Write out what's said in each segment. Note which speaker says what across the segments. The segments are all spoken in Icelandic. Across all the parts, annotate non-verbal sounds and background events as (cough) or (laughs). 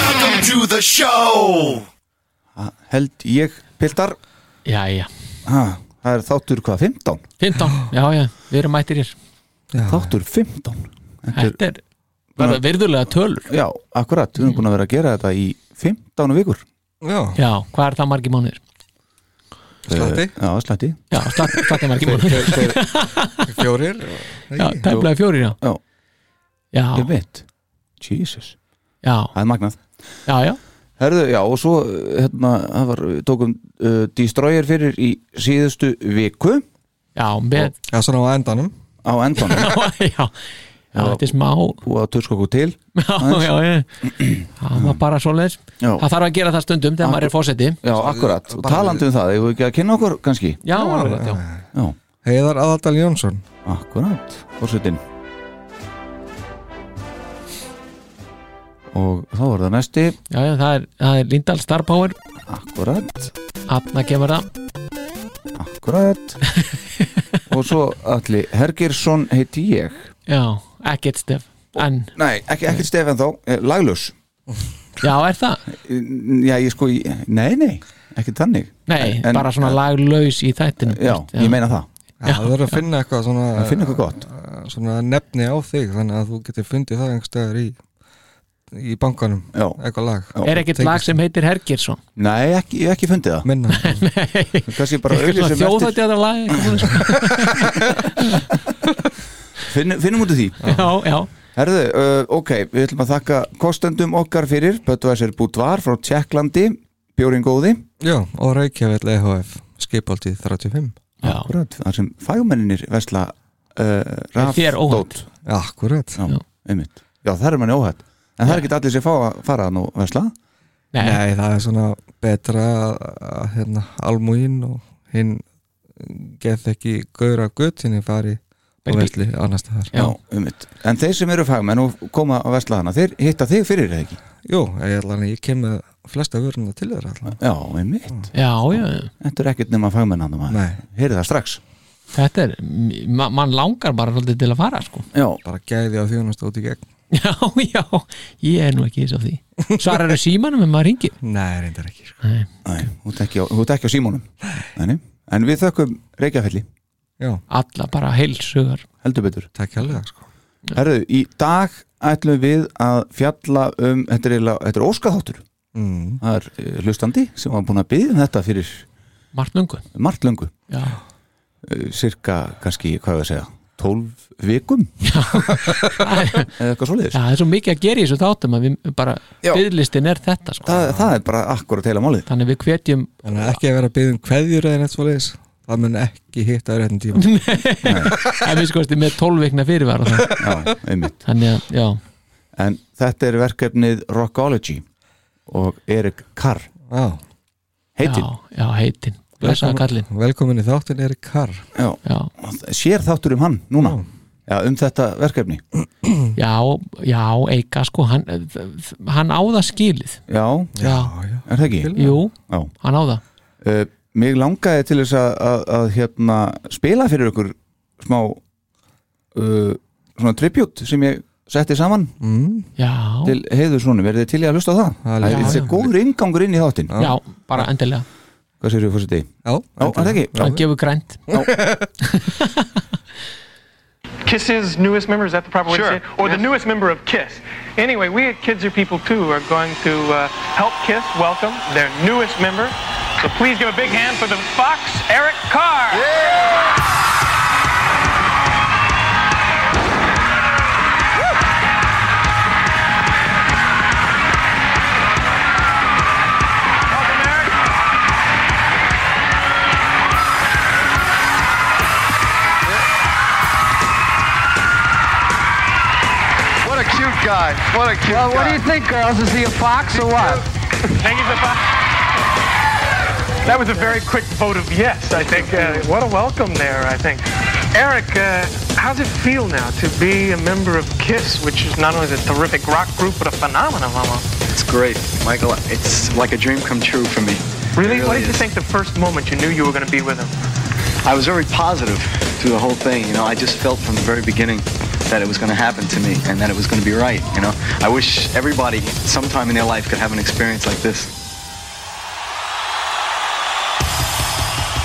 Speaker 1: Welcome to the show
Speaker 2: Held ég, Piltar
Speaker 3: Jæja,
Speaker 2: ha, Það er þáttur hvað, 15?
Speaker 3: 15, já já, við erum mættir hér
Speaker 2: Þáttur 15 Einhver,
Speaker 3: Þetta er verða virðulega tölur
Speaker 2: Já, akkurat, við erum búin að vera að gera þetta í 15 vikur
Speaker 4: Já,
Speaker 3: Já, hvað er það margi mánuðir?
Speaker 4: slatti,
Speaker 2: Já, slætti
Speaker 3: Já, slatti margi mánuðir
Speaker 4: fjórir
Speaker 3: Já, tæmlega fjórir já
Speaker 2: Já,
Speaker 3: Já,
Speaker 2: ég veit Jesus,
Speaker 3: já,
Speaker 2: það er magnað
Speaker 3: já, já
Speaker 2: Herðu, já, og svo hérna, það var, við tókum uh, Destroyer fyrir í síðustu viku
Speaker 3: Já, með,
Speaker 4: Já, svona á endanum
Speaker 2: á (laughs) endanum
Speaker 3: (laughs) já, já, þetta er smá (laughs)
Speaker 2: og að törska okkur til
Speaker 3: Já, já, já Það var bara svoleiðis
Speaker 2: Já.
Speaker 3: Það þarf að gera það stundum þegar maður er fósetti
Speaker 2: Já, akkurat, og talandi um það, ég voru ekki að kynna okkur kannski
Speaker 3: Já, alveg, rétt, já
Speaker 2: Já,
Speaker 4: Heiðar Aðaldal Jónsson
Speaker 2: akkurat, fórsetin Og þá var það næsti
Speaker 3: Já, já, það er, það er Lindahl Star Power
Speaker 2: Akkurat,
Speaker 3: Afna kemur það
Speaker 2: akkurat (laughs) Og svo allir Hergersson heiti ég
Speaker 3: Já, ekkert stef En,
Speaker 2: Nei, ekki, ekki Stefán þá, eh, laglaus
Speaker 3: já, er það?
Speaker 2: Já, ég sko, ég, nei, nei, ekki þannig
Speaker 3: Nei,
Speaker 2: En-
Speaker 3: bara svona laglaus í þættinu
Speaker 2: Já, ég meina það,
Speaker 4: Já, það verður að finna eitthvað svona eh,
Speaker 2: að finna eitthvað gott
Speaker 4: Svona nefni á þig Þannig að þú getur fundið það einhverstaðar í Í bankanum
Speaker 2: Já.
Speaker 4: Eitthvað lag
Speaker 2: Já.
Speaker 3: Er ekkert
Speaker 4: Tengist-
Speaker 3: lag sem heitir Hergersson
Speaker 2: Nei, ekki, ég hef ekki fundið (laughs) það
Speaker 4: Minna
Speaker 2: Kannski bara auðlýsum um eftir,
Speaker 3: Þjóðhætti að það lag eitthvað svona.
Speaker 2: finnum, finnum út af því
Speaker 3: Já, já,
Speaker 2: Herðu, uh, ok, við ætlum að þakka kostendum okkar fyrir, Böttvæsir Búdvar frá Tjekklandi, Bjórin Góði
Speaker 4: Já, og E Reykjavíll EHF Skipaldið 35
Speaker 3: já,
Speaker 2: Akkurat, þar sem fagmenninir vesla uh, raf,
Speaker 3: þér óhætt.
Speaker 2: dót.
Speaker 4: Akkurat
Speaker 2: Já, einmitt Já, það er manni óhætt En það er ekki allir sem fá að fara að nú vesla
Speaker 3: Nei,
Speaker 4: Nei, það er svona betra að- að hérna, almúin og hinn geð ekki gaura guttinni fari og
Speaker 3: Beint í-
Speaker 4: vesli annars staðar
Speaker 3: Já.
Speaker 2: einmitt En þeir sem eru fagmenn og koma að vesla hana, þeir hitta þig fyrir eða ekki
Speaker 4: Jú, ég, ætla, ég kem með flesta vöruna til þeirra allan
Speaker 2: Já, einmitt
Speaker 3: já, já
Speaker 2: Þetta er ekkert nema fagmenn hann
Speaker 4: Nei.
Speaker 2: Heyrið það strax
Speaker 3: Þetta er, ma mann langar bara svolítið til að fara sko (laughs)
Speaker 2: Já,
Speaker 4: bara gæði á þjónast út í gegn
Speaker 3: Já, já, ég er nú ekki eins af því Svarar er símanum en maður ringir
Speaker 4: Nei, reyndar ekki sko.
Speaker 3: Nei,
Speaker 2: nei, þú ert ekki á, þú ert ekki á símónum Nei, nei. En við þökkum Reykjafelli,
Speaker 4: Já,
Speaker 3: Alla bara heilsugar
Speaker 2: heldur betur
Speaker 4: takk hérlega sko.
Speaker 2: Herðu, í dag ætlum við að fjalla um, þetta er, eiginlega- þetta er óskaþáttur
Speaker 4: mm.
Speaker 2: það er eh, hlustandi sem var búin að byggja um þetta fyrir
Speaker 3: Margt lungu
Speaker 2: margt löngu,
Speaker 3: Já,
Speaker 2: eh, cirka kannski, hvað er að segja, 12 vikum eða eitthvað svoleiðis
Speaker 3: það er svo mikið að gera í þessu þáttum að við bara,
Speaker 2: Já.
Speaker 3: byðlistin er þetta sko
Speaker 2: það, það er bara akkurat heila málið
Speaker 3: Þannig við hvetjum
Speaker 4: Þannig að ekki að vera að byggja um kveðjur eða neitt svoleiðis það mun ekki hitta á réttin tíma (laughs)
Speaker 3: En við skoðast með 12 vikna fyrirvara það.
Speaker 2: Já, einmitt.
Speaker 3: Þannig að, já,
Speaker 2: en þetta er verkefnið Rockology og Erik Carr
Speaker 4: Já,
Speaker 2: heitin
Speaker 3: já, já, heitin Blessaða kallinn
Speaker 4: velkomin í þáttin Erik Karr
Speaker 2: Já.
Speaker 3: Já,
Speaker 2: sér þáttur um hann núna Já, um þetta verkefni
Speaker 3: já, já, Eika sko, hann, hann á það skilið
Speaker 2: Já,
Speaker 3: Já,
Speaker 4: já.
Speaker 2: er það ekki?
Speaker 3: jú,
Speaker 2: Já
Speaker 3: hann á það
Speaker 2: uh, mig langaði til þess að, að, að hérna, spila fyrir ykkur smá uh, svona tribut sem ég setti saman
Speaker 4: mm.
Speaker 3: Já,
Speaker 2: til heiður svona, verðið til ég að hlusta á það
Speaker 4: Það er
Speaker 2: það er
Speaker 3: já,
Speaker 2: þessi
Speaker 3: já.
Speaker 2: góður inngangur inn í þáttin
Speaker 3: já, bara endilega
Speaker 2: hvað sér við fórstu því?
Speaker 4: Já,
Speaker 2: Já, er það ekki?
Speaker 3: Hann gefur grænt
Speaker 5: Kiss's newest member, is that the proper way
Speaker 6: Sure,
Speaker 5: to say it? Or the newest member of Kiss. Anyway, we at Kids Are People Too are going to uh, help Kiss welcome their newest member. So please give a big hand for the Fox, Eric Carr.
Speaker 6: cute guy. What a cute
Speaker 7: Well, Uh, what do
Speaker 6: guy.
Speaker 7: you think, girls? Is he a fox or what?
Speaker 5: Thank you, Zafa. That was a very quick vote of yes, I think. Uh, what a welcome there, I think. Eric, uh, how's it feel now to be a member of KISS, which is not only a terrific rock group, but a phenomenon almost?
Speaker 8: It's great, Michael. It's like a dream come true for me.
Speaker 5: Really?
Speaker 8: It
Speaker 5: what did you
Speaker 8: is.
Speaker 5: think the first moment you knew you were going to be with him?
Speaker 8: I was very positive through the whole thing. You know, I just felt from the very beginning that it was going to happen to me and that it was going to be right. You know, I wish everybody sometime in their life could have an experience like this.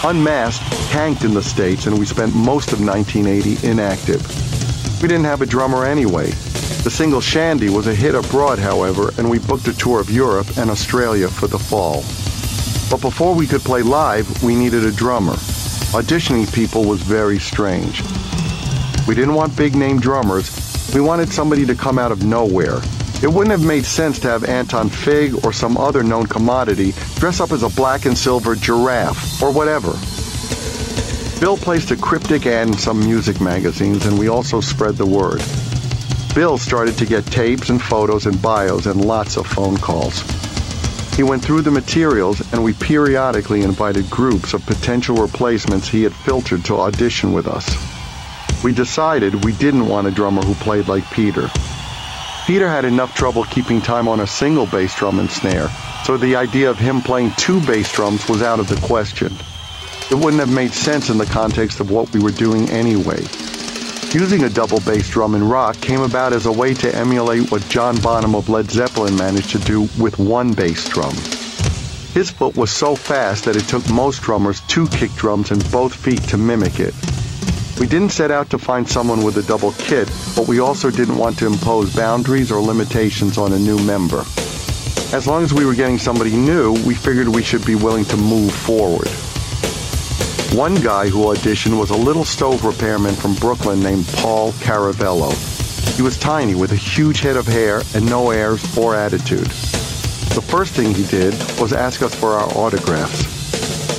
Speaker 6: Unmasked, tanked in the States, and we spent most of 1980 inactive. We didn't have a drummer anyway. The single Shandy was a hit abroad, however, and we booked a tour of Europe and Australia for the fall. But before we could play live, we needed a drummer. Auditioning people was very strange. We didn't want big name drummers. We wanted somebody to come out of nowhere. It wouldn't have made sense to have Anton Fig or some other known commodity dress up as a black and silver giraffe or whatever. Bill placed a cryptic ad in some music magazines and we also spread the word. Bill started to get tapes and photos and bios and lots of phone calls. He went through the materials and we periodically invited groups of potential replacements he had filtered to audition with us we decided we didn't want a drummer who played like Peter. Peter had enough trouble keeping time on a single bass drum and snare, so the idea of him playing two bass drums was out of the question. It wouldn't have made sense in the context of what we were doing anyway. Using a double bass drum in rock came about as a way to emulate what John Bonham of Led Zeppelin managed to do with one bass drum. His foot was so fast that it took most drummers two kick drums and both feet to mimic it. We didn't set out to find someone with a double kit, but we also didn't want to impose boundaries or limitations on a new member. As long as we were getting somebody new, we figured we should be willing to move forward. One guy who auditioned was a little stove repairman from Brooklyn named Paul Caravello. He was tiny with a huge head of hair and no airs or attitude. The first thing he did was ask us for our autographs.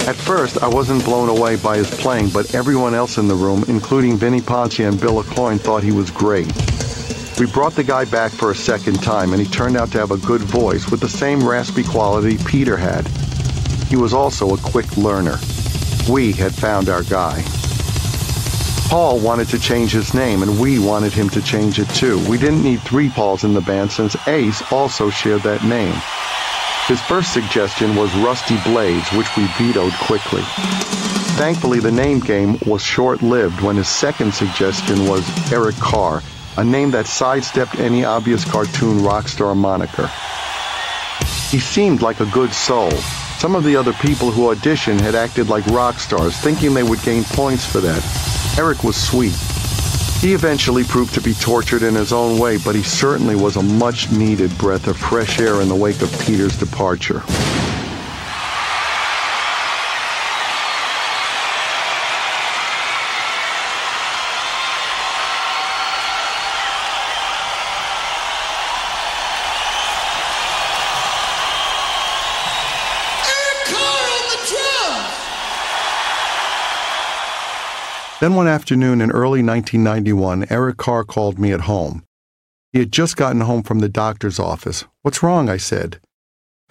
Speaker 6: At first, I wasn't blown away by his playing, but everyone else in the room, including Vinnie Ponce and Bill O'Cloyne, thought he was great. We brought the guy back for a second time, and he turned out to have a good voice with the same raspy quality Peter had. He was also a quick learner. We had found our guy. Paul wanted to change his name, and we wanted him to change it too. We didn't need three Pauls in the band since Ace also shared that name. His first suggestion was Rusty Blades, which we vetoed quickly. Thankfully, the name game was short lived when his second suggestion was Eric Carr, a name that sidestepped any obvious cartoon rock star moniker. He seemed like a good soul. Some of the other people who auditioned had acted like rock stars, thinking they would gain points for that. Eric was sweet. He eventually proved to be tortured in his own way, but he certainly was a much needed breath of fresh air in the wake of Peter's departure. Then one afternoon in early 1991, Eric Carr called me at home. He had just gotten home from the doctor's office. What's wrong? I said.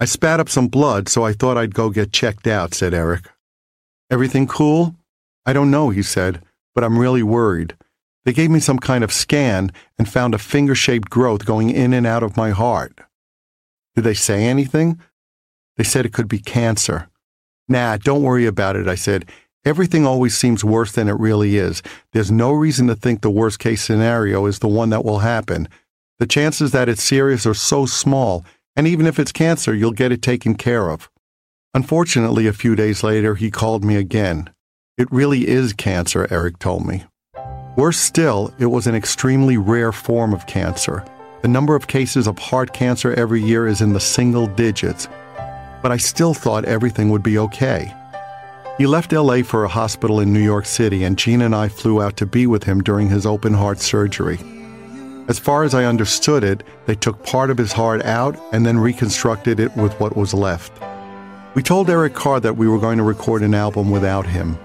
Speaker 6: I spat up some blood, so I thought I'd go get checked out, said Eric. Everything cool? I don't know, he said, but I'm really worried. They gave me some kind of scan and found a finger shaped growth going in and out of my heart. Did they say anything? They said it could be cancer. Nah, don't worry about it, I said. Everything always seems worse than it really is. There's no reason to think the worst case scenario is the one that will happen. The chances that it's serious are so small, and even if it's cancer, you'll get it taken care of. Unfortunately, a few days later, he called me again. It really is cancer, Eric told me. Worse still, it was an extremely rare form of cancer. The number of cases of heart cancer every year is in the single digits. But I still thought everything would be okay. He left LA for a hospital in New York City, and Gene and I flew out to be with him during his open heart surgery. As far as I understood it, they took part of his heart out and then reconstructed it with what was left. We told Eric Carr that we were going to record an album without him.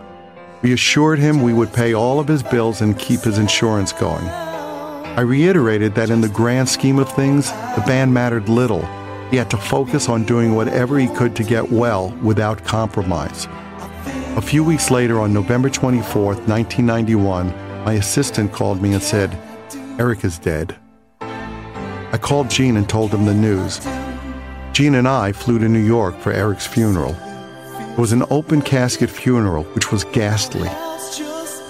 Speaker 6: We assured him we would pay all of his bills and keep his insurance going. I reiterated that in the grand scheme of things, the band mattered little. He had to focus on doing whatever he could to get well without compromise. A few weeks later, on November 24th, 1991, my assistant called me and said, Eric is dead. I called Gene and told him the news. Gene and I flew to New York for Eric's funeral. It was an open casket funeral, which was ghastly.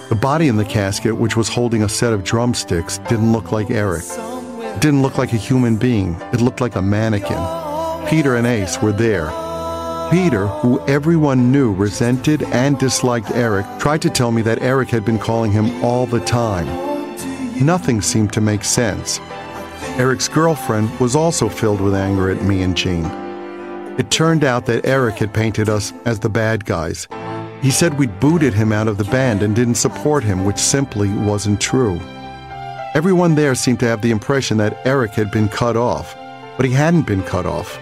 Speaker 6: The body in the casket, which was holding a set of drumsticks, didn't look like Eric. It didn't look like a human being, it looked like a mannequin. Peter and Ace were there. Peter, who everyone knew resented and disliked Eric, tried to tell me that Eric had been calling him all the time. Nothing seemed to make sense. Eric's girlfriend was also filled with anger at me and Gene. It turned out that Eric had painted us as the bad guys. He said we'd booted him out of the band and didn't support him, which simply wasn't true. Everyone there seemed to have the impression that Eric had been cut off, but he hadn't been cut off.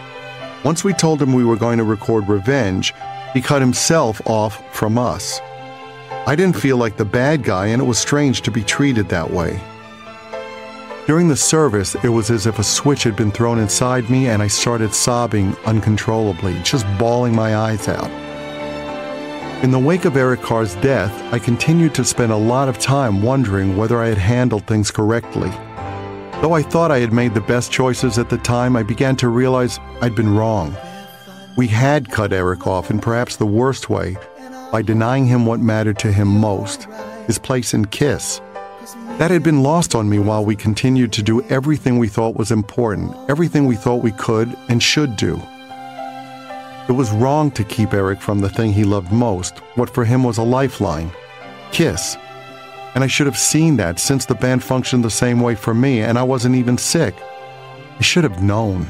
Speaker 6: Once we told him we were going to record Revenge, he cut himself off from us. I didn't feel like the bad guy, and it was strange to be treated that way. During the service, it was as if a switch had been thrown inside me and I started sobbing uncontrollably, just bawling my eyes out. In the wake of Eric Carr's death, I continued to spend a lot of time wondering whether I had handled things correctly. Though I thought I had made the best choices at the time, I began to realize I'd been wrong. We had cut Eric off in perhaps the worst way by denying him what mattered to him most his place in Kiss. That had been lost on me while we continued to do everything we thought was important, everything we thought we could and should do. It was wrong to keep Eric from the thing he loved most, what for him was a lifeline Kiss. And I should have seen that since the band functioned the same way for me and I wasn't even sick. I should have known.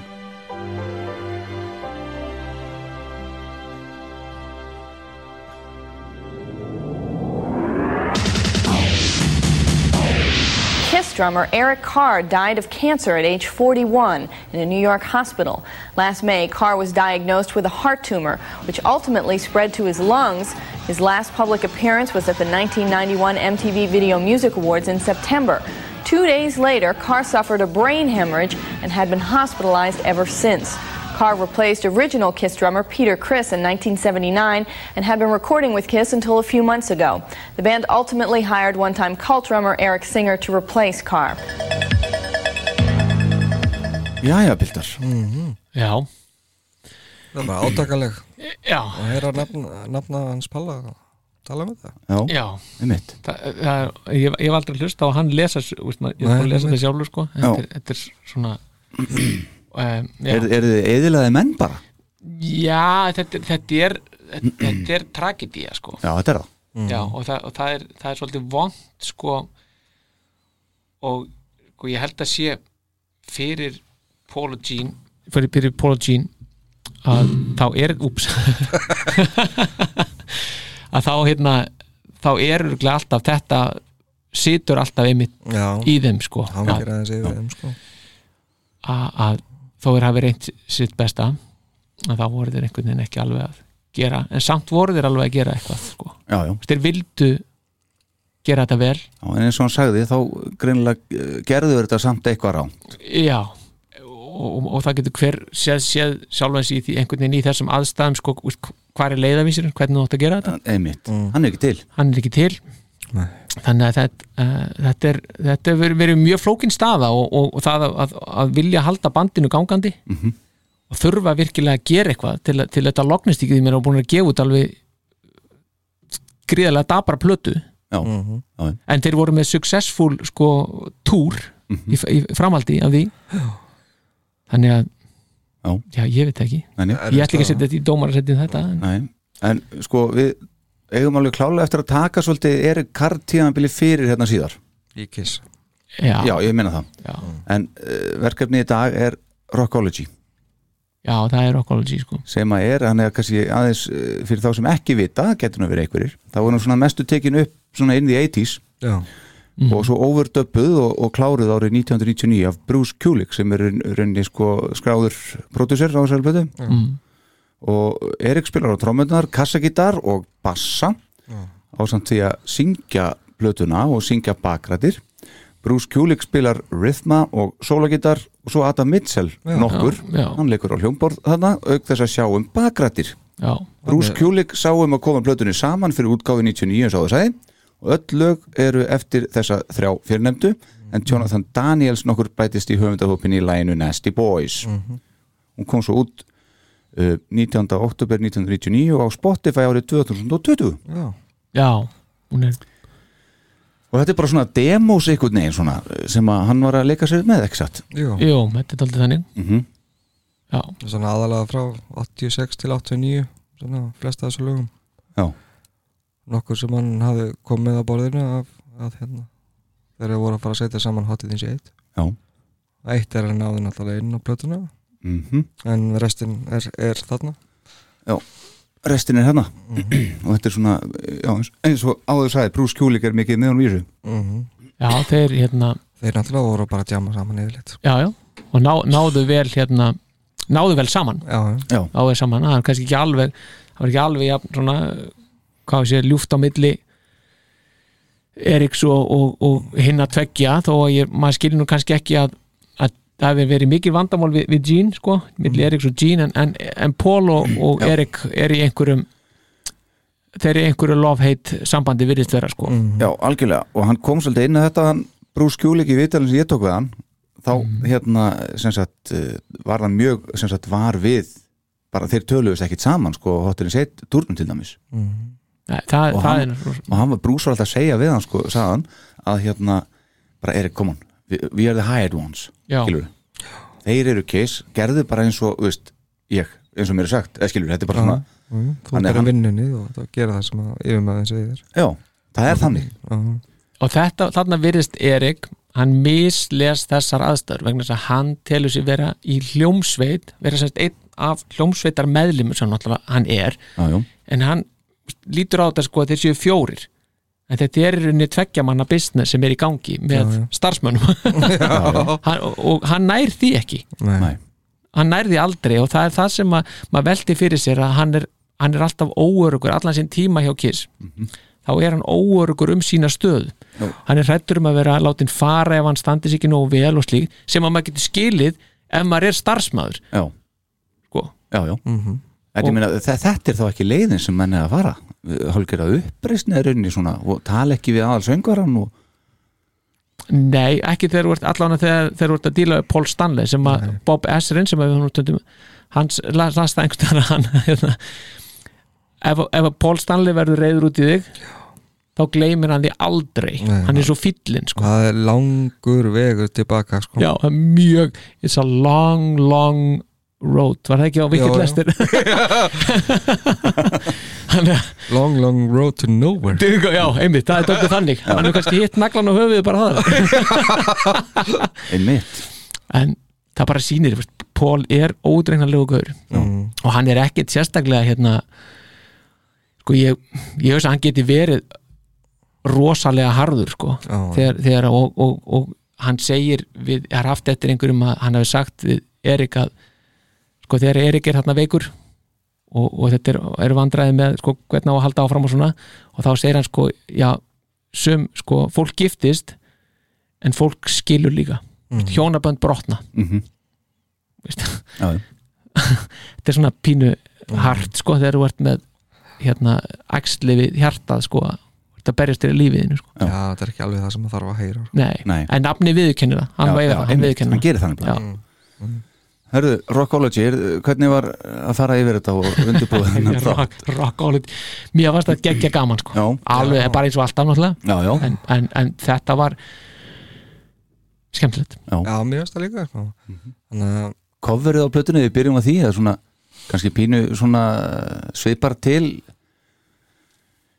Speaker 9: Kiss drummer Eric Carr died of cancer at age 41 in a New York hospital. Last May, Carr was diagnosed with a heart tumor, which ultimately spread to his lungs. His last public appearance was at the 1991 MTV Video Music Awards in September. Two days later, Carr suffered a brain hemorrhage and had been hospitalized ever since. Carr replaced original Kiss drummer Peter Criss in 1979 and had been recording with Kiss until a few months ago. The band ultimately hired one time cult drummer Eric Singer to replace Carr.
Speaker 2: Jæja, Bildar
Speaker 3: Já,
Speaker 4: Það var átakaleg
Speaker 3: já,
Speaker 4: að heyra nafna, nafna hans Palla og tala um með það
Speaker 2: Já,
Speaker 3: já
Speaker 2: einmitt
Speaker 3: Þa, það, ég, ég hef aldrei hlust á að hann lesa s- veist, maður- ég er
Speaker 4: Nei,
Speaker 3: bara að lesa
Speaker 4: einmitt.
Speaker 3: þetta sjálfur sko en
Speaker 2: Já.
Speaker 3: þetta er- þetta er svona (clears throat) um, já.
Speaker 2: Er, er þið eðilaði menn bara?
Speaker 3: já, þetta, þetta er þetta, þetta er tragedía sko
Speaker 2: Já, þetta er það
Speaker 3: já, og, það, og það, er, það er svolítið vond sko og, og ég held að sé fyrir Paul og Jean fyrir, fyrir Paul og Jean að þá er ups, (laughs) að þá hérna þá er örugglega alltaf þetta situr alltaf einmitt
Speaker 4: Já,
Speaker 3: í þeim sko að,
Speaker 4: hangir aðeins yfir þeim sko
Speaker 3: að, að þó er hafi reynt sitt besta að þá voru þeir einhvern veginn ekki alveg að gera en samt voru þeir alveg að gera eitthvað sko.
Speaker 2: Já, já,
Speaker 3: Þú veist, þeir vildu gera þetta vel
Speaker 2: já, en eins og hann sagði þá greinilega eh, gerðu verið þetta samt eitthvað rá
Speaker 3: já og, og, og það getur hver séð, séð sjálfans í því einhvern veginn í þessum aðstæðum sko, úr, hvað er leiðavísirinn, hvernig þú átt að gera þetta
Speaker 2: Einmitt, hann er ekki til
Speaker 3: hann er ekki til
Speaker 4: Nei.
Speaker 3: þannig að þetta, uh, þetta, er, þetta er verið, verið mjög flókin staða og, og, og það að, að, að vilja halda bandinu gangandi
Speaker 2: Mhm.
Speaker 3: og þurfa virkilega að gera eitthvað til, að- til þetta lognist ekki því mér er búin að gefa út alveg gríðarlega dabra plötu
Speaker 2: Já,
Speaker 3: en þeir voru með successful sko túr í, í framhaldi af því þannig að
Speaker 2: Já.
Speaker 3: ég veit ekki
Speaker 2: þannig
Speaker 3: ég ætla ekki að setja þetta í dómar að setja þetta en,
Speaker 2: Nei, en sko við eigum alveg klálega eftir að taka svolítið Erik Karr tíðanbili fyrir hérna síðar
Speaker 4: Í kiss
Speaker 3: já,
Speaker 2: Já, ég meina það
Speaker 3: já,
Speaker 2: En uh, verkefni í dag er Rockology
Speaker 3: já, það er okkology sko
Speaker 2: sem að er, hann er kannski aðeins eh, fyrir þá sem ekki vita, getur nú verið einhverjir þá var nú svona mestu tekin upp svona inn í 80s
Speaker 4: Já,
Speaker 3: Mhm.
Speaker 2: og svo overdubbuð og, og kláruð árið 1999 af Bruce Kulick sem er raun- rauninni sko skráður pródusser á þessari blötu
Speaker 3: mm.
Speaker 2: og Erik spilar á trómmundunar, kassagítar og bassa á samt því að syngja blötuna og syngja bakrættir Bruce Kulick spilar rhythma og sólagitar og svo Adam Mitchell
Speaker 3: Já,
Speaker 2: nokkur,
Speaker 3: já, já.
Speaker 2: hann leikur á hljómborð þarna, auk þess að sjá um bakrættir
Speaker 3: Já.
Speaker 2: Bruce Kulick sá um að koma plötunni saman fyrir útgáfi 99 eins og það sagði og öll lög eru eftir þessa þrjá fyrirnefndu en Jonathan Daniels nokkur bætist í höfundahópinni í læginu Nasty Boys hún kom svo út uh, 19. oktober 1999 og á Spotify árið 2020
Speaker 4: Já.
Speaker 3: Já, hún er
Speaker 2: og þetta er bara svona demos einhvern veginn svona eh, sem að hann var að leika sér með ekki satt
Speaker 4: Jú.
Speaker 3: Jú, þetta er aldrei þannig
Speaker 2: Mhm.
Speaker 3: Já.
Speaker 4: Svona aðalega frá 86 til 89 svona flesta af þessu lögum
Speaker 2: Já.
Speaker 4: Nokkur sem hann hafði komið að borðinu af, að hérna þegar þeir voru að fara að setja saman hotið eins í eitt
Speaker 2: Já.
Speaker 4: Eitt er hann náði náttúrulega inn á plötuna
Speaker 2: Mhm.
Speaker 4: en restin er, er þarna
Speaker 2: Já, restin er hérna (clears throat) og þetta er svona, uh, já, eins- eins og áður sagði Bruce Kulik er mikið með hún vísu
Speaker 4: Mhm.
Speaker 3: Já, þeir hérna
Speaker 4: Þeir náttúrulega voru bara að djama saman yfirleitt sko.
Speaker 3: Já, já, og ná, náðu vel hérna náðu vel saman
Speaker 4: Já,
Speaker 2: já.
Speaker 3: náðu vel saman, það er kannski ekki alveg það var ekki alveg jafn svona hvað sé, ljúft á milli Eriks og, og, og hinn að tveggja þó að ég, maður skilur nú kannski ekki að, að það hefur verið mikil vandamál við, við Jean sko,
Speaker 2: Mm.
Speaker 3: milli Eriks og Jean en, en, en Paul og, og Erik er í einhverjum þeir eru í einhverju love-hate sambandi virðist vera sko
Speaker 2: Já, algjörlega og hann kom svolítið inn að þetta hann, Bruce Kulik í vitalinn sem ég tók við hann þá hérna sem sagt eh, var hann mjög sem sagt var við bara þeir töluðust ekkit saman sko hóttirinn seitt turnum til dæmis
Speaker 3: Nei, það,
Speaker 2: og,
Speaker 3: það
Speaker 2: hann,
Speaker 3: er
Speaker 2: og hann var Bruce var alltaf að segja við hann sko sagðan að hérna bara Erik come on we, we are the hired ones
Speaker 3: Já.
Speaker 2: skilurðu. þeir eru kiss gerðu bara eins og þú veist, ég eins og mér er sagt eða skilur þetta er bara svona
Speaker 4: Mhm. Þú
Speaker 2: Þannig að
Speaker 4: gerir
Speaker 2: hann-
Speaker 4: vinnunni og þú gera það sem að yfirmaðin segir
Speaker 2: Já, það er þannig
Speaker 3: og þetta, þarna virðist Erik hann misles þessar aðstæður vegna þess að hann telur sér vera í hljómsveit vera sérst einn af hljómsveitar meðlimur sem náttúrulega hann er
Speaker 2: Já, já.
Speaker 3: en hann lítur á þetta sko að þeir séu fjórir en þetta er í rauninni tveggja manna business sem er í gangi með
Speaker 4: Já, já.
Speaker 3: starfsmönnum
Speaker 2: (laughs)
Speaker 3: (laughs) hann, og, og hann nær því ekki
Speaker 4: Nei.
Speaker 3: hann nær því aldrei og það er það sem að, maður velti fyrir sér að hann er, hann er alltaf óörugur allan sinn tíma hjá Kiss þá er hann óörugur um sína stöð
Speaker 2: Já.
Speaker 3: hann er hrættur um að vera látin fara ef hann standis ekki nógu vel og slíkt sem að maður getur skilið ef maður er starfsmæður
Speaker 2: Já,
Speaker 3: sko.
Speaker 2: já, já.
Speaker 4: Mhm.
Speaker 2: Þetta, ég meina, þe- þetta er þá ekki leiðin sem menn er að fara Hálfgerða uppreisni er rauninni svona og tala ekki við aðal söngvaran og
Speaker 3: nei, ekki þegar þú ert allan að þegar, þegar þú ert að díla við Paul Stanley sem að Bob Esrin sem að við hann töndum hans las, las það einhvern veginn hann (laughs) hérna, ef, ef að Paul Stanley verður reyður út í þig þá gleymir hann því aldrei
Speaker 4: Nei,
Speaker 3: hann er svo fyllin sko.
Speaker 4: Það er langur vegur tilbaka sko.
Speaker 3: Já, það er mjög It's a long, long road Var það ekki á
Speaker 4: Já,
Speaker 3: Wicked
Speaker 4: já. (laughs)
Speaker 3: Lester? Hann er
Speaker 4: Long, long road to nowhere
Speaker 3: Dugo, já, einmitt, það er dögdu þannig Hann er kannski hitt naglan á höfuðu bara það
Speaker 2: einmitt
Speaker 3: En það bara sýnir veist, Paul er ódregnanlegu gaur
Speaker 4: Mhm.
Speaker 3: Og hann er ekkit sérstaklega hérna Sko, ég, ég veist að hann geti verið rosalega harður sko
Speaker 4: Já.
Speaker 3: þegar, þegar og, og, og hann segir við, er haft eftir einhverjum að hann hafi sagt við Erik að sko þegar Erik er hérna veikur og, og þetta er, er vandræði með sko hvernig á að halda áfram og svona og þá segir hann sko, já sum, sko, fólk giftist en fólk skilur líka
Speaker 4: Mhm.
Speaker 3: hjónabönd brotna
Speaker 2: Mhm.
Speaker 3: Veist?
Speaker 2: Já, já.
Speaker 3: þetta er svona pínu hart sko þegar þú ert með hérna axli við hjartað sko að þú ert að berjast þér í lífiðinu sko
Speaker 4: Já, þetta er ekki alveg það sem maður þarf að heyra sko.
Speaker 3: Nei.
Speaker 2: Nei.
Speaker 3: en nafni viðurkennir það hann,
Speaker 2: Já,
Speaker 3: já,
Speaker 2: já,
Speaker 3: já, hann,
Speaker 2: einmitt,
Speaker 3: viðurkennir
Speaker 2: hann gerir þannig bara.
Speaker 3: það já.
Speaker 2: Hörðu, Rockology, er- hvernig var að fara yfir þetta og
Speaker 3: (laughs)
Speaker 2: undirbúða þennan þá?
Speaker 3: rock, rock all it mér varst að gegja gaman sko
Speaker 2: Mm. Já.
Speaker 3: alveg bara eins og alltaf náttúrulega
Speaker 2: Já, já,
Speaker 3: en, en, en þetta var skemmtilegt
Speaker 2: já
Speaker 4: Já, mér finnst það líka sko. Þannig að
Speaker 2: Coverið á plötunni, við byrjum að því að svona, kannski pínu svona eh, svipar til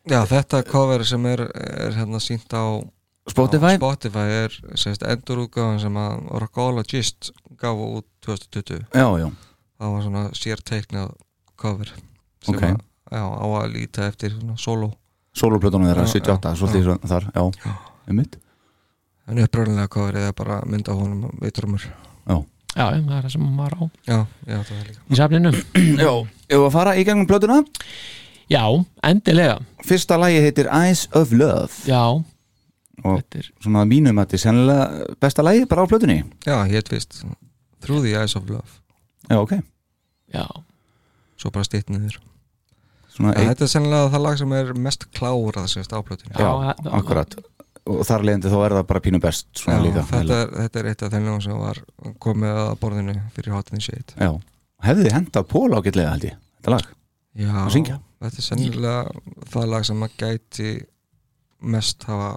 Speaker 4: já, þetta cover sem er, er hérna sínt á
Speaker 2: Spotify
Speaker 4: á Spotify er sérst, endurútgáðan sem að Rockologist gaf út 2020
Speaker 2: Já, já,
Speaker 4: það var svona sérteiknað cover sem
Speaker 2: Ok.
Speaker 4: að, já, á að líta eftir svona solo
Speaker 2: soloplötunum þeirra
Speaker 4: Já,
Speaker 2: 78,
Speaker 4: já,
Speaker 2: svolítið
Speaker 4: já.
Speaker 2: svona þar, já, einmitt
Speaker 4: en uppröðinlega coverið er bara mynd af honum vitrumur
Speaker 3: já, já, það er það sem hann var á
Speaker 4: já, já, það er líka
Speaker 3: í safninu
Speaker 2: Já, ef við að fara í gegnum plötuna
Speaker 3: já, endilega
Speaker 2: Fyrsta lagi heitir Eyes of Love
Speaker 3: já,
Speaker 2: og svona að mínum að þetta er sennilega besta lægi bara á plötunni
Speaker 4: Já, ég heit vist Through the Eyes of Love
Speaker 2: Já, ok
Speaker 3: Já
Speaker 4: Svo bara stýtt niður
Speaker 2: Svona
Speaker 4: ja,
Speaker 2: eitt-
Speaker 4: Þetta er sennilega það lag sem er mest klárað sérst áplötinu
Speaker 2: Já, akkurat og þar leiðandi þá er það bara pínu best svona líka
Speaker 4: þetta, er, þetta er eitt af þeim lögum sem var komið að borðinu fyrir hotinni shit
Speaker 2: Já, hefði þið hendað Pól ágætlega held ég þetta lag
Speaker 4: Já,
Speaker 2: Að syngja.
Speaker 4: þetta er sennilega það lag sem að gæti mest hafa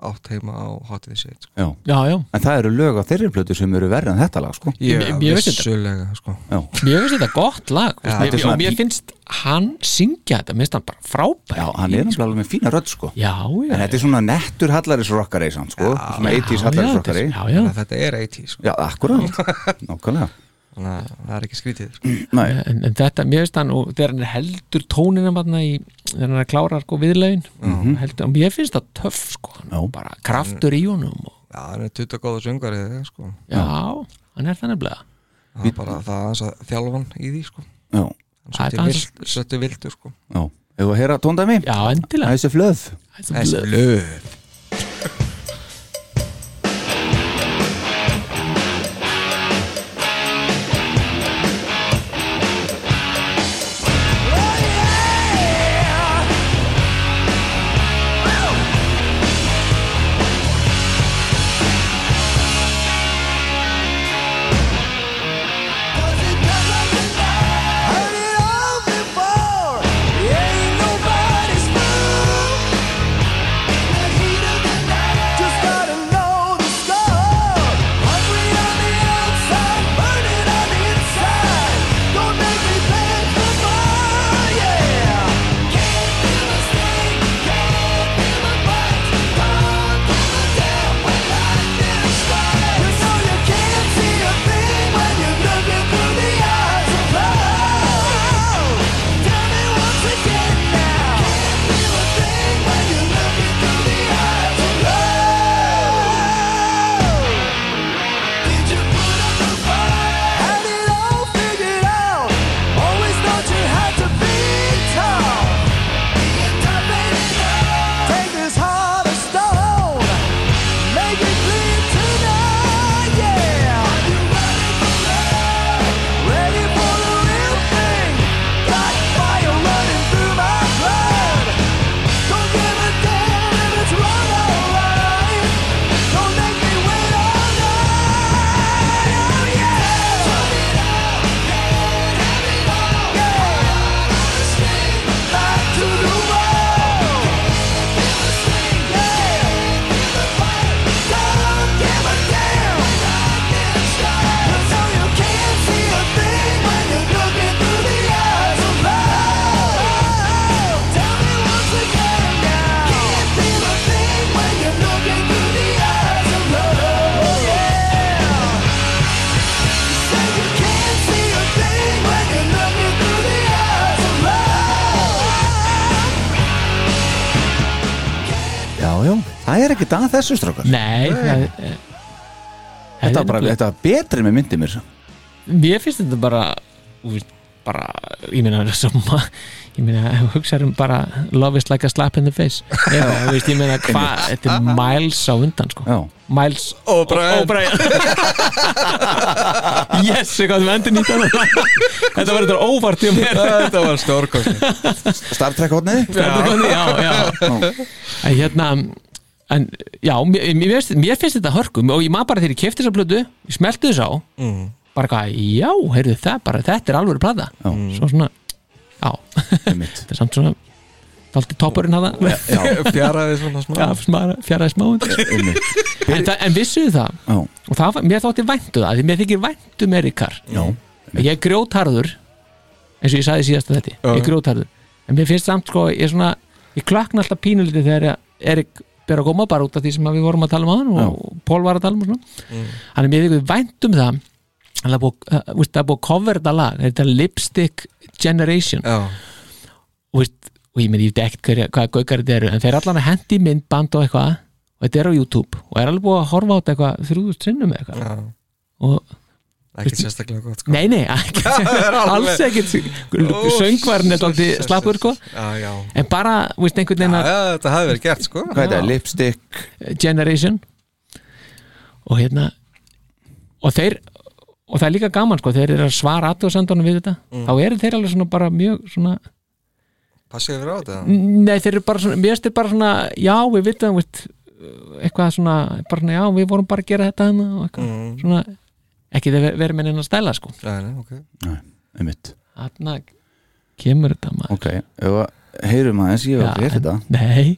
Speaker 4: átt heima á hotinni shit sko.
Speaker 2: já.
Speaker 3: Já, já.
Speaker 2: En það eru lög á þeirri plötu sem eru verið en þetta lag sko
Speaker 4: Ég,
Speaker 3: Ég- ég veit þetta.
Speaker 4: vissulega sko.
Speaker 2: Já,
Speaker 3: Mér finnst þetta gott lag
Speaker 2: Já,
Speaker 3: veist,
Speaker 2: þetta er
Speaker 3: mér,
Speaker 2: svona
Speaker 3: og mér
Speaker 2: pí-
Speaker 3: finnst hann syngja þetta, mér finnst hann bara frábær
Speaker 2: já hann er náttúrulega alveg með fína rödd sko
Speaker 3: Já, já,
Speaker 2: En þetta er svona nettur hallaris rockari samt sko Svona 80s hallaris rockari
Speaker 3: já.
Speaker 4: Þetta er 80 sko.
Speaker 2: Já, akkurat,
Speaker 3: (laughs)
Speaker 2: nákvæmlega
Speaker 4: Þannig að það er ekki skrítið sko.
Speaker 2: Nei,
Speaker 3: en, en þetta, mér finnst hann og þegar hann er heldur tóninum hann í, þegar hann er að klára sko viðlaun
Speaker 2: Mhm.
Speaker 3: heldur, og mér finnst það töff sko hann
Speaker 2: Já.
Speaker 3: er bara kraftur í honum og,
Speaker 4: Já, hann er tutt og góða söngarið sko.
Speaker 3: já, hann er þannig bleða
Speaker 4: Það er bara það aðeins að þjálfan í því sko.
Speaker 2: já,
Speaker 3: Það er
Speaker 4: Svolítið
Speaker 3: bara
Speaker 4: vilt- Svolítið vildur sko.
Speaker 2: já Hefur að heyra tóndæmi?
Speaker 3: Já, endilega
Speaker 2: Æsir flöð
Speaker 4: Þessi lög
Speaker 2: Já, já, það er ekkert að þessu strákar
Speaker 3: Nei, það, eh,
Speaker 2: Þetta var bara,
Speaker 3: nefnilega-
Speaker 2: þetta var betri með myndið mér
Speaker 3: mér finnst þetta bara þú veist, bara, ég meina (laughs) sem, ég meina, hugsaðum um bara love is like a slap in the
Speaker 2: (laughs)
Speaker 3: face eða, þú veist, ég meina, hvað, þetta er miles á undan, sko,
Speaker 2: Já.
Speaker 3: miles
Speaker 4: Og Brian.
Speaker 3: og (laughs) Brian. yes, ég gott með endur nýtt (laughs) hana þetta var þetta óvart hjá mér
Speaker 4: Þetta var stórkost
Speaker 2: Star Trek hotnið
Speaker 3: já, já, en hérna en, já, mér, mér, finnst, mér finnst þetta hörkum og ég maður bara þegar ég kefti þessa blödu ég smelti þess á bara eitthvað, já, heyrðu það bara, þetta er alvöru plata
Speaker 2: Já.
Speaker 3: svo svona, já,
Speaker 2: Einmitt.
Speaker 3: þetta er samt svona dalti toppurinn að (laughs) það
Speaker 2: Já,
Speaker 4: Fjaraði svona smá
Speaker 3: já, smara, fjaraði smá undan.
Speaker 2: einmitt
Speaker 3: en, það, en vissuðu það
Speaker 2: Já,
Speaker 3: og það, var- mér þótti væntu það, því mér þykir um væntu með Ríkar,
Speaker 2: já,
Speaker 3: ég er grjótarður eins og ég sagði síðast að þetta ég er grjótarður, en mér finnst samt sko ég er svona, ég klakna alltaf pínuliti þegar Erik ber að koma bara út af því sem að við vorum að tala um á hann og Pól var að tala um og svona hann er mér þykir væntum það en það er búið, uh, veist, það er búið að cover þetta lag þetta er Lipstick Generation
Speaker 4: Já,
Speaker 3: og, veist, og ég meni, ég veit ekkert hverja, hvaða gaukar þetta eru en þeir allan að hendi í myndband og eitthvað og þetta er á YouTube og er alveg búið að horfa á þetta eitthvað þrjúðust sinnum eða eitthvað
Speaker 4: já
Speaker 3: og
Speaker 4: Ekkert sérstaklega gott, sko.
Speaker 3: Nei, nei, ekki,
Speaker 4: (laughs) Það er alveg-
Speaker 3: alls ekkert
Speaker 4: Ó,
Speaker 3: Söngvarinn er alltaf slappur sko.
Speaker 4: Já, já.
Speaker 3: En bara, veist, einhvern veginn að
Speaker 4: Já, þetta hafi verið gert sko
Speaker 3: Hvað er þetta?
Speaker 2: Lipstick
Speaker 3: Generation Og hérna Og þeir Og það er líka gaman sko, þeir eru að svara aðtöðsendunum við þetta
Speaker 4: Mm.
Speaker 3: Þá eru þeir alveg svona bara mjög svona
Speaker 4: Passið yfir á þetta
Speaker 3: Nei, þeir eru bara svona, mér styrir bara svona Já, við vitum, veist Eitthvað svona, bara svona, já, við vorum bara að gera þetta hana Og eitthvað,
Speaker 4: Mm.
Speaker 3: svona Ekki þeir verið með neina stæla sko
Speaker 4: Nei, nei, ok
Speaker 2: einmitt
Speaker 3: Þarna kemur þetta maður
Speaker 2: Ok, ef að- heyrum aðeins, ég hef
Speaker 3: Já,
Speaker 2: aldrei heyrt
Speaker 3: en-
Speaker 2: þetta
Speaker 3: Nei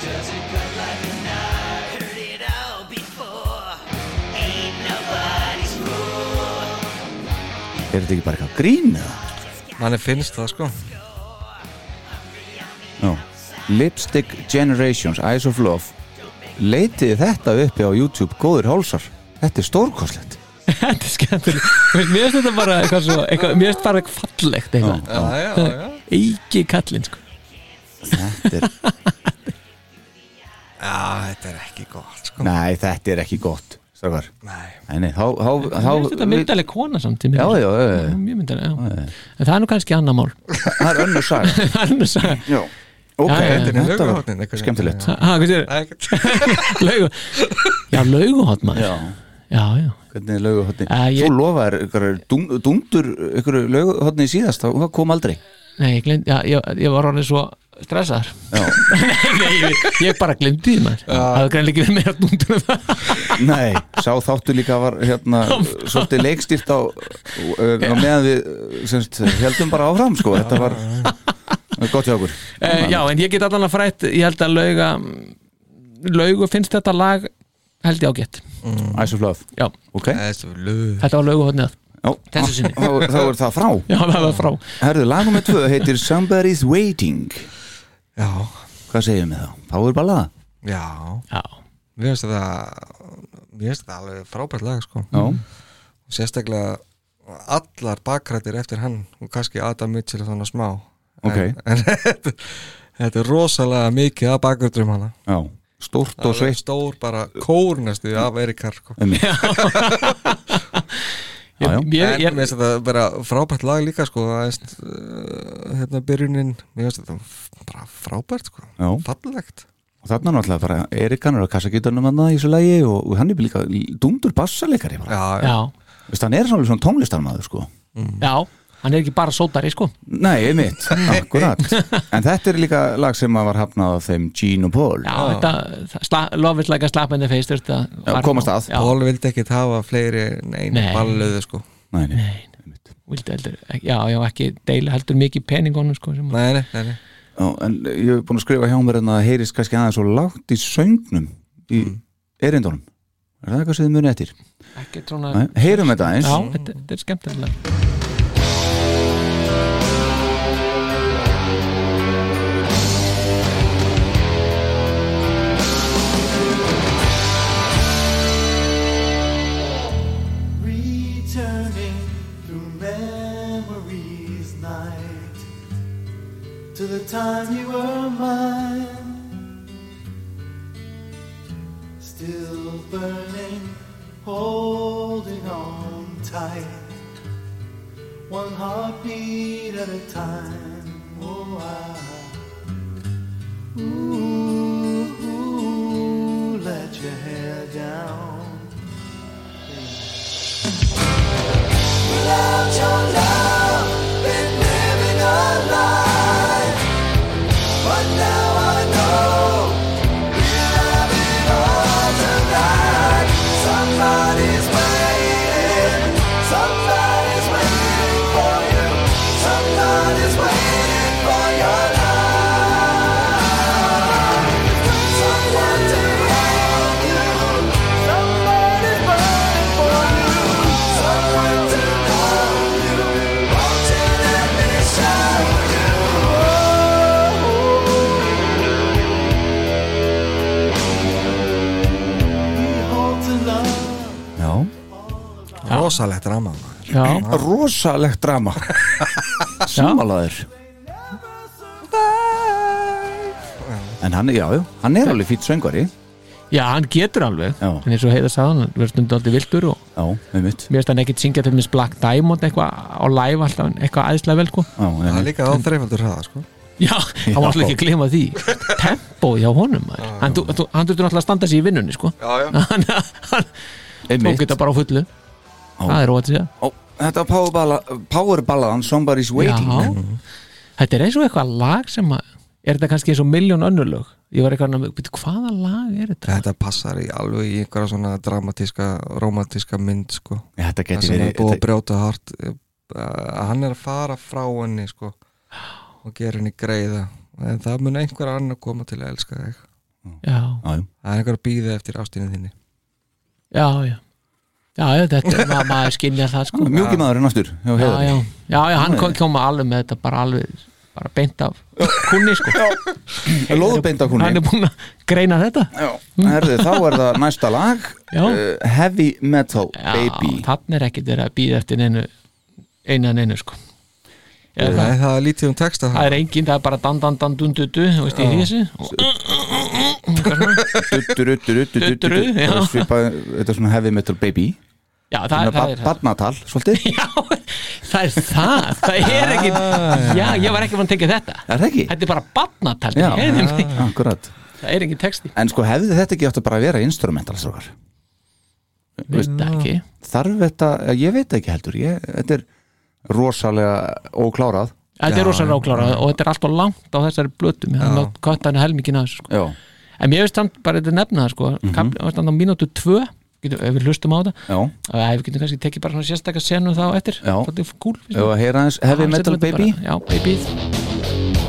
Speaker 10: Does it cut like a knife? Heard it all before. Ain't nobody's fool.
Speaker 2: Er þetta ekki bara eitthvað grín eða?
Speaker 4: Manni finnst það sko
Speaker 2: Já. Lipstick Generations, Eyes of Love Leitið þetta uppi á YouTube Góður hálsar, þetta er stórkostlegt
Speaker 3: Þetta er skemmtileg Þú veist, Mér finnst þetta bara eitthvað svo eitthvað, Mér finnst bara eitthvað fallegt eitthvað.
Speaker 2: Já, já,
Speaker 4: já, já.
Speaker 3: Eiki kallinn sko.
Speaker 2: Þetta er
Speaker 4: Já, þetta er ekki gott sko
Speaker 2: Nei, þetta er ekki gott Strákar
Speaker 4: Nei.
Speaker 2: Nei, þá, þá,
Speaker 3: Mér
Speaker 2: þá,
Speaker 3: finnst þetta myndaleg kona samt í mér.
Speaker 2: Já, já, já, já.
Speaker 3: Mjög myndaleg, já En það er nú kannski annar mál (laughs)
Speaker 2: Það er önnur saga
Speaker 3: Það er nú saga
Speaker 2: Já, ok,
Speaker 3: Já, já, já.
Speaker 2: þetta var skemmtilegt
Speaker 3: Ha, hvað sér? (laughs) Laugu Já, lauguhotn maður
Speaker 2: Já,
Speaker 3: já, já
Speaker 2: Hvernig er lauguhotni?
Speaker 3: Æ, ég-
Speaker 2: Þú lofaðir ykkur dungdur ykkur lauguhotni síðast, þá- það kom aldrei
Speaker 3: Nei, ég glemt Já, ég, ég var orðin svo stressaður (laughs) Nei, ég, ég bara glemdi því maður Það var greinlega ekki verið meira dundur en það
Speaker 2: (laughs) Nei, sá þáttu líka var
Speaker 3: (laughs)
Speaker 2: hérna svolítið leikstýrt á, uh, á meðan við uh, semst, heldum bara áfram sko, þetta
Speaker 3: (laughs)
Speaker 2: var gott hjá okkur
Speaker 3: Eh, Já, en ég get allan að frætt Ég held að lauga Laugu finnst þetta lag held ég ágætt
Speaker 2: Æs og flöð
Speaker 3: Já,
Speaker 2: ok
Speaker 3: þetta var lauguhotnið
Speaker 2: Já,
Speaker 3: Þessu sinni.
Speaker 2: þá þá er það frá
Speaker 3: Já, það var frá
Speaker 2: Herðu, lagum með tvö heitir Somebody's Waiting Já Hvað segjum við þá? Þá er bara laga
Speaker 4: Já
Speaker 3: Já
Speaker 4: Mér finnst þetta Mér finnst þetta alveg frábært lag sko
Speaker 2: Já.
Speaker 4: Og sérstaklega allar bakrættir eftir hann og kannski Adam Mitchell þannig smá
Speaker 2: Ok.
Speaker 4: En, (laughs) en þetta, þetta er rosalega mikið af bakrættum hana
Speaker 2: Já, stórt og
Speaker 4: Alveg
Speaker 2: sveitt
Speaker 4: Stór bara kórnastu af Erikar sko.
Speaker 2: Einmitt. Já, já.
Speaker 4: En mér
Speaker 2: Ég-
Speaker 4: finnst þetta bara frábært lag líka sko, aðeins, uh, hérna byrjunin mér finnst þetta f- bara frábært sko.
Speaker 2: Já.
Speaker 4: fallegt
Speaker 2: Og þarna er náttúrulega bara Erikan er á kassagítanum hann í þessu lagi og, og hann er líka dundur bassalegari bara
Speaker 4: Já,
Speaker 3: Já.
Speaker 2: Veist, hann er svona, svona tónlistarmaður sko
Speaker 3: Já, hann er ekki bara sótari sko
Speaker 2: Nei, einmitt, (laughs) akkurat En þetta er líka lag sem að var hafnað af þeim Gene og Paul
Speaker 3: Já, þetta, sla, lofið slækja slappandi feist Já,
Speaker 2: komast að.
Speaker 3: Já,
Speaker 4: Pól vildi ekkit hafa fleiri neina
Speaker 3: Nei.
Speaker 4: balluðu sko.
Speaker 2: Nei, nei.
Speaker 3: vildi heldur ekki- Já, já, ekki deila heldur mikið peningunum sko sem,
Speaker 4: Nei, nei, nei, nei.
Speaker 2: Já, En ég hef búin að skrifa hjá mér en að það heyrist kannski aðeins svo lágt í söngnum í erindunum Er það eitthvað sem þið munið eftir?
Speaker 3: Ekki svona
Speaker 2: Nei, heyrum þetta eins
Speaker 3: Já, þetta, þetta er skemmtilega
Speaker 10: Returning through memories night to the time you were mine. Still burning, holding on tight. One heartbeat at a time. Oh, I. Ooh, ooh, let your hair down. Without your love, been living a life. But now I know we'll have it all tonight. Somebody's waiting. Somebody's waiting for you. Somebody's waiting for your love.
Speaker 4: rosalegt drama maður.
Speaker 3: Já.
Speaker 2: Rosalegt drama Samalaður En hann, já, já, hann er alveg fýtt söngvari
Speaker 3: Já, hann getur alveg
Speaker 2: Já.
Speaker 3: En eins og heiða sagði hann, hann verður stundum aldrei viltur og
Speaker 2: Já, með mitt
Speaker 3: Mér finnst hann ekkit syngja til minns Black Diamond eitthvað á live alltaf en eitthvað aðeinslega vel sko
Speaker 2: Já,
Speaker 4: Það er líka á þreifaldur hraða sko
Speaker 3: Já, hann var alltaf ekki að glema því
Speaker 2: (laughs)
Speaker 3: Tempo hjá honum maður. Hann þú- þú- hann þurftur alltaf að standa sér í vinnunni sko
Speaker 2: Já, já.
Speaker 3: Hann, hann
Speaker 2: Einmitt.
Speaker 3: tók þetta bara á fullu Það er rót sér
Speaker 2: Ó, Þetta var power balla- power ballaðan Somebody's Waiting
Speaker 3: Já. Þetta er eins og eitthvað lag sem að Er þetta kannski eins og miljón önnur lög? Ég var eitthvað, veitu, hvaða lag er þetta?
Speaker 4: Þetta passar í alveg í einhverja svona dramatíska, romantíska mynd sko.
Speaker 2: Já, þetta gæti
Speaker 4: Það sem
Speaker 2: verið-
Speaker 4: er búið að
Speaker 2: þetta-
Speaker 4: brjóta hart Hann er að fara frá henni sko, og gera henni greiða en það mun einhver annar koma til að elska þig
Speaker 3: Já.
Speaker 2: Já,
Speaker 4: Það er einhver að býða eftir ástinni þinni
Speaker 3: Já, já Já, já, þetta er maður, maður skilja það sko
Speaker 2: Mjúki maðurinn aftur hjá
Speaker 3: já,
Speaker 2: Heiðari.
Speaker 3: já, já, já, hann
Speaker 2: Já,
Speaker 3: kom, kom alveg með þetta bara alveg bara beint af kunni sko
Speaker 2: Lóðbeint af kúnni.
Speaker 3: Hann er búin að greina þetta
Speaker 2: Já, Herðu, þá er það næsta lag
Speaker 3: Já.
Speaker 2: eh, Heavy Metal Baby
Speaker 3: Þannig er ekkert verið að býða eftir neinu einan einu sko Eða
Speaker 4: Nei,
Speaker 3: hvað?
Speaker 4: Það er lítið um texta
Speaker 3: Það er engin, það er bara dan dan dan dun du du Þú veist, í hísi
Speaker 2: Dutturu, dutturu, dutturu,
Speaker 3: Dutturu,
Speaker 2: dutturu.
Speaker 3: já.
Speaker 2: Það er svipað- Þetta er svona Heavy Metal Baby
Speaker 3: Já, það, það, er, (laughs)
Speaker 2: Barnatal, svolítið
Speaker 3: það er það Það er ekkit Já, ég var ekki fann að tengja þetta
Speaker 2: Er það ekki?
Speaker 3: Þetta er bara batnatal
Speaker 2: Ah. Já, Ah.
Speaker 3: Það
Speaker 2: akkurat
Speaker 3: er engin texti
Speaker 2: En sko, hefði þetta ekki átt að bara vera instrumental strókar?
Speaker 3: Veist það ekki
Speaker 2: Þarf þetta, ég veit ekki heldur ég, Þetta er rosalega óklárað
Speaker 3: Þetta er rosa ráklárað og þetta er alltaf langt á þessari blötum, hann nátt köttan helmingin að þessu sko.
Speaker 2: Já,
Speaker 3: en mér veist samt bara þetta nefna það sko. mm -hmm.
Speaker 2: Mhm.
Speaker 3: kapli, á mínútu tvö getum, ef við hlustum á þetta
Speaker 2: já,
Speaker 3: og ef við getum kannski tekið bara svona sérstakka senu þá eftir
Speaker 2: já
Speaker 3: Svolítið kúl, finnst
Speaker 2: Ef
Speaker 3: mér.
Speaker 2: að heyra hans Heavy
Speaker 3: Já,
Speaker 2: Metal
Speaker 3: setjum þetta
Speaker 2: Baby
Speaker 3: bara, já, baby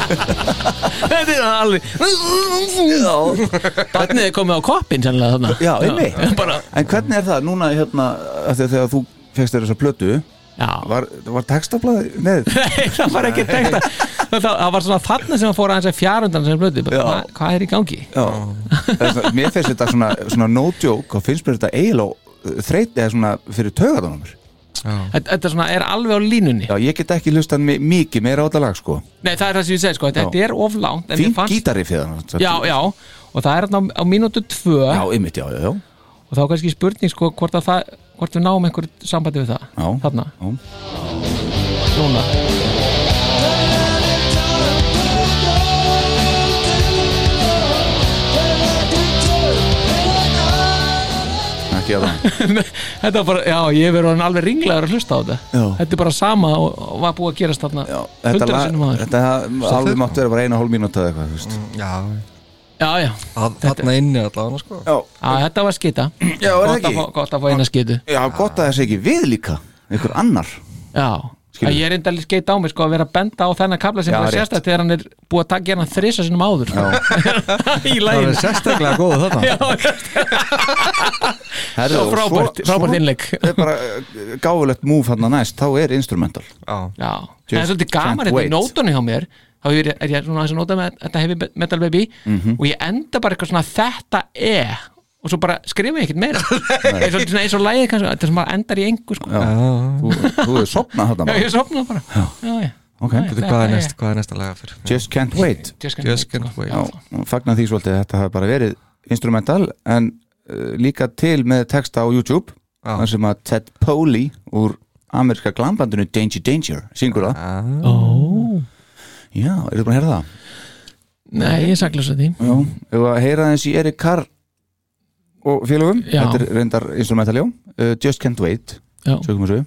Speaker 3: Þetta er alveg Barnið er komið á koppin sannlega þarna
Speaker 2: Já, einmitt
Speaker 3: bara-
Speaker 2: En hvernig er það núna hérna af því að Þegar þú fegst þér þessa plötu
Speaker 3: Já.
Speaker 2: Var, var textablaði
Speaker 3: (laughs)
Speaker 2: með
Speaker 3: Nei, það var ekki tekta það, það var svona þarna sem að fóra aðeins að fjarundan sem blötu, bara,
Speaker 2: Já.
Speaker 3: hva, hvað er í gangi?
Speaker 2: Já Það er svona- Mér finnst þetta svona, svona no joke og finnst mér þetta eiginlega þreytið eða svona fyrir taugatunumur
Speaker 3: Þetta, þetta svona er alveg á línunni
Speaker 2: Já, ég get ekki hlustað mi- mikið meira á þetta lag sko
Speaker 3: Nei, það er það sem ég segi, sko, þetta
Speaker 2: Já.
Speaker 3: er of langt en mér
Speaker 2: Fín
Speaker 3: fannst-
Speaker 2: gítari fyrir það
Speaker 3: Já, já, og það er þarna á, á mínútu tvö
Speaker 2: Já, ymmit, já, já, já
Speaker 3: og þá er kannski spurning sko hvort, að það, hvort við náum einhver sambandi við það
Speaker 2: Já,
Speaker 3: þarna,
Speaker 2: já.
Speaker 3: núna
Speaker 2: ekki að það
Speaker 3: Þetta var bara, já, ég verður hann alveg ringlegur að hlusta á þetta
Speaker 2: Já.
Speaker 3: Þetta er bara sama og, og var búið að gerast þarna
Speaker 2: (laughs) Já, þetta,
Speaker 3: hundra
Speaker 2: lag,
Speaker 3: sinnum aður
Speaker 2: þetta alveg mátt vera bara eina hálf mínúta eða eitthvað, þú veist
Speaker 4: Já,
Speaker 3: Já, já,
Speaker 4: að, þarna inni allavega sko.
Speaker 2: Já,
Speaker 3: já þetta var skita
Speaker 2: já, er það
Speaker 3: Gott
Speaker 2: ekki
Speaker 3: að fá- gott að fá eina skitu
Speaker 2: Já, gott að það sé ekki við líka einhver annar
Speaker 3: Já,
Speaker 2: Skilur.
Speaker 3: Skilur. ég er enda að skeita á mig sko að vera að benda á þennan kabla sem
Speaker 2: Já,
Speaker 3: já, er
Speaker 2: rétt.
Speaker 3: sérstætt þegar hann er búið að taka hérna þrisa sinum áður sko. (laughs) í
Speaker 4: Það
Speaker 3: lægin
Speaker 4: er sérstaklega góð þarna
Speaker 3: Já,
Speaker 2: Herðu,
Speaker 3: Svo
Speaker 2: og
Speaker 3: frábært- frábært innlegg.
Speaker 2: (laughs) Það er bara eh, gáfulegt múf hann næst, þá er instrumental
Speaker 4: Já.
Speaker 3: já. En það er svolítið gaman
Speaker 2: Can't
Speaker 3: þetta
Speaker 2: wait.
Speaker 3: í nótunni hjá mér þá er ég, er ég svona aðeins að nota með þetta heavy metal baby og ég enda bara eitthvað svona þetta er og svo bara skrifa ég ekkert meira Það er svolítið svona eins og lægið kannski þetta sem bara endar í engu sko.
Speaker 2: Já, þú, þú er sopnað
Speaker 3: Já,
Speaker 2: þarna
Speaker 3: ég sopnaði bara já, já.
Speaker 2: Ok.
Speaker 4: Þetta er hvað er næst- hvað er næsta laga fyrir
Speaker 2: Just Can't Wait
Speaker 4: Just Can't Just
Speaker 3: sko.
Speaker 4: Can't Wait. Wait.
Speaker 2: Já, fagnar því svolítið að þetta hafi bara verið instrumental en uh, líka til með texta á YouTube þar sem að Ted Poley úr ameríska glambandinu Danger Danger syngur það
Speaker 3: Ó.
Speaker 2: Já, eru búin að heyra það?
Speaker 3: Nei, ég er saklaus af því
Speaker 2: Já, hefur að heyra þessi Erik Carr og félögum,
Speaker 3: Já.
Speaker 2: þetta er reyndar instrumentaljó uh, Just Can't Wait
Speaker 3: Já.
Speaker 2: sögum þessu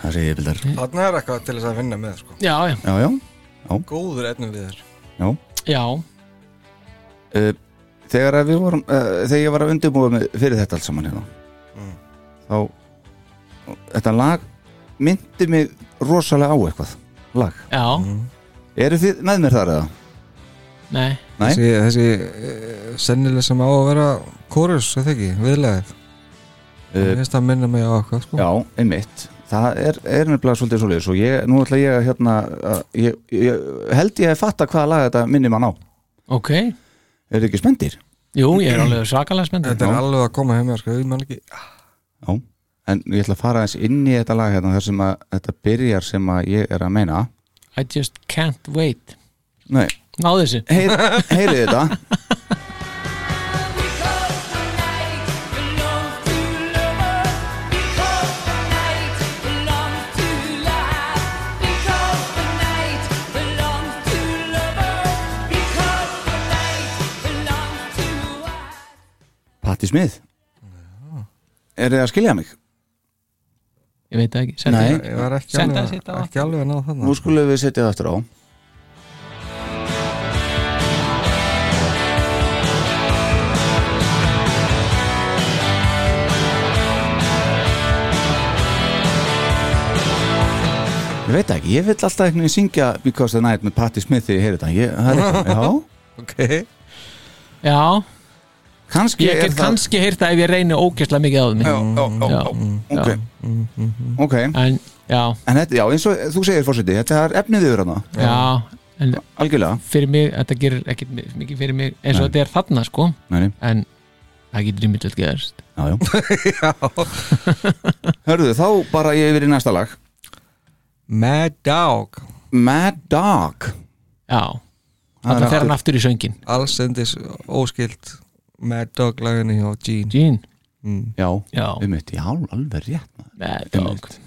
Speaker 2: Hvað segir ég, Bildar?
Speaker 4: Þarna er eitthvað til þess að vinna með sko.
Speaker 3: Já, já.
Speaker 2: Já, já, já,
Speaker 4: Góður ennum við þér
Speaker 2: já.
Speaker 3: Já,
Speaker 2: Uh, Þegar að við vorum uh, þegar ég var að undirbúa mig fyrir þetta allt saman hérna þá þetta lag myndi mig rosalega á eitthvað lag
Speaker 3: já,
Speaker 2: Mm. Eru þið með mér þar eða?
Speaker 3: nei
Speaker 2: Nei?
Speaker 4: Þessi, þessi eh, sennilega sem á að vera kórus, eða ekki, viðlegið
Speaker 2: Uh,
Speaker 4: Mér finnst það að minna mig á eitthvað sko.
Speaker 2: Eh, Já, einmitt Það er, er nefnilega svolítið svolítið og ég, nú ætla ég að hérna að, ég, ég, held ég að fatta hvaða lag þetta minnir mann á
Speaker 3: ok
Speaker 2: Er þið ekki spendir?
Speaker 3: Jú, ég
Speaker 2: Mm.
Speaker 3: er alveg svakalega spennt
Speaker 4: Þetta er alveg að koma heim sko, ég man ekki
Speaker 2: Já, en ég ætla að fara aðeins inn í þetta lag hérna þar sem að þetta byrjar sem að ég er að meina
Speaker 3: I just can't wait
Speaker 2: Nei,
Speaker 3: Náðu þessu
Speaker 2: heyr, heyrið þetta Patti Smith Er þið að skilja mig?
Speaker 3: Ég veit það ekki,
Speaker 2: senda Nei.
Speaker 4: Ég var ekki
Speaker 3: Senda
Speaker 4: alveg,
Speaker 3: sitt á
Speaker 4: ekki alveg að ná
Speaker 2: Nú
Speaker 4: þarna
Speaker 2: skulum við setja það aftur á Ég veit það ekki, ég vill alltaf einhvern veginn syngja Because the Night með Patti Smith þegar ég heyri þetta ég, það er eitthvað,
Speaker 4: okay.
Speaker 3: Já,
Speaker 2: Kannski
Speaker 3: ég
Speaker 2: er
Speaker 3: get
Speaker 2: það-
Speaker 3: kannski heyrta ef ég reyni ógeðslega mikið á því
Speaker 2: Já, já, já, já, ok. Ok
Speaker 3: En, já,
Speaker 2: En þetta, já, eins og þú segir fórseti, þetta er efnið yfir hana
Speaker 3: já en
Speaker 2: Algjörlega
Speaker 3: Fyrir mig, þetta gerir ekkit mi- mikið fyrir mig eins og
Speaker 2: Nei.
Speaker 3: þetta er þarna sko
Speaker 2: Nei, nei.
Speaker 3: En það getur ímyndilegt gerst
Speaker 2: Já, (laughs) já Hörðu, þá bara ég yfir í næsta lag
Speaker 4: Mad Dog
Speaker 2: Mad Dog
Speaker 3: Já,
Speaker 4: Það
Speaker 3: þetta
Speaker 4: er
Speaker 3: fer hann
Speaker 4: aftur-
Speaker 3: aftur í söngin
Speaker 4: Allsendis óskilt Mad Dog laginni hjá Gene
Speaker 3: Gene
Speaker 4: mm.
Speaker 2: Já,
Speaker 3: Já,
Speaker 2: um eitt, já, alveg rétt maður.
Speaker 3: Mad
Speaker 2: Einmitt.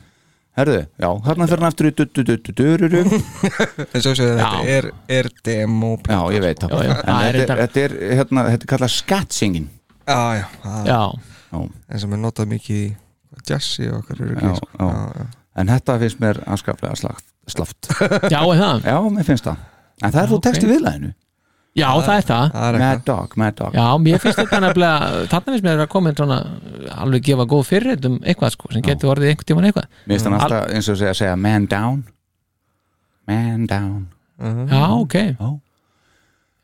Speaker 2: Herðu, já, hérna fyrir hann aftur í du- du- du- du- du- du- du.
Speaker 4: En svo segir þetta
Speaker 3: Já.
Speaker 4: er, er demo
Speaker 2: Já, ég veit það
Speaker 3: Já, já,
Speaker 2: En
Speaker 3: það er
Speaker 2: þetta er,
Speaker 3: reyndar-
Speaker 2: þetta er, hérna, þetta er kallað skattsingin
Speaker 4: Já, Ah, já, það-
Speaker 3: já,
Speaker 2: Já,
Speaker 4: En sem er notað mikið í Jazzy og okkar eru
Speaker 2: já,
Speaker 4: ekki sko.
Speaker 2: já
Speaker 4: já.
Speaker 2: En þetta finnst mér afskaplega slaft, slaft
Speaker 3: já, er það
Speaker 2: Já, mér finnst það En það er þú
Speaker 3: Já, ok.
Speaker 2: texti viðlæðinu
Speaker 3: Já, það er það
Speaker 4: Það er
Speaker 2: Mad
Speaker 4: eitthvað
Speaker 2: Dog, Mad Dog
Speaker 3: Já, mér finnst þetta nefnilega, þarna finnst mér að koma inn svona, alveg gefa góð fyrirreit um eitthvað sko, sem getur orðið einhvern tímann eitthvað
Speaker 2: Mér finnst hann
Speaker 3: Al-
Speaker 2: alltaf eins og segja, segja man down Man down
Speaker 3: Já, ok
Speaker 2: Já.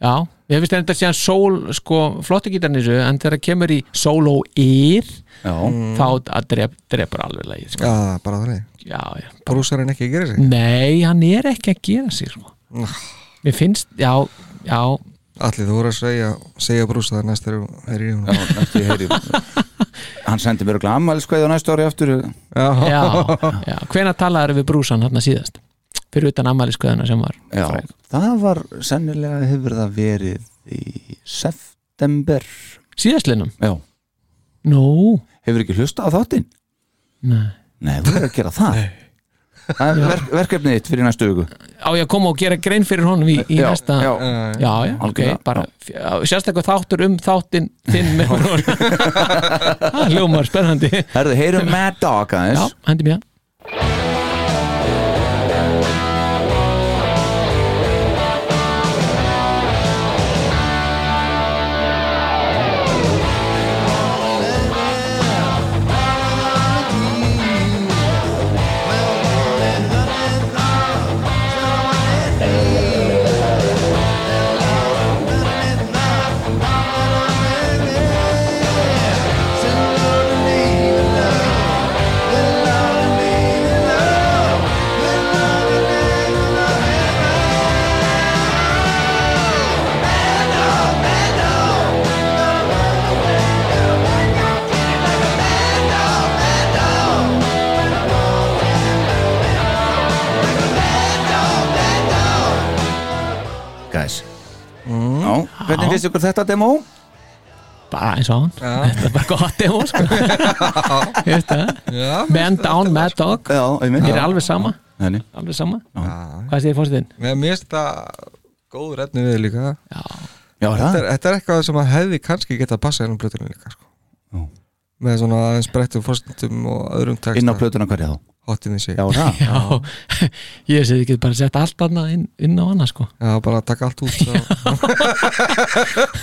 Speaker 3: Já, mér finnst þetta síðan sól, sko, flottu gítarinn í þessu, en þegar það kemur í solo ír,
Speaker 2: Já,
Speaker 3: þá að drep, drepur alveg lagið, sko
Speaker 4: Já, bara þannig
Speaker 3: Já, já,
Speaker 4: Brúsarinn ekki að gera
Speaker 2: Mm.
Speaker 4: sig
Speaker 3: nei, hann er ekki að gera sig, sko Mér finnst, já, já
Speaker 4: Allir þú voru að segja, segja brúsar næst þegar þú er í hún
Speaker 2: já næstu ég heyri Hann sendi mér glammal skoðið á næstu ári aftur
Speaker 4: Já,
Speaker 3: Já, já, hvenær talaður við brúsan hann síðast? fyrir utan ammælisköðuna sem var
Speaker 2: Já, það var sennilega hefur það verið í september
Speaker 3: Síðastlinum?
Speaker 2: Já
Speaker 3: Nú
Speaker 2: Hefur ekki hlustað á þáttinn?
Speaker 3: Nei
Speaker 2: Nei, þú verður að gera það Það er verk, verkefnið þitt fyrir næstu viku
Speaker 3: á ég að koma og gera grein fyrir honum í, í
Speaker 2: Já,
Speaker 3: næsta
Speaker 2: já.
Speaker 3: já, já, ok,
Speaker 2: Algjörlega,
Speaker 3: bara sérstaklega þáttur um þáttinn þinn með
Speaker 2: (laughs)
Speaker 3: honum Það hljómar spennandi
Speaker 2: Herðu, heyrum Mad Dog aðeins
Speaker 3: Já, hendi mér
Speaker 2: Guys Já, hvernig finnst ykkur þetta demo?
Speaker 3: Bara eins og hann Þetta er bara gott demo
Speaker 2: (laughs)
Speaker 3: sko. Veist
Speaker 4: Já.
Speaker 3: það? Man down, mad dog
Speaker 2: Já, einmitt.
Speaker 3: Mér er alveg sama
Speaker 2: Henni.
Speaker 3: Alveg sama
Speaker 2: Já.
Speaker 3: Hvað segir fórstiðin?
Speaker 4: Mér mér finnst það góð redni við líka
Speaker 3: Já.
Speaker 2: Já,
Speaker 4: þetta, er, þetta er eitthvað sem að hefði kannski geta að passa inn á plötunum líka sko. með svona aðeins breyttum fórstundum og öðrum texta
Speaker 2: Inn á plötuna hverja þá?
Speaker 4: Hottin í sig
Speaker 2: Já, það.
Speaker 3: (laughs) Já, ég sé þið getur bara sett allt annað inn, inn á annað sko
Speaker 4: Já, bara taka allt
Speaker 3: (laughs)
Speaker 4: út sko. svo.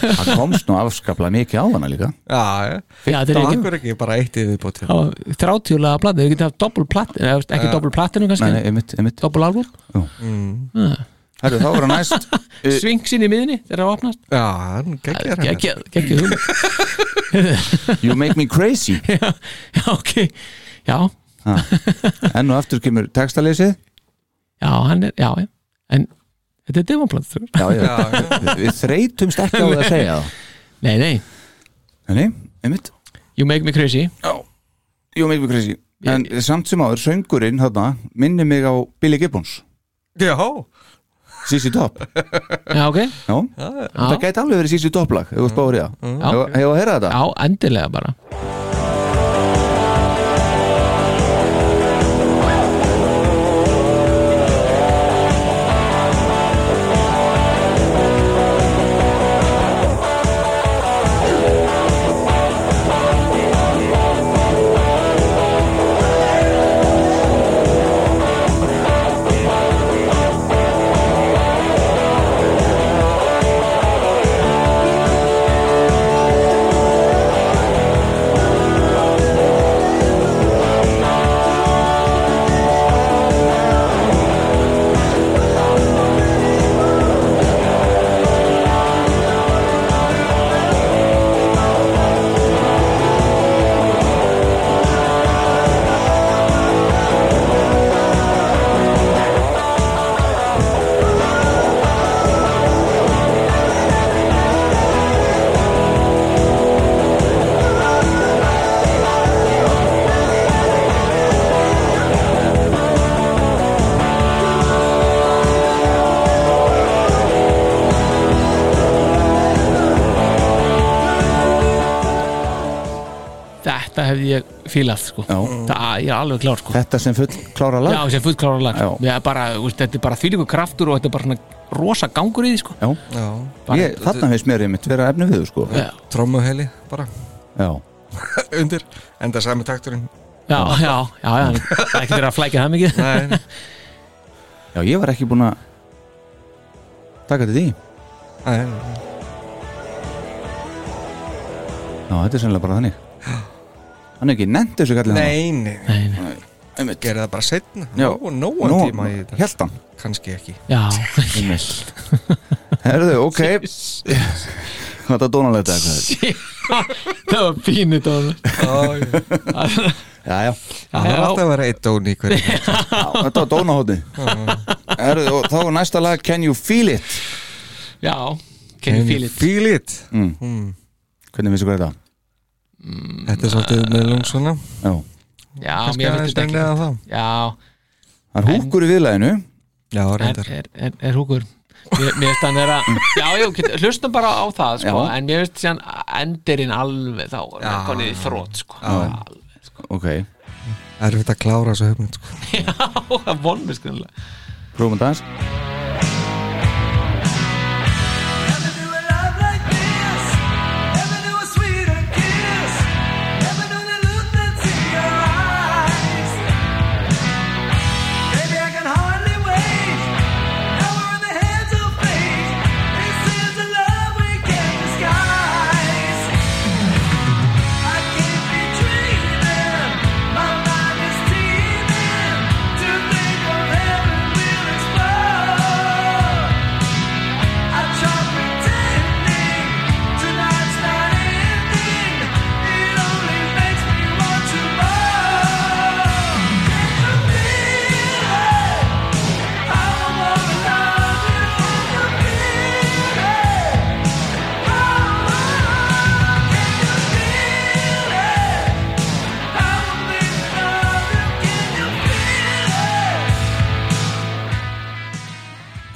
Speaker 2: Það komst nú afskaplega mikið á hana líka
Speaker 4: Já, já
Speaker 3: Já, þetta er ekki-
Speaker 4: Akkur ekki bara eitt í viðbóti
Speaker 3: Það var 30 laga platinu, við getum haft doppul platinu eða veist, ekki
Speaker 2: Já.
Speaker 3: doppul platinu kannski
Speaker 2: Nei, nei, einmitt, einmitt
Speaker 3: Doppul albúm
Speaker 2: mm. Herru, þá verður næst eh,
Speaker 3: Svingsinn í miðinni þegar það opnast
Speaker 4: Já, hann geggjar hann
Speaker 3: Gekkið, gekkið hugmynd
Speaker 2: You make me crazy
Speaker 3: Já, já, ok Já,
Speaker 2: Ha. Enn og aftur kemur textaleysið
Speaker 3: já, hann er, já, já En þetta er demoplat
Speaker 2: Já, já, Við- við þreytumst ekki á það að segja það
Speaker 3: Nei, nei,
Speaker 2: Henni, einmitt
Speaker 3: you make me crazy
Speaker 2: You make me crazy En samt sem áður, söngurinn þarna minni mig á Billy Gibbons
Speaker 4: Já,
Speaker 2: Sissi Top
Speaker 3: Já, ok
Speaker 2: Já, það gæti alveg verið Sissi Top lag ef þú spáður í það Hefur hefur að heyra þetta?
Speaker 3: Já, endilega bara Þetta hefði ég fílað sko
Speaker 2: Já.
Speaker 3: Það ég er alveg klár sko
Speaker 2: Þetta sem full klára lag
Speaker 3: Já, sem fullklára lag sko.
Speaker 2: Já.
Speaker 3: Já, bara, úst, Þetta er bara þvílíku kraftur og þetta er bara svona rosa gangur í því sko
Speaker 2: Já,
Speaker 4: já
Speaker 3: Bara-
Speaker 2: ég, þarna hefist mér einmitt vera efni við þú, sko
Speaker 3: Já,
Speaker 4: Trommuheli bara
Speaker 2: Já,
Speaker 4: undir Enda sami takturinn
Speaker 3: já, já, já, já Það er ekki verið að flækja það mikið
Speaker 4: Nei, nei.
Speaker 2: Já ég var ekki búin að taka þetta í
Speaker 4: Nei, nei.
Speaker 2: Já, þetta er sennilega bara þannig Hann er ekki nefnt þessu kallið
Speaker 4: Nei, nei, nei.
Speaker 3: Nei, nei.
Speaker 2: einmitt
Speaker 4: Gerði það bara setna
Speaker 2: Já.
Speaker 4: Nó, nóan
Speaker 2: Nú,
Speaker 4: tíma í þetta
Speaker 2: Hjaltan
Speaker 4: Kannski ekki
Speaker 3: Já,
Speaker 2: Einmitt (laughs) Herðu, ok Hvað það dónalegt eða hvað
Speaker 3: það var pínu dóna
Speaker 4: Það
Speaker 2: Jæja,
Speaker 4: er alltaf að vera eitt dón í
Speaker 3: (laughs)
Speaker 4: hverju
Speaker 2: þetta var dónahóti Herðu, og þá er næsta lag Can you feel it?
Speaker 3: Já, can you feel it
Speaker 4: Feel it
Speaker 2: Hvernig finnst ykkur þetta?
Speaker 4: Þetta er svolítið með lungsuna
Speaker 2: Já,
Speaker 3: Já,
Speaker 4: Kannski
Speaker 3: mér Ah. finnst
Speaker 4: aðeins
Speaker 3: þetta
Speaker 4: denglega
Speaker 3: ekki
Speaker 4: það
Speaker 3: Já,
Speaker 2: það er húkur í viðlæðinu
Speaker 4: Já,
Speaker 3: er,
Speaker 4: reyndar.
Speaker 3: er, er, er húkur mér, mér finnst hann er að já, já, get, hlustum bara á það sko,
Speaker 2: Já.
Speaker 3: en mér finnst síðan endirinn alveg þá er hann konið í þrótt sko.
Speaker 2: Já. Ok,
Speaker 4: Það er að klára þessu höfnum sko.
Speaker 3: já, það er sko, vonmið skunlega
Speaker 2: prófum að dans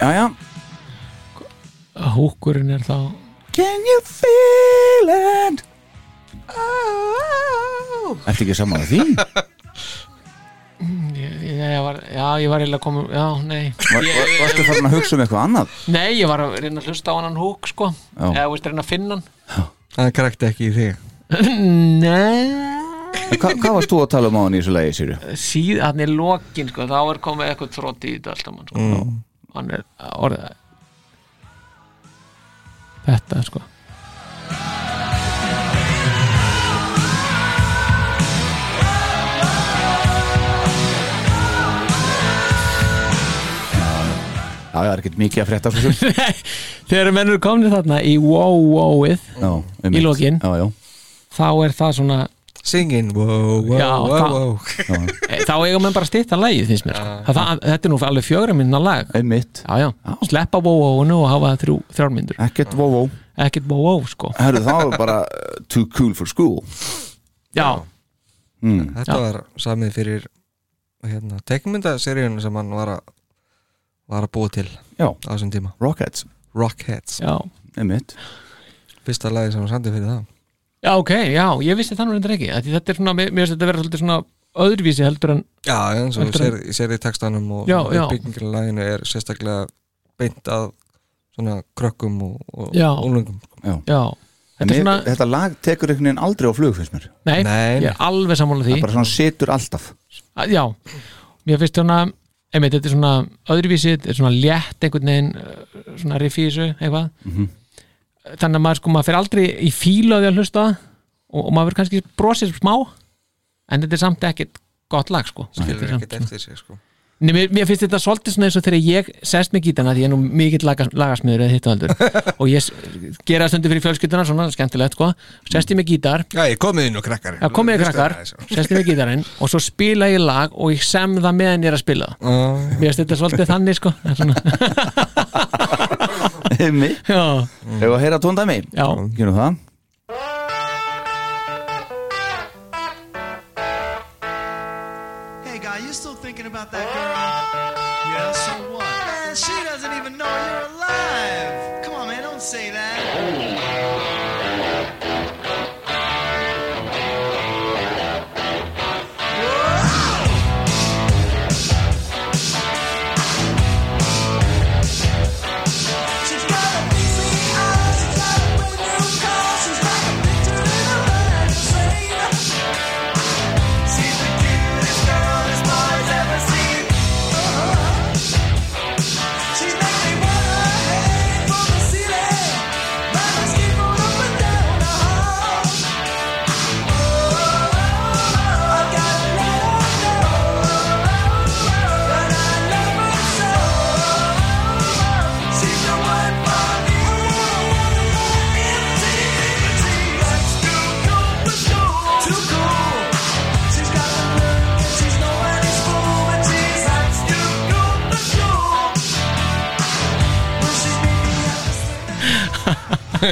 Speaker 2: Já, já
Speaker 3: húkurinn er þá
Speaker 2: Can you feel it? Ertu ekki saman að því?
Speaker 3: Mm, ég, ég, ég var, já, ég var eiginlega komin já, nei
Speaker 2: Var,
Speaker 3: Ég-
Speaker 2: var, varstu farin að hugsa um eitthvað annað?
Speaker 3: nei, ég var að reyna að hlusta á hann húk sko,
Speaker 2: Já.
Speaker 3: eða veist reyna að finna
Speaker 4: Það krækti ekki í þig
Speaker 3: hann nei
Speaker 2: En Hva, hvað varst þú að tala um á hann í þessu lagi, Sýru?
Speaker 3: Eh. síðan, hann er lokin sko, þá er komið eitthvað þrótt í þetta alltaf mann, sko.
Speaker 2: Mm.
Speaker 3: hann er orðið þetta sko
Speaker 2: Já, það er ekkert mikið að frétta sko. svo sem
Speaker 3: (laughs) þegar menn eru komnið þarna í wow-wowið
Speaker 2: Já, um
Speaker 3: í lokin
Speaker 2: Já, já
Speaker 3: þá er það svona
Speaker 4: Singin, wow, wow,
Speaker 3: Já,
Speaker 4: wow,
Speaker 3: það-
Speaker 4: wow
Speaker 3: e, þá eigum við bara að stýta lagið finnst mér sko. það, það, þetta er nú alveg fjögra minna lag
Speaker 2: Einmitt
Speaker 3: já, já. sleppa wow-wowinu og hafa það þrjú, þrjár myndur
Speaker 2: Ekkert wow-wow
Speaker 3: ekkert wow-wow sko
Speaker 2: Herru, það var bara uh, too cool for school
Speaker 3: já,
Speaker 2: mm.
Speaker 4: Þetta
Speaker 3: Já.
Speaker 4: var samið fyrir hérna, tekmyndaseríun sem hann var að var að búa til
Speaker 2: Já.
Speaker 4: á þessum tíma
Speaker 2: Rockheads
Speaker 4: Rockheads,
Speaker 3: já,
Speaker 2: Einmitt
Speaker 4: fyrsta lagi sem hann sandi fyrir það
Speaker 3: já ok, já ég vissi þannig reyndar ekki Af því þetta er svona, mér mér finnst þetta vera svolítið svona öðruvísi heldur en
Speaker 4: Já, eins og
Speaker 3: Heldur
Speaker 4: sér, sér í textanum og
Speaker 3: Já, já.
Speaker 4: uppbyggingin laginu er sérstaklega beint að svona krökkum og, og
Speaker 3: Já.
Speaker 4: úlungum
Speaker 2: Já
Speaker 3: já,
Speaker 2: En
Speaker 3: þetta er
Speaker 2: mér,
Speaker 3: svona
Speaker 2: Þetta lag tekur einhvern veginn aldrei á flug, finnst mér
Speaker 3: nei,
Speaker 4: Nei,
Speaker 3: ég
Speaker 4: já.
Speaker 3: er alveg sammála því
Speaker 2: Það bara svona setur alltaf
Speaker 3: Að- já, mér finnst svona einmitt, þetta er svona öðruvísi þetta er svona létt einhvern veginn uh, svona rifísu, eitthvað þannig að maður sko, maður fer aldrei í fílu á því að hlusta á það og, og maður verður kannski brosið smá en þetta er samt ekkert gott lag sko Þetta
Speaker 4: skilur
Speaker 3: er
Speaker 4: ekkert
Speaker 3: samt-
Speaker 4: eftir sér sko
Speaker 3: Nei, mér, mér finnst þetta svolítið svona eins og þegar ég sest með gítana því ég er nú mikill lagas, lagasmiður eða hittavaldur og ég s- gera það stundum fyrir fjölskylduna svona skemmtilegt sko, sest ég með gítar
Speaker 4: Já, ég komið inn og krakkar sko.
Speaker 3: Já, komið þið krakkar, sest ég með gítarinn og svo spila ég lag og ég sem það meðan ég er að spila það
Speaker 4: krakkar
Speaker 3: Mér finnst þetta svolítið þannig sko En (laughs) svona,
Speaker 2: (laughs) Einmitt
Speaker 3: já,
Speaker 2: Hefur að heyra tóndæmi?
Speaker 3: já,
Speaker 2: Gerum það
Speaker 10: Hey guy, you still thinking about that girl? Yeah, so what? Man, she doesn't even know you're alive. Come on, man, don't say that.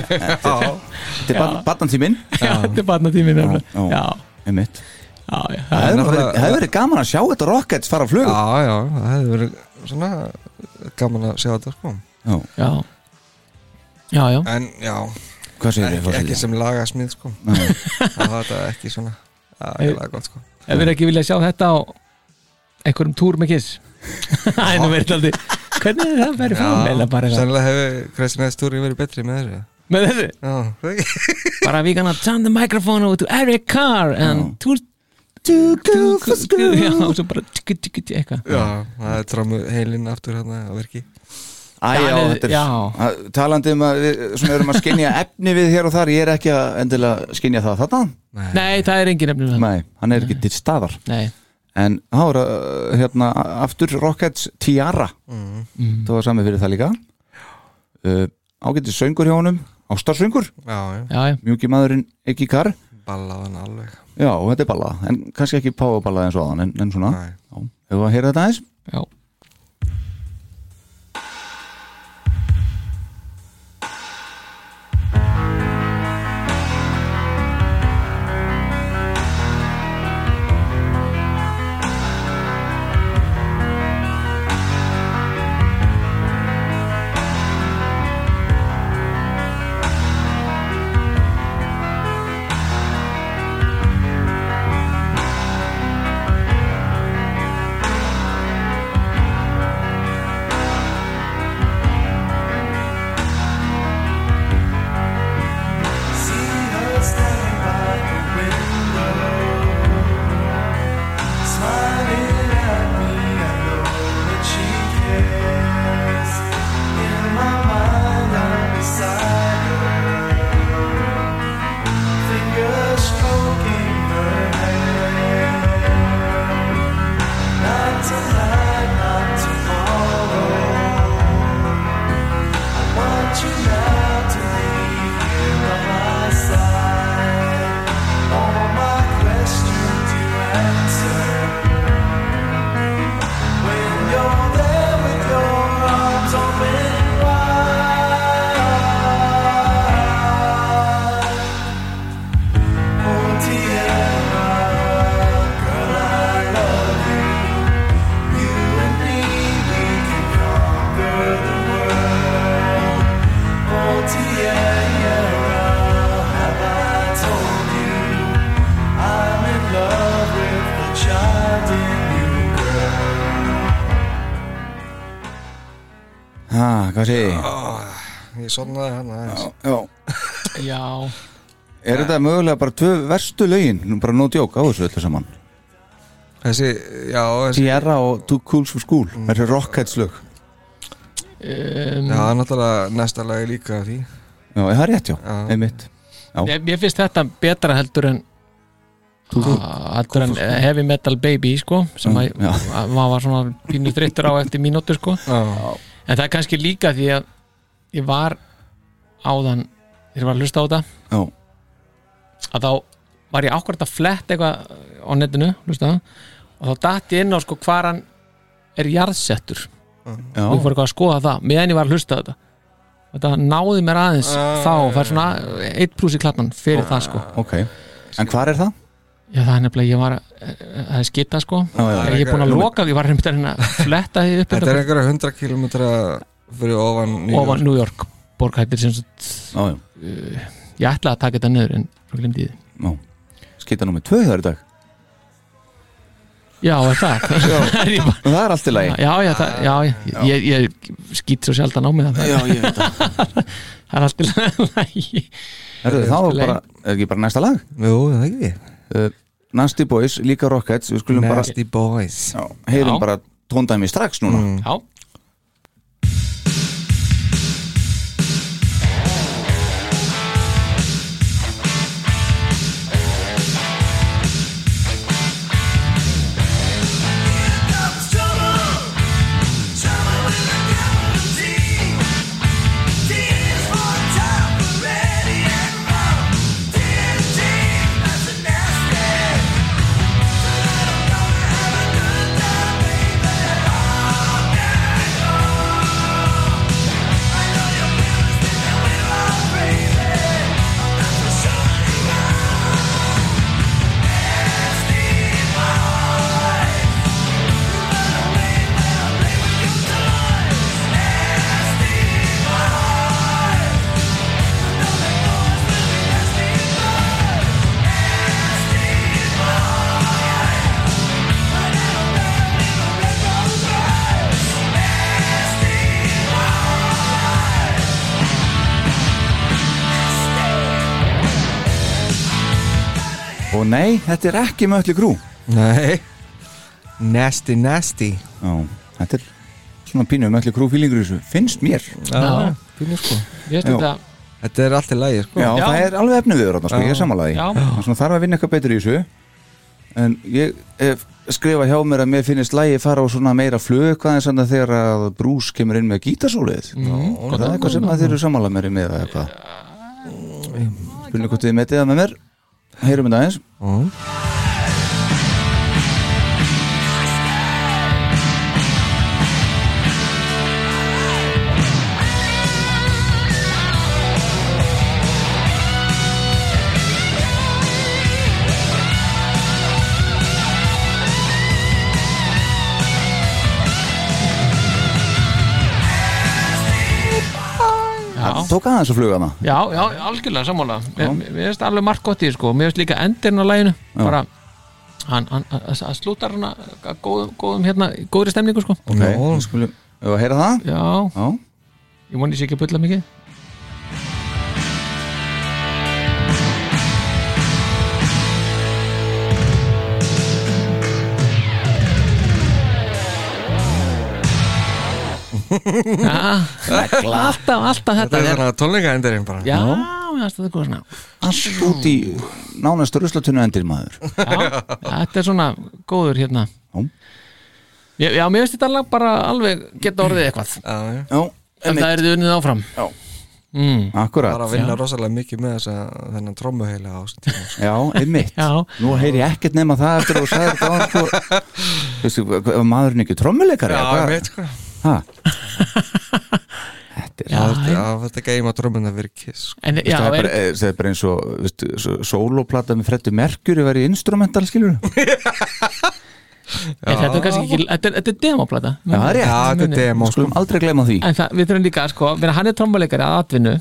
Speaker 2: Þetta er barn- barnatíminn
Speaker 3: já Þetta er barna tíminn Já,
Speaker 2: Já.
Speaker 3: já,
Speaker 2: Einmitt
Speaker 3: já, já.
Speaker 2: Það hefur
Speaker 4: náttúrulega-
Speaker 2: verið- hefur verið gaman að sjá þetta Rockheads fara á flug
Speaker 4: Já, já, það hefði verið svona gaman að sjá þetta sko
Speaker 2: Já.
Speaker 3: Já. Já, já.
Speaker 4: En já
Speaker 2: Hvað segirðu,
Speaker 4: Ekki,
Speaker 2: forseti?
Speaker 4: ekki sem lagasmið sko
Speaker 2: Nei.
Speaker 4: Það var þetta ekki svona Það er laga gott sko
Speaker 3: Ef við ekki vilja sjá þetta á einhverjum túr með kiss (laughs) Það er nú verið aldrei Hvernig er það að vera fram? Eða bara eitthvað.
Speaker 4: Sennilega hefur Christian S. Túri verið betri með þessu
Speaker 3: Með þessu?
Speaker 4: Já
Speaker 3: Bara við gana turn the microphone over to Eric Carr and túr Já, og svo bara tíki tíki tíki eitthvað
Speaker 4: Já, það er trámu heilinn aftur hérna að verki
Speaker 2: Æ, já, þetta er, að, talandi um að við svona erum að skinja efni við hér og þar, ég er ekki að endilega skinja það þarna
Speaker 3: Nei, það er engin efnum
Speaker 2: Nei, hann er ekki til staðar
Speaker 3: Nei.
Speaker 2: En þá er uh, hérna aftur Rockets Tiara
Speaker 4: Mhm.
Speaker 3: Mhm.
Speaker 2: Það var sami fyrir það líka uh, Ágætti söngur hjá honum Ástarsöngur
Speaker 4: Já,
Speaker 3: já. Já, já.
Speaker 2: Mjúki maðurinn ekki kar
Speaker 4: Ballaðan alveg
Speaker 2: Já, og þetta er balla, en kannski ekki páfaballa eins og aðan en, en svona, já, hefur að heyra þetta aðeins
Speaker 3: Já
Speaker 10: Not tonight, not tomorrow. I want you now to leave here by my side. All my questions you answer. When you're there with your arms open wide. Oh, Tiara, girl, I love you. You and me, we can conquer the world. Oh, Tiara, have I told you I'm in love with the child in you, girl?
Speaker 2: Ha, hvað segi ég?
Speaker 4: Ég sonnaði hérna aðeins
Speaker 2: Já
Speaker 3: Já
Speaker 2: Er þetta mögulega bara tvö verstu lögin, Nú bara no joke á þessu öllu saman
Speaker 4: Þessi, já þessi,
Speaker 2: Sierra og Too Cool for School, þetta er Rockets lög
Speaker 3: um,
Speaker 4: Já, það er náttúrulega næsta lagi líka af því
Speaker 2: Já, það er rétt já, einmitt Já,
Speaker 3: Ég, ég finnst þetta betra heldur en Ah, heldur en heavy metal baby sko, sem að
Speaker 2: Já.
Speaker 3: að maður var svona pínu þreyttur á eftir mínútu sko.
Speaker 4: Já.
Speaker 3: en það er kannski líka því að ég var áðan þegar ég var að hlusta á þetta
Speaker 2: Já.
Speaker 3: að þá var ég ákvæmt að fletta eitthvað eh, á netinu hlusta, og þá datt ég inn á sko hvar hann er jarðsettur
Speaker 2: Já.
Speaker 3: og ég fór eitthvað að skoða það meðan ég var að hlusta á þetta og þetta náði mér aðeins þá það er svona eitt pluss í klatnan fyrir það sko
Speaker 2: ok En hvar er það?
Speaker 3: Já, það er nefnilega, ég var að- það er skita sko
Speaker 2: Já, já.
Speaker 3: ég er búin að loka, ég var reyndar hérna að fletta því upp
Speaker 4: Þetta er einhverja 100 kilometra fyrir ofan New York
Speaker 3: ofan New York borg hættir sem sagt,
Speaker 2: já.
Speaker 3: Uh, ég ætlaði að taka þetta niður en svo glemdi ég því
Speaker 2: Já, skita nummið tvö þar í dag
Speaker 3: Já, er
Speaker 4: (laughs)
Speaker 3: það Er ég bara-
Speaker 2: Það er allt í lagi
Speaker 3: Já, já, það, já, já. Ég, ég, skýt svo sjaldan á mig það
Speaker 2: Já, ég veit
Speaker 3: það Það er allt í lagi (laughs)
Speaker 2: Herðu, þá
Speaker 3: Allt
Speaker 2: er
Speaker 3: í lagi.
Speaker 2: bara, er ekki bara næsta lag?
Speaker 4: Jú, það er ekki
Speaker 2: uh, Nasty Boys, líka Rockets Við skulum bara
Speaker 4: Nasty Boys
Speaker 2: Já, heyrum
Speaker 4: Já.
Speaker 2: bara tóndæmi strax núna
Speaker 4: Mm.
Speaker 3: Já
Speaker 10: Yeah.
Speaker 2: nei, þetta er ekki mötli grú
Speaker 4: Nei Nasty nasty
Speaker 2: Já, þetta er svona pínu mötli grú fílingur í þessu, finnst mér
Speaker 4: Já, pínu sko
Speaker 2: Ég veist Já. þetta-
Speaker 4: Þetta er allt í lægi sko
Speaker 2: Já, það er alveg efnið viður sko, ég er samanlega
Speaker 4: Já.
Speaker 2: því Svona þarf að vinna eitthvað betur í þessu En ég hef skrifað hjá mér að mér finnist lægi fara á svona meira flög aðeins en það þegar að brús kemur inn með gítarsólið
Speaker 4: Mm,
Speaker 2: Er
Speaker 4: gott.
Speaker 2: það eitthvað sem að þeir eru samanlega mér í með eða eitthvað Spurning hvort þið metið það með mér Heyrum þetta aðeins Það tók aðeins að fluga hana
Speaker 3: já, já, algjörlega sammála Mér mér finnst alveg margt gott í því sko Mér finnst líka endirinn á læginu bara, hann, hann, hann slútar hann að góðum, góðum hérna, góðri stemningu sko
Speaker 2: Ok, við skulum, hefur að heyra það?
Speaker 3: Já,
Speaker 2: Já.
Speaker 3: ég voni sé ekki að bulla mikið Já, alltaf, alltaf þetta
Speaker 4: Þetta er svona tónleika endurinn bara
Speaker 3: Já, mér finnst þetta góð svona
Speaker 2: Allt út í nánast ruslatunna endir maður
Speaker 3: Já, þetta er svona góður hérna Já, já mér finnst þetta lag bara alveg geta orðið eitthvað
Speaker 4: Já,
Speaker 2: já
Speaker 3: En það er þið unnið áfram
Speaker 2: Já
Speaker 3: mm.
Speaker 2: Akkurat
Speaker 4: Bara að vinna rosalega mikið með þessa þennan trommuheila á þessum tíma
Speaker 2: Já, einmitt
Speaker 3: Já.
Speaker 2: Nú heyri ég ekkert nema það eftir að þú sagði þetta áðan, sko. Veistu, var maðurinn ekki trommuleikari?
Speaker 4: (laughs) Já,
Speaker 2: eða hvað?
Speaker 4: einmitt, sko.
Speaker 2: Ha?
Speaker 4: Já, þetta, þetta geima trommuna verið kiss sko.
Speaker 2: Veistu, það, er bara, eh, það er bara eins og veistu, svo- sóloplata með frettu merkjur verið instrumental, skilur
Speaker 3: En þetta er kannski ekki, þetta er, þetta er demoplata
Speaker 2: Já, það er rétt Skulum aldrei glema því
Speaker 3: En það, við þurfum líka, sko, vera hann er trommuleikari að atvinnu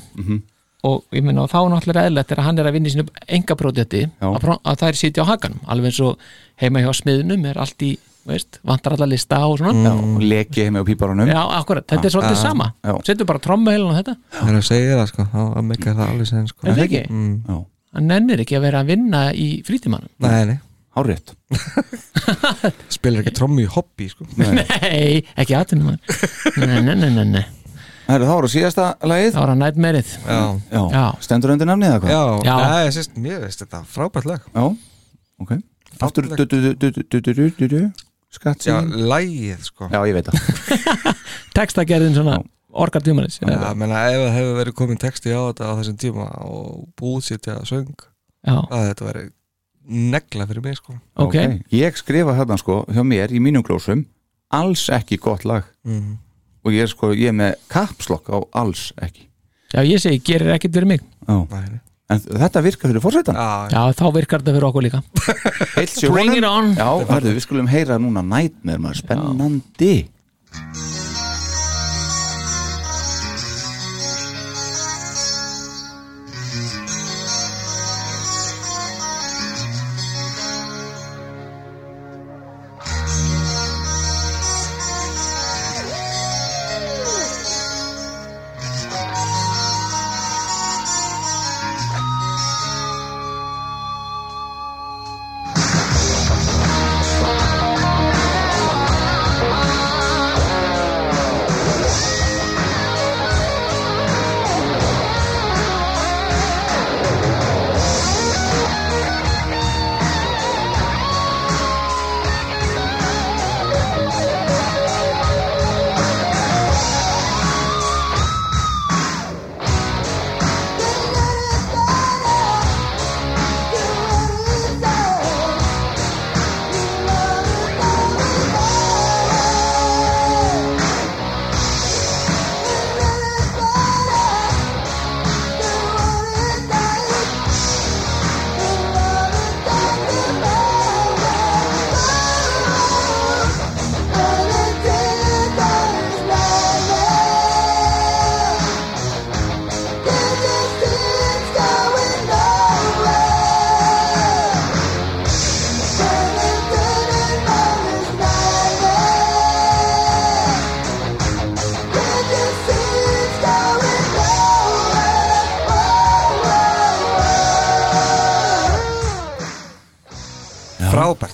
Speaker 3: og ég meina, og þá er náttúrulega eðlætt er að hann er að vinna í sínu engapródjöti að, pró- að þær sitja á hakanum, alveg eins og heima hjá smiðnum er allt í, veist vantar alla lista og svona
Speaker 2: Já, og leki heim á píparunum
Speaker 3: Mm. Já, akkurat, þetta er svolítið sama Setjum bara trommuheilin á þetta
Speaker 4: Það er að segja það sko, þá að mikka það alveg sen sko
Speaker 3: Er það ekki?
Speaker 4: Mm.
Speaker 3: Hann nennir ekki að vera að vinna í frítimannum
Speaker 4: Nei, nei
Speaker 2: Hárétt
Speaker 4: Spilar ekki trommu í hobby sko
Speaker 3: Nei, ekki aðtunum Nei, nei, nei, nei, nei
Speaker 2: Það eru ára síðasta lagið
Speaker 3: Það var að nætt meirið
Speaker 4: Já.
Speaker 2: Stendur undir nafnið eða hvað?
Speaker 4: Já,
Speaker 3: Já.
Speaker 4: það er sérst, mér veist þetta, frábært lag
Speaker 2: Já, ok Aftur du- du- du- du- du- du- du- du- du- Skatt
Speaker 4: Já,
Speaker 2: sín
Speaker 4: lægið sko
Speaker 2: Já, ég veit það
Speaker 3: Textagerðin svona orkar tímanis
Speaker 4: Já, ég meina, ef það hefur verið komin texti á þetta á þessum tíma og búið sitja að söng
Speaker 3: Já.
Speaker 4: að þetta verið negla fyrir mig sko
Speaker 3: Ok.
Speaker 2: Ég skrifa þarna sko hjá mér í mínum glósum alls ekki gott lag
Speaker 4: Mhm.
Speaker 2: og ég er sko, ég er með kapslokk á alls ekki
Speaker 3: Já, ég segi, gerir ekkert fyrir mig
Speaker 2: Já. En þetta virkar fyrir fórsetan
Speaker 3: Já, þá virkar þetta fyrir okkur líka Bring it on
Speaker 2: Já, hörðu, við skulum heyra núna Nightmare, maður spennandi
Speaker 11: Thank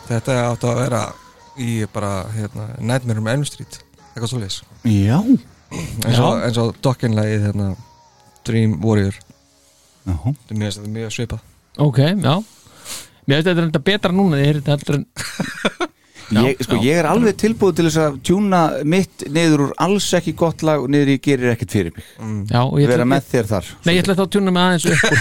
Speaker 4: þetta átti að vera í bara hérna, Nightmare on Elm Street eitthvað svo leys
Speaker 2: Já.
Speaker 4: eins og, eins og dokkinlægið hérna, Dream Warrior
Speaker 2: Jaha.
Speaker 4: þetta er mjög, þetta er mjög svipað
Speaker 3: ok, já mér finnst þetta er enda betra núna þegar þetta heldur en
Speaker 2: ég, sko, ég er alveg tilbúið til þess að tjúna mitt niður úr alls ekki gott lag og niður í gerir ekkert fyrir mig
Speaker 3: Já, og ég ætla-
Speaker 2: Mm. vera með þér þar
Speaker 3: nei, ég ætla þá að tjúna mig aðeins upp
Speaker 2: (laughs)
Speaker 3: úr.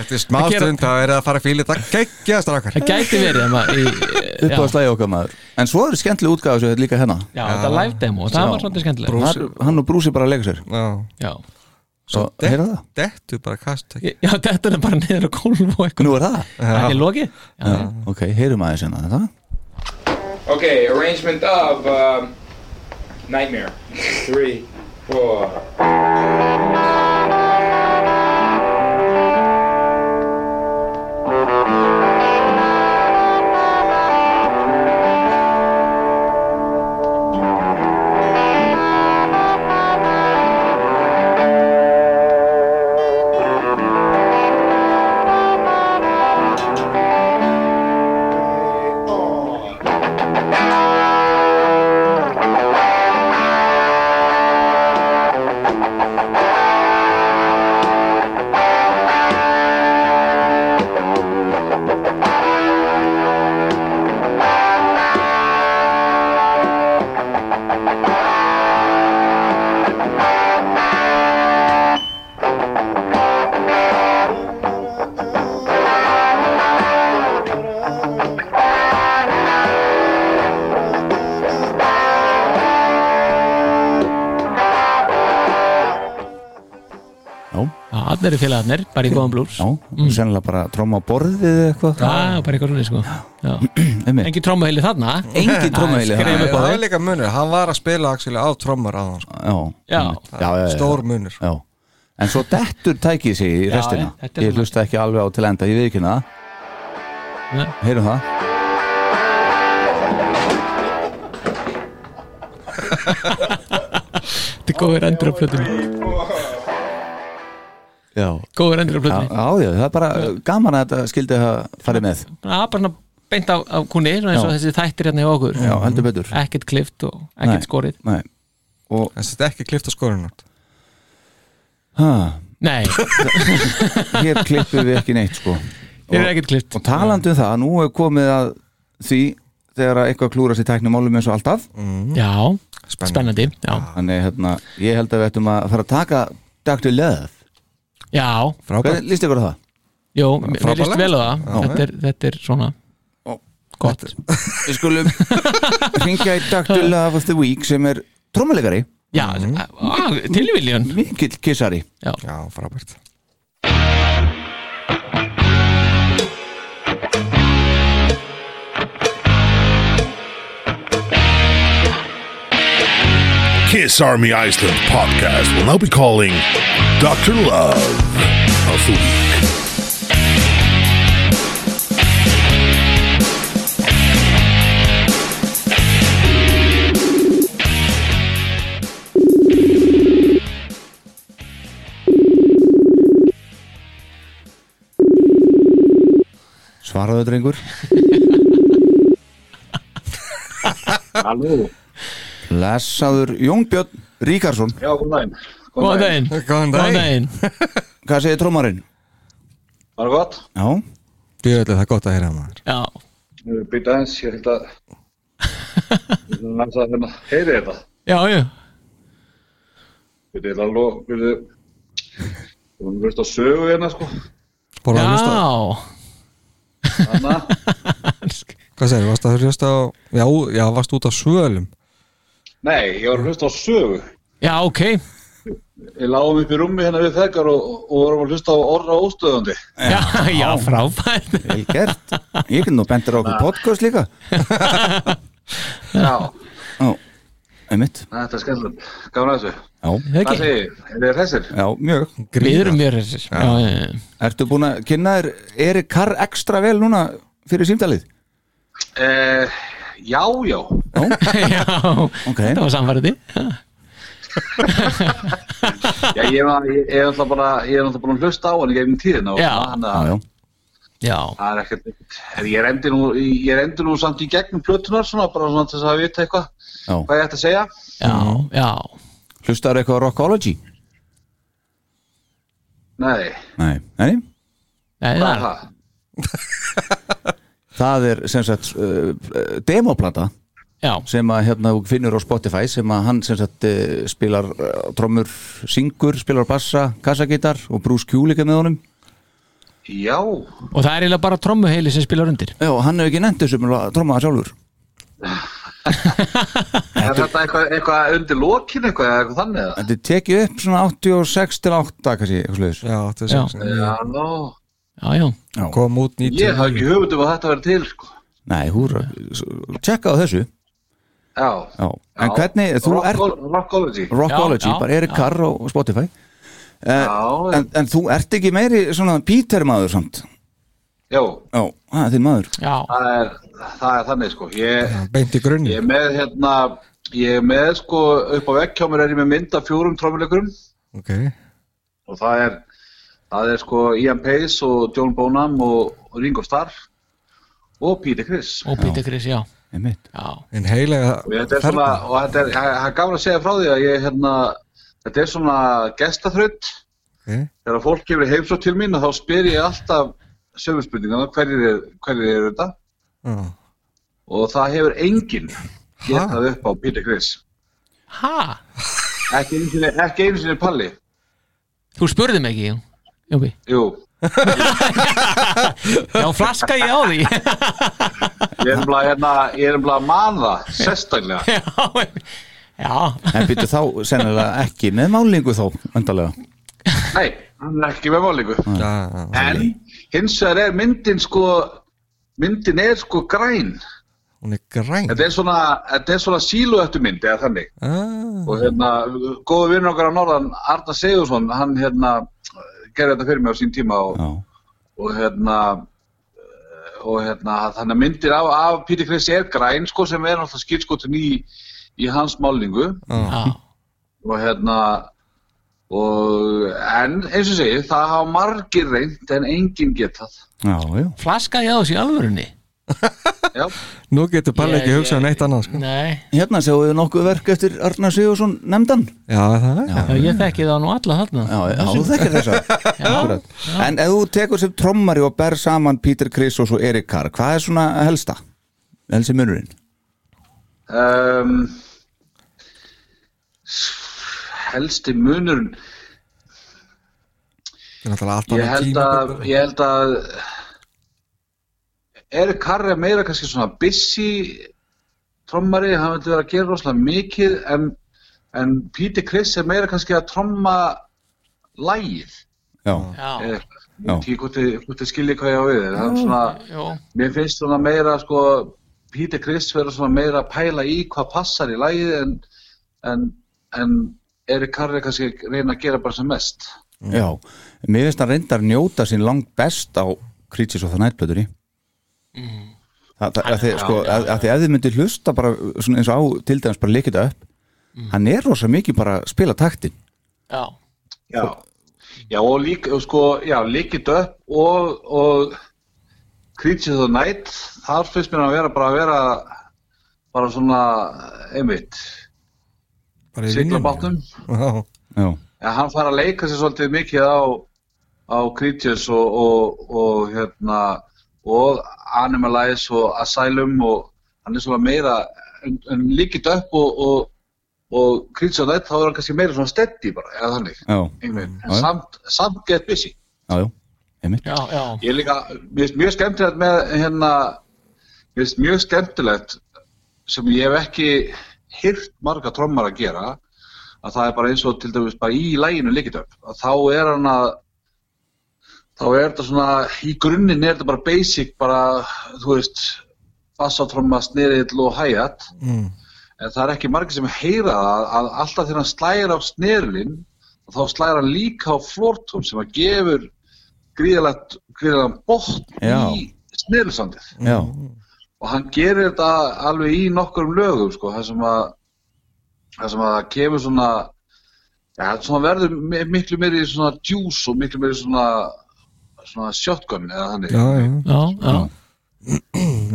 Speaker 4: eftir smástund þá er það að fara að fíla þetta geggja strákar
Speaker 3: það gæti verið en maður- í- já.
Speaker 2: upp á slæði okkar maður en svo eru skemmtileg útgáðu sem þetta líka hérna
Speaker 3: Já, þetta er live demo, það var svolítið skemmtilegt.
Speaker 2: Brúsi- Þar- hann og brúsi bara að leika sér
Speaker 4: já,
Speaker 3: já.
Speaker 2: svo heyra það
Speaker 4: dettu bara kast ekki.
Speaker 3: já, þetta er bara niður á kólum og eitthvað
Speaker 2: nú er það
Speaker 3: Það er lokið? Já.
Speaker 2: Já, ok, heyrum aðeins hérna þetta
Speaker 11: Okay, arrangement of um, Nightmare. Three, four.
Speaker 2: Já,
Speaker 3: allir eru félagarnir, bara í góðan blús
Speaker 2: Já, sennilega bara tróma á borðið eða eitthvað
Speaker 3: Mm. Já, bara eitthvað svona sko
Speaker 2: (clears throat) Einmitt.
Speaker 3: Engin trómaheili þarna
Speaker 4: (laughs)
Speaker 2: Engin trommuheili
Speaker 3: Það er skrifað upp á
Speaker 4: það er
Speaker 3: þig.
Speaker 4: líka munur, hann var að spila Axel á trommar á hann sko.
Speaker 2: Já,
Speaker 3: Já.
Speaker 2: einmitt. já, já, já.
Speaker 4: Stór munur.
Speaker 2: já. En svo dettur tækið sig í
Speaker 3: Já,
Speaker 2: restina
Speaker 3: já, þetta er
Speaker 2: Ég hlusta ekki alveg á til enda, ég veit ekki hana
Speaker 3: Nei.
Speaker 2: Heyrum það
Speaker 3: Þetta er góður endur á plötunni
Speaker 2: Já,
Speaker 3: Góður endur á
Speaker 2: já,
Speaker 3: plötunni
Speaker 2: já, já, það er bara gaman að þetta skildi að fara með
Speaker 3: Það er bara svona beint á, á kunni svona eins og
Speaker 2: Já.
Speaker 3: þessi þættir hérna hjá okkur
Speaker 2: Já, heldur betur
Speaker 3: Ekkert klift og ekkert
Speaker 2: Nei.
Speaker 3: skorið
Speaker 2: Nei, og
Speaker 4: þetta er ekki klift á skorinu
Speaker 2: ha,
Speaker 3: Nei,
Speaker 2: hér klippum við ekki neitt sko
Speaker 3: hér er ekkert klift
Speaker 2: Og talandi um það, nú er komið að því þegar að eitthvað klúrast í tæknumálum eins og alltaf
Speaker 3: Já, spennandi Ah. Já,
Speaker 2: Þannig hérna, ég held að við ættum að fara að taka Dr. Love
Speaker 3: já,
Speaker 2: Hvernig líst ykkur á það?
Speaker 3: Jó, mér líst vel á það
Speaker 2: Já.
Speaker 3: þetta er, þetta er svona
Speaker 2: Ó,
Speaker 3: gott
Speaker 2: Við (laughs) skulum ringja í Dr. Love of the Week sem er trómulegari,
Speaker 3: Já, mm. tilviljun
Speaker 2: mikill kissari
Speaker 3: Já,
Speaker 4: já, frábært
Speaker 12: Kiss Army Iceland podcast will now be calling Dr. Love of the Week.
Speaker 2: Svaraðu drengur
Speaker 13: (laughs) Halló,
Speaker 2: Lesaður Jónbjörn Ríkarsson
Speaker 13: já, góðan daginn.
Speaker 3: Góðan daginn
Speaker 4: Góðan
Speaker 3: Góðan
Speaker 4: dag
Speaker 3: daginn
Speaker 2: Hvað segir trómarinn?
Speaker 13: Var það gott?
Speaker 2: Já,
Speaker 4: Djöðlega það er gott að heyra maður
Speaker 3: Já,
Speaker 13: Býta eins, ég held að... Ég held að næsta að hérna, heyri þetta.
Speaker 3: já, já
Speaker 13: Býta, ég held að lofa, býta... Þú erum verið að sögu hérna, sko.
Speaker 4: Bóra að hlusta
Speaker 3: Já
Speaker 13: Anna,
Speaker 4: Hvað segir, varst að hlusta á Já, já, varst út á svölum
Speaker 13: nei, ég var að hlusta á sögu.
Speaker 3: Já, ok
Speaker 13: Ég lágum upp í rúmi hérna við þekkar og, og vorum að hlusta á orra óstöðandi.
Speaker 3: Já, já, frábært
Speaker 2: vel gert Ég get nú bendur á okkur podcast líka
Speaker 13: Já,
Speaker 2: Já, einmitt
Speaker 13: þetta er skemmtilegt. Gafna þessu.
Speaker 2: Já,
Speaker 3: Það
Speaker 13: Hvað
Speaker 3: ekki
Speaker 13: segir, ég? er þið þessir?
Speaker 2: já mjög
Speaker 3: Við erum mjög hressir Já, já, já.
Speaker 2: Ertu búin að kynna þér Eri Karr ekstra vel núna fyrir símdalið?
Speaker 13: Eh, já, já. Hérna.
Speaker 3: já (laughs) Þetta var samfæriði
Speaker 13: Já, ég, var, ég, ég, er náttúrulega bara, ég er náttúrulega búin að hlusta á hann í gegnum tíðina og
Speaker 3: Já.
Speaker 13: svona, þannig að-
Speaker 2: Já, já,
Speaker 14: Já.
Speaker 13: það er ekkert en ég reyndi nú, ég reyndi nú samt í gegnum plötunar svona, bara svona til þess að vita eitthvað
Speaker 2: Já.
Speaker 13: hvað ég ætti að segja
Speaker 14: Já, já
Speaker 2: Hlustaður eitthvað á Rockology?
Speaker 13: nei,
Speaker 2: Nei, nei
Speaker 14: Nei,
Speaker 13: hvað er það?
Speaker 2: Það er sem sagt uh, uh, demoplata
Speaker 14: Já.
Speaker 2: sem að hérna þú finnur á Spotify sem að hann sem sagt uh, spilar uh, trommur, syngur, spilar á bassa kassagítar og Bruce Kulik er með honum
Speaker 13: Já
Speaker 14: Og það er eiginlega bara trommuheili sem spilar undir
Speaker 2: Já, hann hefur ekki nefnt þessu með að tromma það sjálfur
Speaker 13: er þetta eitthvað, eitthvað undir lokin eitthvað, eða eitthvað þannig eða?
Speaker 2: Þetta er tekið upp svona 86 til 8 kannski, eitthvað sluðis
Speaker 4: Já,
Speaker 13: já, no.
Speaker 14: Já, já,
Speaker 2: já.
Speaker 4: Kom út
Speaker 13: ég hafði ekki hugmynd um að þetta verið til sko.
Speaker 2: Nei, húra, tjekka á þessu
Speaker 13: já,
Speaker 2: Já, en hvernig, þú ert
Speaker 13: Rockology
Speaker 2: Rockology, bara Erik Carr á Spotify Eh, en, en þú ert ekki meiri svona Peter maður samt
Speaker 13: já,
Speaker 2: Já, það er þinn maður
Speaker 14: Já.
Speaker 13: það er, það er þannig sko ég,
Speaker 4: beint í grunni
Speaker 13: ég er með hérna ég er með sko upp á vegg hjá mér er ég með mynd af fjórum trómuleikurum
Speaker 4: ok,
Speaker 13: og það er það er sko Ian Pace og John Bonham og Ringo Starr og Peter Criss
Speaker 14: og Peter Chris, já
Speaker 2: Einmitt.
Speaker 4: en heilega
Speaker 13: og þetta er svona og þetta er, það er gaman að segja frá því að ég hérna þetta er svona gestaþraut
Speaker 4: Ok.
Speaker 13: þegar fólk gefur heimsótt til mín og þá spyr ég alltaf sömu spurningana hverjir er, hverjir er þetta
Speaker 4: Já.
Speaker 13: og það hefur enginn getað hérna upp á Peter Criss
Speaker 14: Ha?
Speaker 13: ekki einu sinni, ekki einu sinni Palli
Speaker 14: Þú spurði mig ekki, Jóbi
Speaker 13: Jú
Speaker 14: Já, flaska ég á því (laughs)
Speaker 13: Ég er umlað hérna, ég er umlað að mann það sérstaklega
Speaker 14: Já
Speaker 2: En byrju þá sennilega ekki með málingu þá, endalega
Speaker 13: Nei, hann er ekki með málingu En hins vegar er myndin sko myndin er sko græn
Speaker 4: hún er græn
Speaker 13: Þetta er svona, þetta er svona sílu eftir mynd eða þannig
Speaker 4: ah,
Speaker 13: og hérna, góðu vinnur okkar á norðan Arna Segursson, hann hérna gerði þetta fyrir mig á sín tíma og, og hérna og hérna, þannig að myndir af, af Píti Chris er græn sko sem er náttúrulega skýrskotin í, í hans málningu
Speaker 14: Já.
Speaker 13: og hérna og en eins og segi, það hafa margir reynd en enginn getað
Speaker 2: Já, já
Speaker 14: Flaska ég á þessi alvörunni
Speaker 4: nú getur bara
Speaker 14: Ég-
Speaker 4: ekki hugsað um neitt annað sko.
Speaker 14: Nei
Speaker 2: Hérna sjáum við nokkuð verk eftir Arnar Sigursson nefndan
Speaker 4: já, það er
Speaker 14: Já, ég þekki það nú alla þarna
Speaker 2: Já, (laughs) já, þú þekkir þessa Akkurat. En ef þú tekur sem trommari og ber saman Peter Criss og svo Erik Carr hvað er svona helsta? Helsi munurinn?
Speaker 13: um, helsti munurinn
Speaker 4: það er náttúrulega allt annað
Speaker 13: ég held
Speaker 4: tíma
Speaker 13: að ég held að er Karri meira kannski svona busy trommari, hann veit vera að gera rosalega mikið en, en Píti Chris er meira kannski að tromma lægið
Speaker 2: Já,
Speaker 13: Eða eitthvað.
Speaker 2: Já.
Speaker 13: Ég veit ekki hvort þið- hvort þið skilji hvað ég á við en eh, hann svona,
Speaker 14: Jó.
Speaker 13: mér finnst svona meira sko, Píti Chris vera svona meira að pæla í hvað passar í lægið en, en, en Erik Karri kannski að reyna að gera bara sem mest
Speaker 2: Já, mér finnst hann reyndar njóta sín langt best á Creatures of the Night plötunni
Speaker 13: Mm.
Speaker 2: Það, það, að því, sko, að, að því ef þið myndir hlusta bara svona eins og á til dæmis bara leikita upp
Speaker 13: Mm.
Speaker 2: hann er rosa mikið bara að spila taktin
Speaker 14: Já
Speaker 13: Já, já og líka, og sko, já, líkit upp og, og Creature of the Night, þar finnst mér að vera bara að vera bara svona, einmitt,
Speaker 4: bara í
Speaker 13: sigla
Speaker 4: vinnunni.
Speaker 13: bátnum.
Speaker 4: Já.
Speaker 2: Já.
Speaker 13: En hann fara að leika sér svolítið mikið á, á Creatures og, og, og, hérna, og Animalize og Asylum og hann er svona meira, en, en líkit upp og, og, og Creature of the Night, þá er hann kannski meira svona steady bara, eða þannig.
Speaker 2: Já,
Speaker 13: Einmitt, en
Speaker 2: Já, já.
Speaker 13: samt, samt get busy.
Speaker 2: já, já, einmitt
Speaker 14: Já, já
Speaker 13: Ég er líka, mér finnst mjög skemmtilegt með hérna, mér finnst mjög skemmtilegt sem ég hef ekki hýrt marga trommar að gera að það er bara eins og til dæmis bara í læginu líkitöp, að þá er hann að þá er þetta svona í grunninn er þetta bara basic bara, þú veist bassatromma, snerill og hi-hat
Speaker 4: Mm.
Speaker 13: en það er ekki margir sem heyra það að alltaf þegar hann slægir á snerilinn þá slægir hann líka á flórtum sem að gefur gríðalegt gríðalegan bótt
Speaker 2: Já.
Speaker 13: í snerilsandið
Speaker 2: Já,
Speaker 13: og hann gerir þetta alveg í nokkurum lögum sko, það sem að það sem að það kemur svona ja, svona verður mi- miklu meiri svona djús og miklu meiri svona svona shotgun eða þannig
Speaker 4: Já, já.
Speaker 3: Já, já.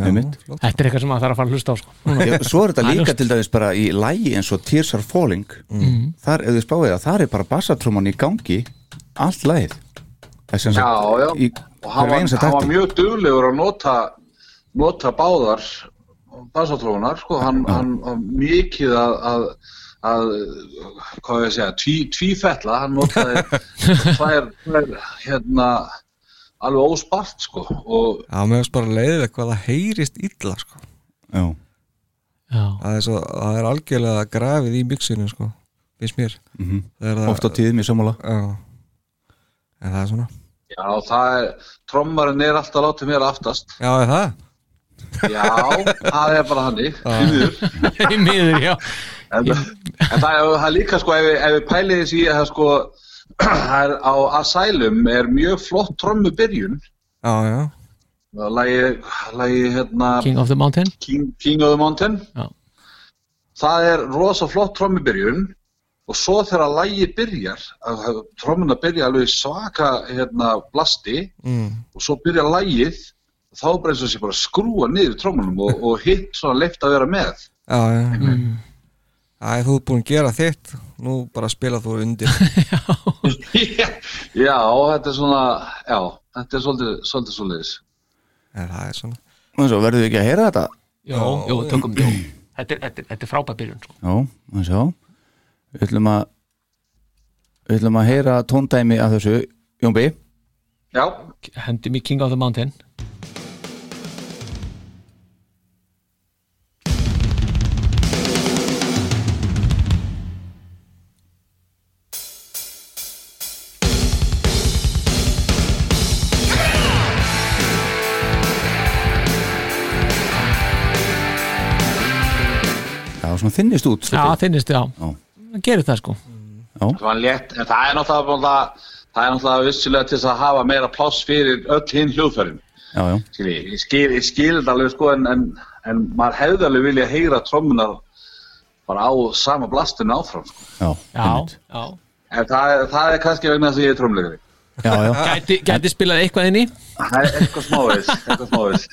Speaker 2: Einmitt.
Speaker 3: Þetta er eitthvað sem maður þarf að fara að hlusta á sko.
Speaker 2: Já, Svo (laughs) er Mm. þetta
Speaker 3: Það
Speaker 2: líka
Speaker 3: ljóst.
Speaker 2: til dæmis bara í lægi eins og Tears Are Falling
Speaker 13: Mm.
Speaker 3: Mhm.
Speaker 2: þar, ef þið spáðið það, þar er bara bassatrúman í gangi allt lægið Það er sem sagt
Speaker 13: Já, já.
Speaker 2: í
Speaker 13: og hann
Speaker 2: hverju
Speaker 13: var,
Speaker 2: einasta
Speaker 13: hann var
Speaker 2: takti
Speaker 13: mjög duglegur að nota nota báðar basatrónar sko, hann, hann var mikið að, að, að hvað ég að segja, tví, tvífella hann notaði tvær, tvær hérna alveg óspart sko og
Speaker 4: Já, mér finnst bara leiðið hvað það heyrist illa sko.
Speaker 2: Já.
Speaker 3: Já.
Speaker 4: Það, er svo, það er algjörlega grafið í mixinu sko, finnst mér
Speaker 2: Mhm.
Speaker 4: Þegar það-
Speaker 2: Oft á tíðum í sammála
Speaker 4: Já, en það er svona
Speaker 13: já, það er, trommarinn er alltaf látið mér aftast
Speaker 4: Já, er það?
Speaker 13: já, það er bara hannig
Speaker 4: Já.
Speaker 13: því miður.
Speaker 3: (laughs) Í miður, já
Speaker 13: en, en það, er- það er líka sko ef, við- ef við pælið þessi að það sko (clears throat) það er, á Asylum er mjög flott trommu byrjun
Speaker 4: Já, já
Speaker 13: lagi, lagi hérna
Speaker 3: King of the Mountain
Speaker 13: King, King of the Mountain
Speaker 3: Já.
Speaker 13: það er rosa flott trommu byrjun og svo þegar lagi byrjar trommuna byrja alveg í svaka hérna blasti
Speaker 4: mm.
Speaker 13: og svo byrja lagið þá er bara eins og sé bara að skrúa niður trommunum og, og hitt svona leift að vera með
Speaker 4: Já, já Æ, þú ert búin að gera þitt Nú bara spila þú undir
Speaker 13: Já, þetta er svona, já, þetta er svolítið, svolítið svolítið.
Speaker 4: En það er svona.
Speaker 2: Og svo verðum við ekki að heyra þetta
Speaker 3: Jó, jó, tökum jó. Þetta er, þetta er, þetta er frábæð byrjun sko.
Speaker 2: Já, maður sjá Við ætlum að Við ætlum að heyra tóndæmi af þessu Jónbi
Speaker 13: Já
Speaker 3: Hendi mig King of the Mountain
Speaker 2: Já, svona þinnist út
Speaker 3: Já, þinnist, já
Speaker 2: Já.
Speaker 3: Það gerir það sko
Speaker 13: Það var létt, en það er náttúrulega, náttúrulega, það er náttúrulega vissilega til þess að hafa meira pláss fyrir öll hinn hljóðfærin.
Speaker 2: Já, já
Speaker 13: Skil ég, ég skil, ég skil þetta alveg sko, en, en, en maður hefði alveg vilja heyra trommunar bara á sama blastinu áfram. Sko.
Speaker 2: Já,
Speaker 3: já, já.
Speaker 13: En það, er- það er kannski vegna þess að ég er trommulegari.
Speaker 2: Já, já.
Speaker 3: Gæti, gæti spilað eitthvað inn í
Speaker 13: Það er eitthvað smávegis,
Speaker 3: (laughs)
Speaker 13: eitthvað smávegis.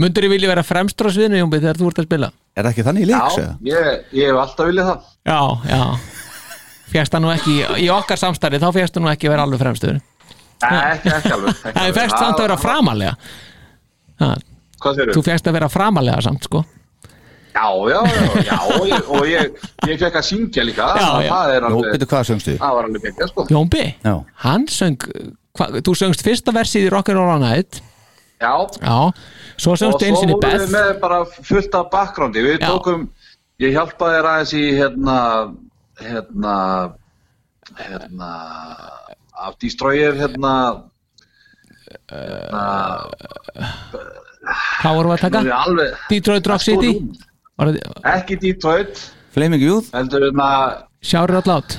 Speaker 3: Mundur ég vilja vera fremstur á sviðinu Jónbi þegar þú ert að spila
Speaker 2: Er það ekki þannig í leiks?
Speaker 13: Já, ég, ég hef alltaf viljað það.
Speaker 3: Já, já Fjast það nú ekki, í- í okkar samstarfi þá fjast það nú ekki að vera alveg fremstur
Speaker 13: Nei, ekki, ekki alveg. ekki
Speaker 3: Það er
Speaker 13: alveg.
Speaker 3: fjast samt að vera framalega ha,
Speaker 13: Hvað segirðu?
Speaker 3: Þú fjast að vera framalega samt sko
Speaker 13: Já, já, já, já, og ég, og ég, ég fekk að syngja líka,
Speaker 3: Já, já.
Speaker 13: það er
Speaker 3: Nú,
Speaker 13: alveg...
Speaker 2: Veitu hvað söngstu?
Speaker 13: Það var alveg gekkja, sko.
Speaker 3: Jónbi,
Speaker 2: Já.
Speaker 3: hann söng hva, Þú söngst fyrsta versið í Rock'n'Roll Night
Speaker 13: Já,
Speaker 3: Já, svo söngst
Speaker 13: og
Speaker 3: einsinni
Speaker 13: svo vorum
Speaker 3: Beth
Speaker 13: við með bara fullt af bakgrándi, við tókum, ég hjálpaði þér aðeins í, hérna, hérna, hérna, af Destroyer, hérna, hérna,
Speaker 3: Hvað vorum við að
Speaker 13: Nú er
Speaker 3: taka?
Speaker 13: alveg-
Speaker 3: Detroit Rock
Speaker 13: Það stóð
Speaker 3: City
Speaker 13: um.
Speaker 3: Var það-
Speaker 13: ekki Detroit,
Speaker 2: Flaming Youth
Speaker 13: heldur, hérna,
Speaker 3: Shout It Out Loud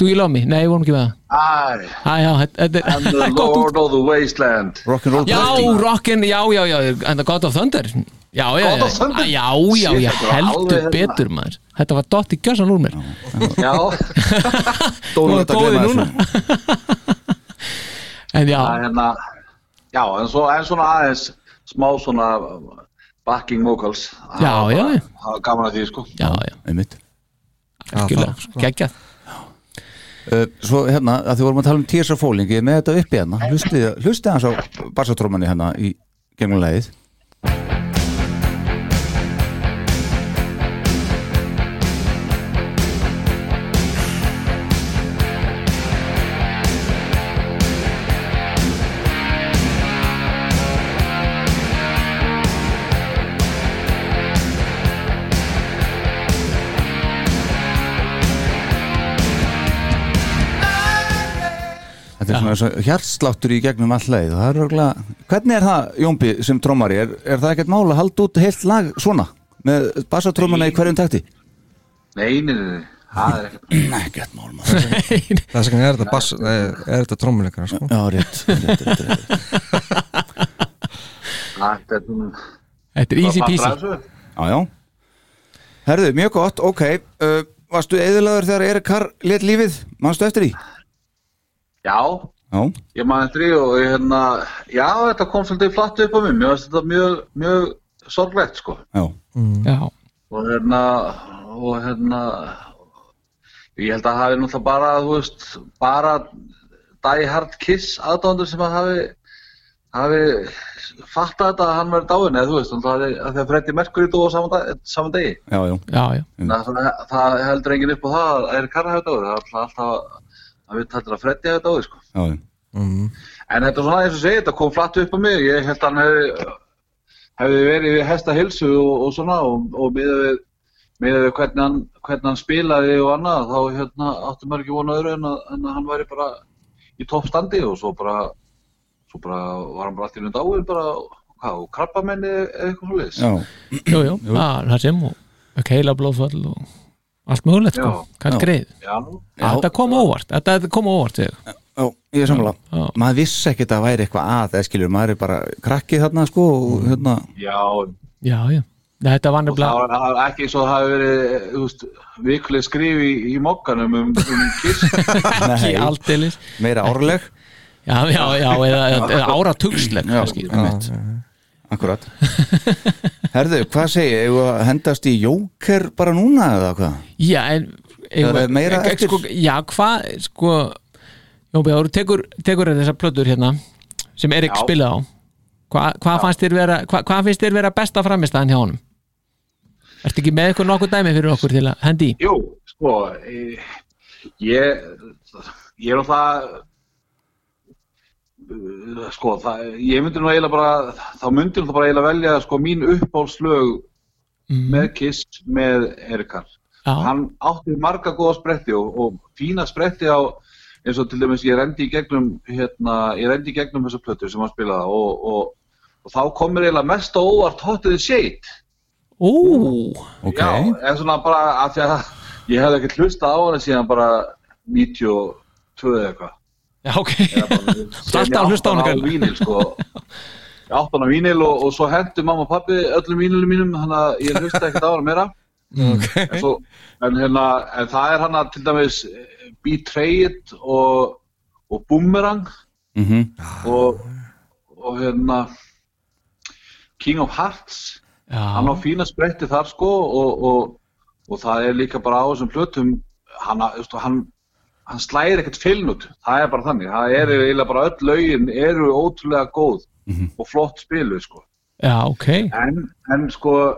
Speaker 3: Do You Love Me? Nei, við vorum ekki með það
Speaker 13: I
Speaker 3: Æ, já, þetta-
Speaker 13: am
Speaker 3: þetta
Speaker 13: the
Speaker 3: er (laughs) gott út
Speaker 13: Lord of the Wasteland.
Speaker 2: Rock'n'Roll
Speaker 3: Já, Rockin, já, já, já En það God of Thunder Já, já,
Speaker 13: God
Speaker 3: já,
Speaker 13: of Thunder?
Speaker 3: já, já,
Speaker 13: Shit,
Speaker 3: já
Speaker 13: þetta var alveg
Speaker 3: heldur
Speaker 13: hérna.
Speaker 3: betur maður Þetta var dott í gjössan úr mér
Speaker 13: Já,
Speaker 2: Dónalegt að
Speaker 3: Góði
Speaker 2: gleyma
Speaker 3: núna.
Speaker 2: þessu
Speaker 3: En já,
Speaker 13: að hérna, já, en, svo, en svona aðeins smá svona uh, backing vocals Það
Speaker 3: Já,
Speaker 13: var
Speaker 3: já,
Speaker 13: bara-
Speaker 3: já.
Speaker 13: það var gaman að því, sko
Speaker 3: já, já,
Speaker 2: Einmitt
Speaker 3: algjörlega,
Speaker 2: sko.
Speaker 3: geggjað
Speaker 2: Uh, Svo hérna, að þið vorum að tala um Tears of Falling Ég er með þetta uppi hérna Hlustið hlustið hans á bassatrómanni hérna í gegnum lagið Þetta er svona svo hjartsláttur í gegnum all leið og það er örgulega, hvernig er það Jónbi sem trommari, er, er það ekkert mála að halda út heilt lag svona með bassatrómana í hverjum takti?
Speaker 13: Nei, nei, nei, nei, það er ekkert
Speaker 2: Ekkert mál maður
Speaker 4: Það sem er þetta bass, nei, er þetta trommuleikara sko
Speaker 2: (laughs) Já, rétt, rétt, rétt, rétt.
Speaker 13: Þetta er svona-
Speaker 3: Þetta er easy
Speaker 13: bara
Speaker 3: peasy
Speaker 13: fattar þessu.
Speaker 2: Já, já Herðu, mjög gott, ok uh, Varstu eðilagur þegar Erik Carr let lífið, manstu eftir því?
Speaker 13: Já,
Speaker 2: Já.
Speaker 13: Ég man eftir því og ég, hérna, já þetta kom svolítið flatt upp á mig, mér finnst þetta mjög, mjög sorglegt sko
Speaker 14: Já.
Speaker 13: og hérna, og hérna, ég held að það hafi náttúrulega bara, þú veist, bara Die Hard Kiss aðdóndur sem að hafi, hafi fattað þetta að hann verið dáin eða þú veist, þannig að það er Freddy Mercury dó á saman, dag, saman degi.
Speaker 2: Já, já.
Speaker 14: Já, já.
Speaker 13: Þannig að það, það heldur enginn upp á það að Erik Karra hefði dáið, það er náttúrulega alltaf að við taldur að Freddy hefði dáið sko.
Speaker 2: Já, já.
Speaker 13: En þetta er svona eins og segið, þetta kom flatt upp á mig, ég held að hann hefði, hefði verið við hesta hilsu og, og svona og, og miðað við, miðað við hvernig, hann, hvernig hann spilaði og annað, þá hérna, átti maður ekki vona öðru en að, en að hann væri bara í toppstandi og svo bara, svo bara var hann bara allt í nönd áin bara, hvað, og krabbamenni eða eitthvað svo leiðis.
Speaker 14: Jú, jú,
Speaker 3: Ah,
Speaker 14: það það sem og keila blóðfall og allt mögulegt sko,
Speaker 2: Já.
Speaker 14: hvað
Speaker 2: Já.
Speaker 14: greið
Speaker 13: Já.
Speaker 14: Þetta kom óvart, þetta kom óvart ég.
Speaker 2: Já, ég er sammála Maður vissi ekkert að það væri eitthvað að eða skilur, maður er bara krakkið þarna sko og hérna,
Speaker 13: Já,
Speaker 14: Já, já, Nei, þetta var
Speaker 13: það
Speaker 14: nefnilega
Speaker 13: var- það var ekki svo að það hafi verið, eh, þú veist, vikuleg skrif í, í mokkanum um, um kiss.
Speaker 14: ekki aldeilis
Speaker 2: meira árleg
Speaker 14: Já, já, já, eða, eða áratugsleg
Speaker 2: Já,
Speaker 14: kannski.
Speaker 2: einmitt. Akkurat Herðu, hvað segi, eigum við að hendast í jóker bara núna eða hvað?
Speaker 14: Já, en
Speaker 2: Eða
Speaker 14: eigum-
Speaker 2: meira
Speaker 14: e- e-
Speaker 2: eftir?
Speaker 14: sko, Já, hvað sko, Jón Bjáru, tekur, tekur þessar plötur hérna sem Erik
Speaker 13: Já.
Speaker 14: spilaði á Hva, hvað fannst þér vera hva, hvað finnst þér vera besta framistæðan hjá honum? Ertu ekki með eitthvað nokkuð dæmi fyrir okkur til að hendi í?
Speaker 13: Jú, sko eh, ég ég er alltaf sko, það, ég myndi nú eiginlega bara þá myndi nú bara eiginlega velja sko mín uppáhaldslög
Speaker 14: Mm.
Speaker 13: með Kiss með Erikar
Speaker 14: Já.
Speaker 13: hann átti marga góða spretti og, og fína spretti á eins og til dæmis ég rendi í gegnum hérna, ég rendi í gegnum þessu plötu sem hann spilaði og, og, og þá komur eiginlega mest á óvart hotiði shade
Speaker 14: Ó,
Speaker 2: ok
Speaker 13: Já, en svona bara af því að ég hefði ekkert hlustað á hana síðan bara 92 eða eitthvað.
Speaker 14: Já, ok. Þú ert alltaf að hlusta á hana,
Speaker 13: Ég átti hana á
Speaker 14: greinilega.
Speaker 13: vínil, sko.
Speaker 14: (laughs)
Speaker 13: Ég átti hana á vínil og, og svo hendu mamma og pappi öllum vínilum mínum, þannig að ég hlustaði ekkert á hana meira. En, svo, en, hérna, en það er hana til dæmis eh, Betrayed og, og Boomerang
Speaker 2: Mm -hmm.
Speaker 13: og, og hérna King of Hearts
Speaker 14: Já,
Speaker 13: hann á fína spretti þar sko og, og, og það er líka bara á þessum plötum hann, þú veist, hann, hann slæðir ekkert filin út það er bara þannig, það eru eiginlega bara öll lögin eru ótrúlega góð og flott spilu sko
Speaker 14: já, ok
Speaker 13: en, en sko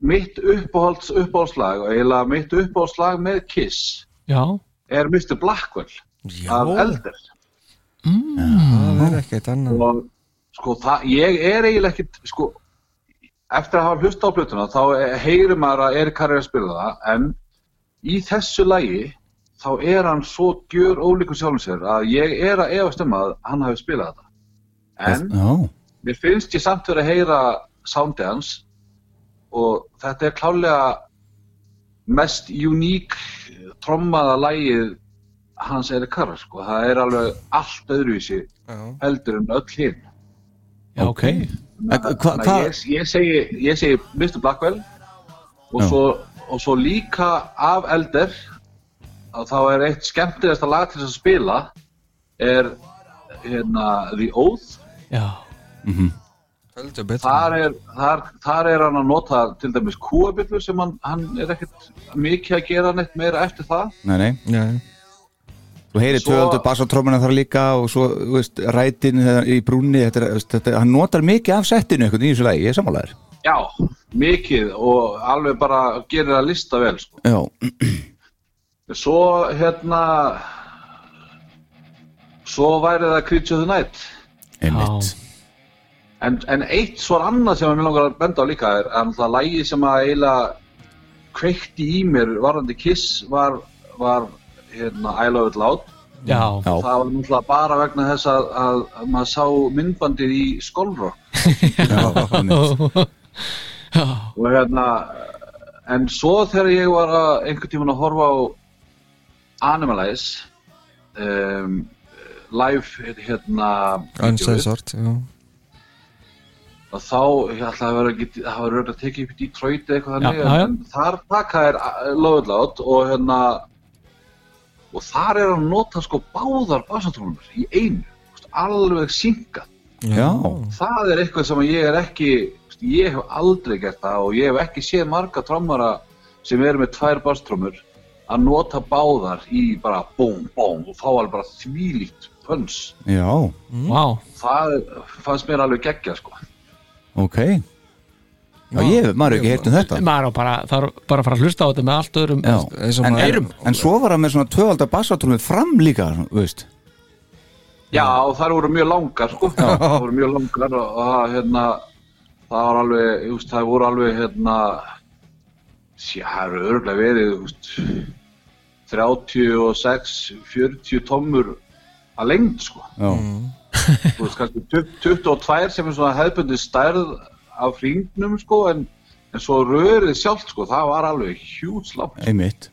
Speaker 13: mitt uppáhalds uppáhaldslag og eiginlega mitt uppáhaldslag með Kiss
Speaker 14: Já,
Speaker 13: er Mr. Blackwell af Elder
Speaker 4: það er ekkert annað
Speaker 13: og sko það, ég er eiginlega ekkit sko, eftir að hafa hlusta á plötuna þá heyrir maður að Erik Harri er að spila það en í þessu lagi þá er hann svo gjör ólíkur sjálfum sér að ég er að efast um að hann hafi spilað þetta en
Speaker 2: Já,
Speaker 13: mér finnst ég samt verið að heyra soundið hans og þetta er klálega mest uník trommaða lagið hans Erik Harri sko, það er alveg allt öðruvísi heldur en öll hinn
Speaker 14: já, ok
Speaker 2: hva-
Speaker 13: Þannig að ég, ég, segi, ég segi Mr. Blackwell og
Speaker 2: Já.
Speaker 13: svo, og svo líka af Elder að þá er eitt skemmtilegasta lag til þess að spila er hérna The Oath
Speaker 14: Já
Speaker 13: þar er, þar, þar er hann að nota til dæmis kúabillur sem hann, hann er ekkert mikið að gera neitt meira eftir það
Speaker 2: nei, nei
Speaker 4: Nei.
Speaker 2: Þú heyrir
Speaker 13: Svo-
Speaker 2: svo... tvööldu bassatrómuna þar líka og svo, þú veist, rætin þegar- í brúnni þetta, er- þú veist, þetta, hann notar mikið af settinu einhvern veginn í þessu lagi, ég er sammálaður
Speaker 13: já, mikið og alveg bara gerir að lista vel sko.
Speaker 2: Já,
Speaker 13: svo hérna svo væri það Creature of the Night
Speaker 2: einmitt
Speaker 13: En, en eitt svo annað sem ég langar að benda á líka er að það lægi sem að eiginlega kveikti í mér varandi Kiss var, var hérna, I Love It Loud
Speaker 14: Já,
Speaker 13: það var náttúrulega bara vegna þess að, að, að maður sá myndbandið í Skólrock og hérna en svo þegar ég var að einhvern tímann að horfa á Animalize um, live hérna
Speaker 4: Ansæði
Speaker 13: vídeóið,
Speaker 4: sort, já
Speaker 13: og þá, ég ætla að vera ekki, það var rögt að tekið upp í Detroit eða eitthvað
Speaker 4: Já,
Speaker 13: þannig,
Speaker 4: já, já.
Speaker 13: en þar taka er lögulegt og hérna og þar er hann að nota sko báðar basatrónur í einu þú veist, alveg syngað
Speaker 2: Já.
Speaker 13: það er eitthvað sem ég er ekki þú veist, ég hef aldrei gert það og ég hef ekki séð marga trommara sem eru með tvær basatrónur að nota báðar í bara bóm, bóm og fá alveg bara þvílíkt pöns
Speaker 2: Já,
Speaker 3: wow.
Speaker 13: það fannst mér alveg geggja sko
Speaker 2: ok Já, ég, maður hefur ekki heyrt um þetta
Speaker 3: maður á bara, það er bara að fara að hlusta á þetta með allt öðrum (laughs)
Speaker 2: Já, en,
Speaker 3: eirum
Speaker 2: en, en svo var hann með svona tvövalda bassatrúmið fram líka, þú veist
Speaker 13: Já, og þær voru mjög langar sko. það voru mjög langar og, og það, hérna, það var alveg þú veist, það voru alveg hérna, sí, það eru örgulega verið þú veist, 36 40 tómmur að lengd sko.
Speaker 2: Já,
Speaker 13: Þú veist, kannski 20 22 sem er svona hefðbundi stærð af hringnum sko, en, en svo rörið sjálft sko, það var alveg hjútslátt
Speaker 2: einmitt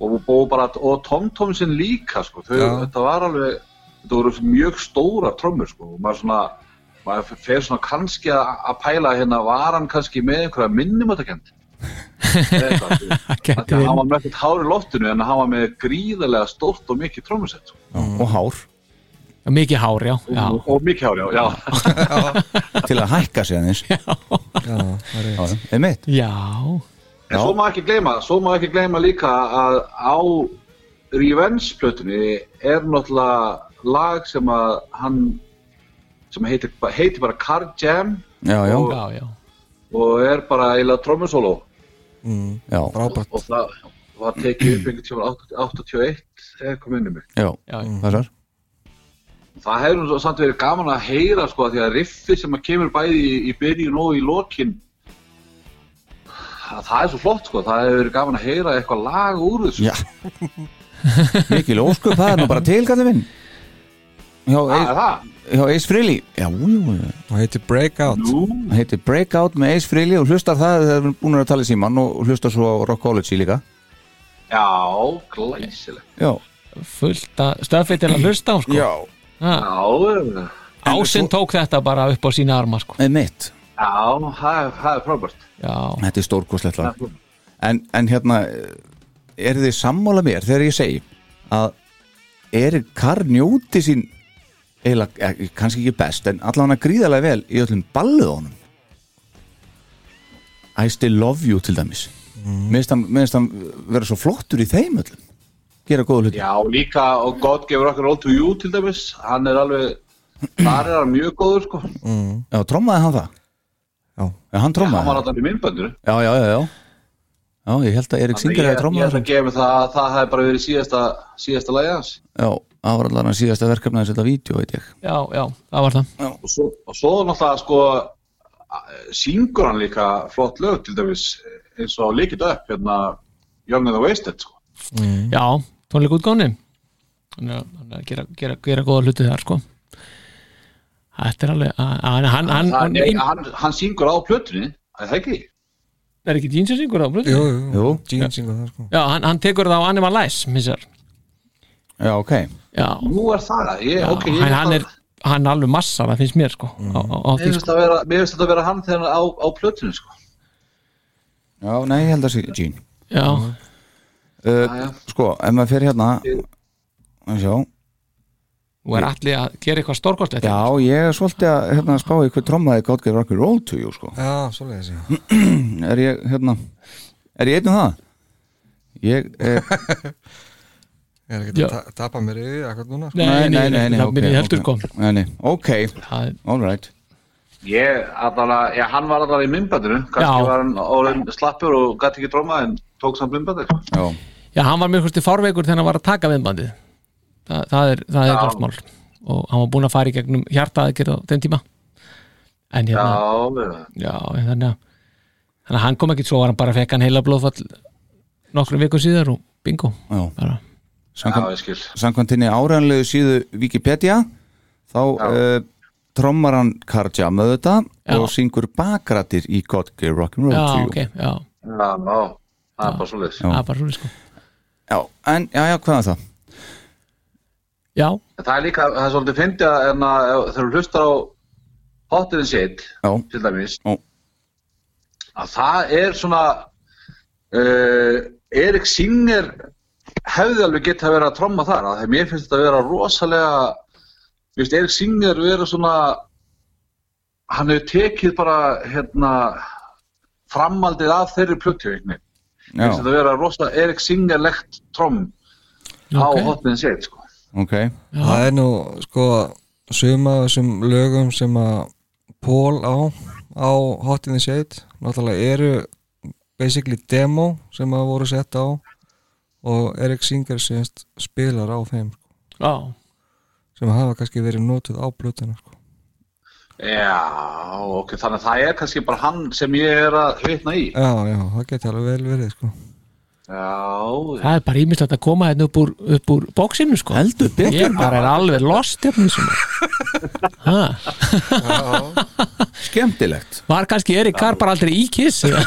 Speaker 13: og, og, bara, og tomtom sinn líka sko. Þau,
Speaker 2: Já.
Speaker 13: þetta var alveg þetta voru mjög stóra trömmur sko. og maður svona maður fer svona kannski að, að pæla hérna var hann kannski með einhverja minnumötakend
Speaker 3: hann
Speaker 13: var með ekkert hár í loftinu en hann var með gríðarlega stórt og mikið trömmusett sko.
Speaker 2: og hár
Speaker 3: mikið hár, já, já.
Speaker 13: og, og mikið hár, já, já.
Speaker 2: til að hækka sig aðeins (laughs) Já,
Speaker 4: já
Speaker 2: einmitt
Speaker 3: Já,
Speaker 13: en svo má ekki gleyma svo má ekki gleyma líka að á Revenge plötunni er náttúrulega lag sem að hann sem heitir, heitir bara Car Jam
Speaker 2: já, já,
Speaker 13: Og-
Speaker 3: já, já.
Speaker 13: og er bara eiginlega trommusóló
Speaker 4: Mm,
Speaker 2: já.
Speaker 4: Frábært
Speaker 13: og það var tekið upp einhvern tíma 81 eða kom inn í mig
Speaker 2: Já, þessar
Speaker 13: það hefur nú samt verið gaman að heyra sko því að riffi sem að kemur bæði í, í byrjun og í lokin að það er svo flott sko það hefur verið gaman að heyra eitthvað lag úr þessu
Speaker 2: Já, mikil óskup, það er nú bara tilgæði minn Hjá
Speaker 13: það er það
Speaker 2: Ace- hjá Ace Frehley Já, jú, jú
Speaker 4: Það heitir Breakout
Speaker 13: Nú.
Speaker 2: Það heitir Breakout með Ace Frehley og hlustar það þegar við erum búin að tala í símann og hlustar svo á Rockology líka
Speaker 13: já, glæsilegt
Speaker 2: Já,
Speaker 3: fullt að stöfi til að hlusta á sko.
Speaker 2: Já.
Speaker 3: Já.
Speaker 13: já,
Speaker 3: Ásinn tók þetta bara upp á sína arma sko.
Speaker 2: einmitt
Speaker 13: já það er, það er frábært
Speaker 3: Já,
Speaker 2: Þetta er stórkostlegt lag en, en hérna, er þið sammála mér þegar ég segi að er Karr njóti sín eila, kannski ekki best en allan að gríðalega vel í öllum ballið á honum I still love you til dæmis mm. minnst hann, mér finnst hann vera svo flottur í þeim öllum gera góða hluti
Speaker 13: já, líka og God gefur okkur all to you til dæmis hann er alveg þar er hann mjög góður sko
Speaker 2: mm. Já, trommaði hann það?
Speaker 4: Já,
Speaker 2: hann
Speaker 13: hann
Speaker 2: trommaði
Speaker 13: var alltaf í minnböndinu
Speaker 2: Já, já, já, já Já, ég held að Erik Singer
Speaker 13: ég,
Speaker 2: hefði
Speaker 13: ég
Speaker 2: trommað
Speaker 13: ætla að gefa mig það að það hefði bara verið síðasta, síðasta lagi hans
Speaker 2: Já, það var allan að síðasta verkefna að setja vídeo, veit ég
Speaker 3: já, já, það var það
Speaker 13: og svo, og svo náttúrulega sko eh, syngur hann líka flott lög til dæmis eh, eins og líkit upp hérna Young and the Wasted sko.
Speaker 3: Já, tónleik útgáni Hann er hann er að gera, gera, gera góða hluti þar sko. Þetta er alveg að- að- Hann, hann, hann,
Speaker 13: Það-
Speaker 3: hann,
Speaker 13: nei, hann, hann syngur á plötunni er það ekki?
Speaker 3: er ekki Gene sem syngur á blöðinni?
Speaker 4: Jú, jú,
Speaker 2: jú.
Speaker 4: Gene syngur það sko
Speaker 3: Já, hann, hann tekur það á Animal Lies misjar.
Speaker 2: Já, ok
Speaker 3: Já,
Speaker 13: Nú er það það, ég,
Speaker 3: já
Speaker 13: ok ég
Speaker 3: hann, hann er hann er alveg massa, það finnst mér sko, á,
Speaker 2: Mhm.
Speaker 3: á, á
Speaker 13: Mér
Speaker 3: því
Speaker 13: finnst
Speaker 3: sko.
Speaker 13: þetta vera, mér finnst þetta vera hann þegar hann á, á plötunni sko.
Speaker 2: Já, nei, ég held að sé Gene
Speaker 3: Já,
Speaker 2: Mhm. uh, Sko, ef maður fer hérna að Sjá,
Speaker 3: nú er allir að gera eitthvað stórkostlegt
Speaker 2: já, ég er svolítið að hérna, spá í hvað trommaði God Gave Rock and Roll to you, sko
Speaker 4: Já, svoleiðis já
Speaker 2: Er ég, hérna Er ég einn um það? Ég, eh,
Speaker 4: Ég er
Speaker 3: Já.
Speaker 4: ekki að ta- tapa mér yfir akkur núna sko.
Speaker 2: (laughs) nei, nei, nei, nei,
Speaker 3: það minni heldur,
Speaker 2: ok, nei, nei, ok,
Speaker 3: Það-
Speaker 2: all right
Speaker 13: Ég, allan að, já, hann var allan í minnbændinu kannski
Speaker 3: Já.
Speaker 13: var hann orðin slappur og gæti ekki dróma en tók samt minnbændi sko.
Speaker 2: Já,
Speaker 3: Já, hann var mjög hlusti fárveikur þegar hann var að taka viðbandið Þa, það er, það er
Speaker 13: Já.
Speaker 3: grátt mál og hann var búinn að fara í gegnum hjartaðgerð á þeim tíma en
Speaker 13: Já,
Speaker 3: hérna,
Speaker 13: já.
Speaker 3: já, en þannig að þannig að hann kom ekki svo var hann bara fekk hann heila blóðfall nokkrum vikum síðar og bingo
Speaker 2: já
Speaker 3: bara.
Speaker 13: já,
Speaker 2: Samkvæmt-
Speaker 13: ég skil
Speaker 2: Samkvæmt henni áræðanlegu síðu Wikipedia þá uh, trommar hann Karja með þetta
Speaker 3: Já.
Speaker 2: og syngur bakrættir í God Gave Rock'n'Roll
Speaker 3: Já,
Speaker 2: to you
Speaker 3: ok, já,
Speaker 13: Já, já, það er bara svolítið
Speaker 3: það er bara svona sko
Speaker 2: Já, en, já, já, hvað er það?
Speaker 3: Já,
Speaker 13: Það er líka, það er svolítið fyndið að en að ef- þegar þú hlustar á Hotter and Shit
Speaker 2: Já,
Speaker 13: til dæmis
Speaker 2: Já.
Speaker 13: að það er svona uh, Erik e, Singer hefði alveg gett að vera að tromma þar að mér finnst þetta að vera rosalega mér finnst Erik Singer vera svona hann hefur tekið bara hérna framaldið af þeirri plötjöfingni mér finnst þetta að vera rosalega Erik Singer-legt tromm
Speaker 4: Ok.
Speaker 13: á hotniðin séð sko.
Speaker 2: okay.
Speaker 4: það er nú sko suma af þessum lögum sem að Pól á á Hot in the Shade náttúrulega eru basically demo sem að voru sett á og Erik Singer semst spilar á þeim sko.
Speaker 3: Já.
Speaker 4: sem hafa kannski verið notuð á blötuna sko.
Speaker 13: já, ok, þannig að það er kannski bara hann sem ég er að vitna í
Speaker 4: já, já, það geti alveg vel verið sko.
Speaker 13: já,
Speaker 3: Það er bara ímislegt að koma hérna upp úr, upp úr bóksinu sko Heldur
Speaker 13: betur,
Speaker 3: Ég bara er alveg lost hérna í svona
Speaker 2: Skemmtilegt
Speaker 3: Var kannski Erik Kar bara aldrei í
Speaker 13: (laughs)
Speaker 3: kiss eða?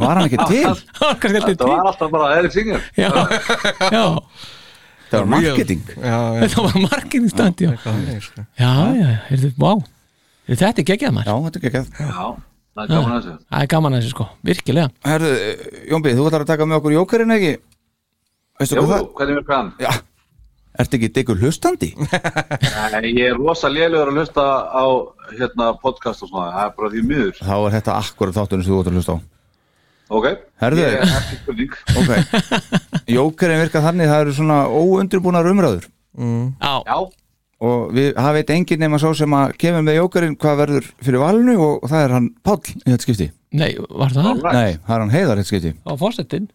Speaker 2: Var hann ekki til?
Speaker 3: var kannski aldrei
Speaker 13: þetta
Speaker 3: til
Speaker 13: var alltaf bara Erik Singer
Speaker 3: Já, já
Speaker 2: Það var marketing
Speaker 3: Þetta var marketingstand, já Já, já, heyrðu, vá Heyrðu, Þetta er geggjað maður
Speaker 2: Já, þetta er geggjað
Speaker 13: Já, það
Speaker 3: er gaman að þessu Það er gaman að þessu sko, virkilega
Speaker 2: Herðu, Jónbi, þú ætlar að taka með okkur jókerinn ekki? Veistu
Speaker 13: Jú,
Speaker 2: hvað það?
Speaker 13: hvernig verður hann?
Speaker 2: Já. Ertu ekki degur hlustandi?
Speaker 13: Nei, ég er rosa lélugur að hlusta á hérna, podcast og svona, það er bara því miður
Speaker 2: Þá er þetta akkurat þátturinn sem þú ætlar að hlusta á
Speaker 13: Ok,
Speaker 2: Herðu.
Speaker 13: ég er ekki spurning
Speaker 2: (laughs) Ok Jókerinn virka þannig, það eru svona óundirbúnar umræður
Speaker 4: mm.
Speaker 13: Já
Speaker 2: Og við, það veit enginn nema svo sem að kemur með jókerinn hvað verður fyrir valinu og það er hann Páll í þetta skipti
Speaker 3: Nei, var það?
Speaker 2: Nei, það er hann Heiðar í þetta skipti
Speaker 3: Á fórsetin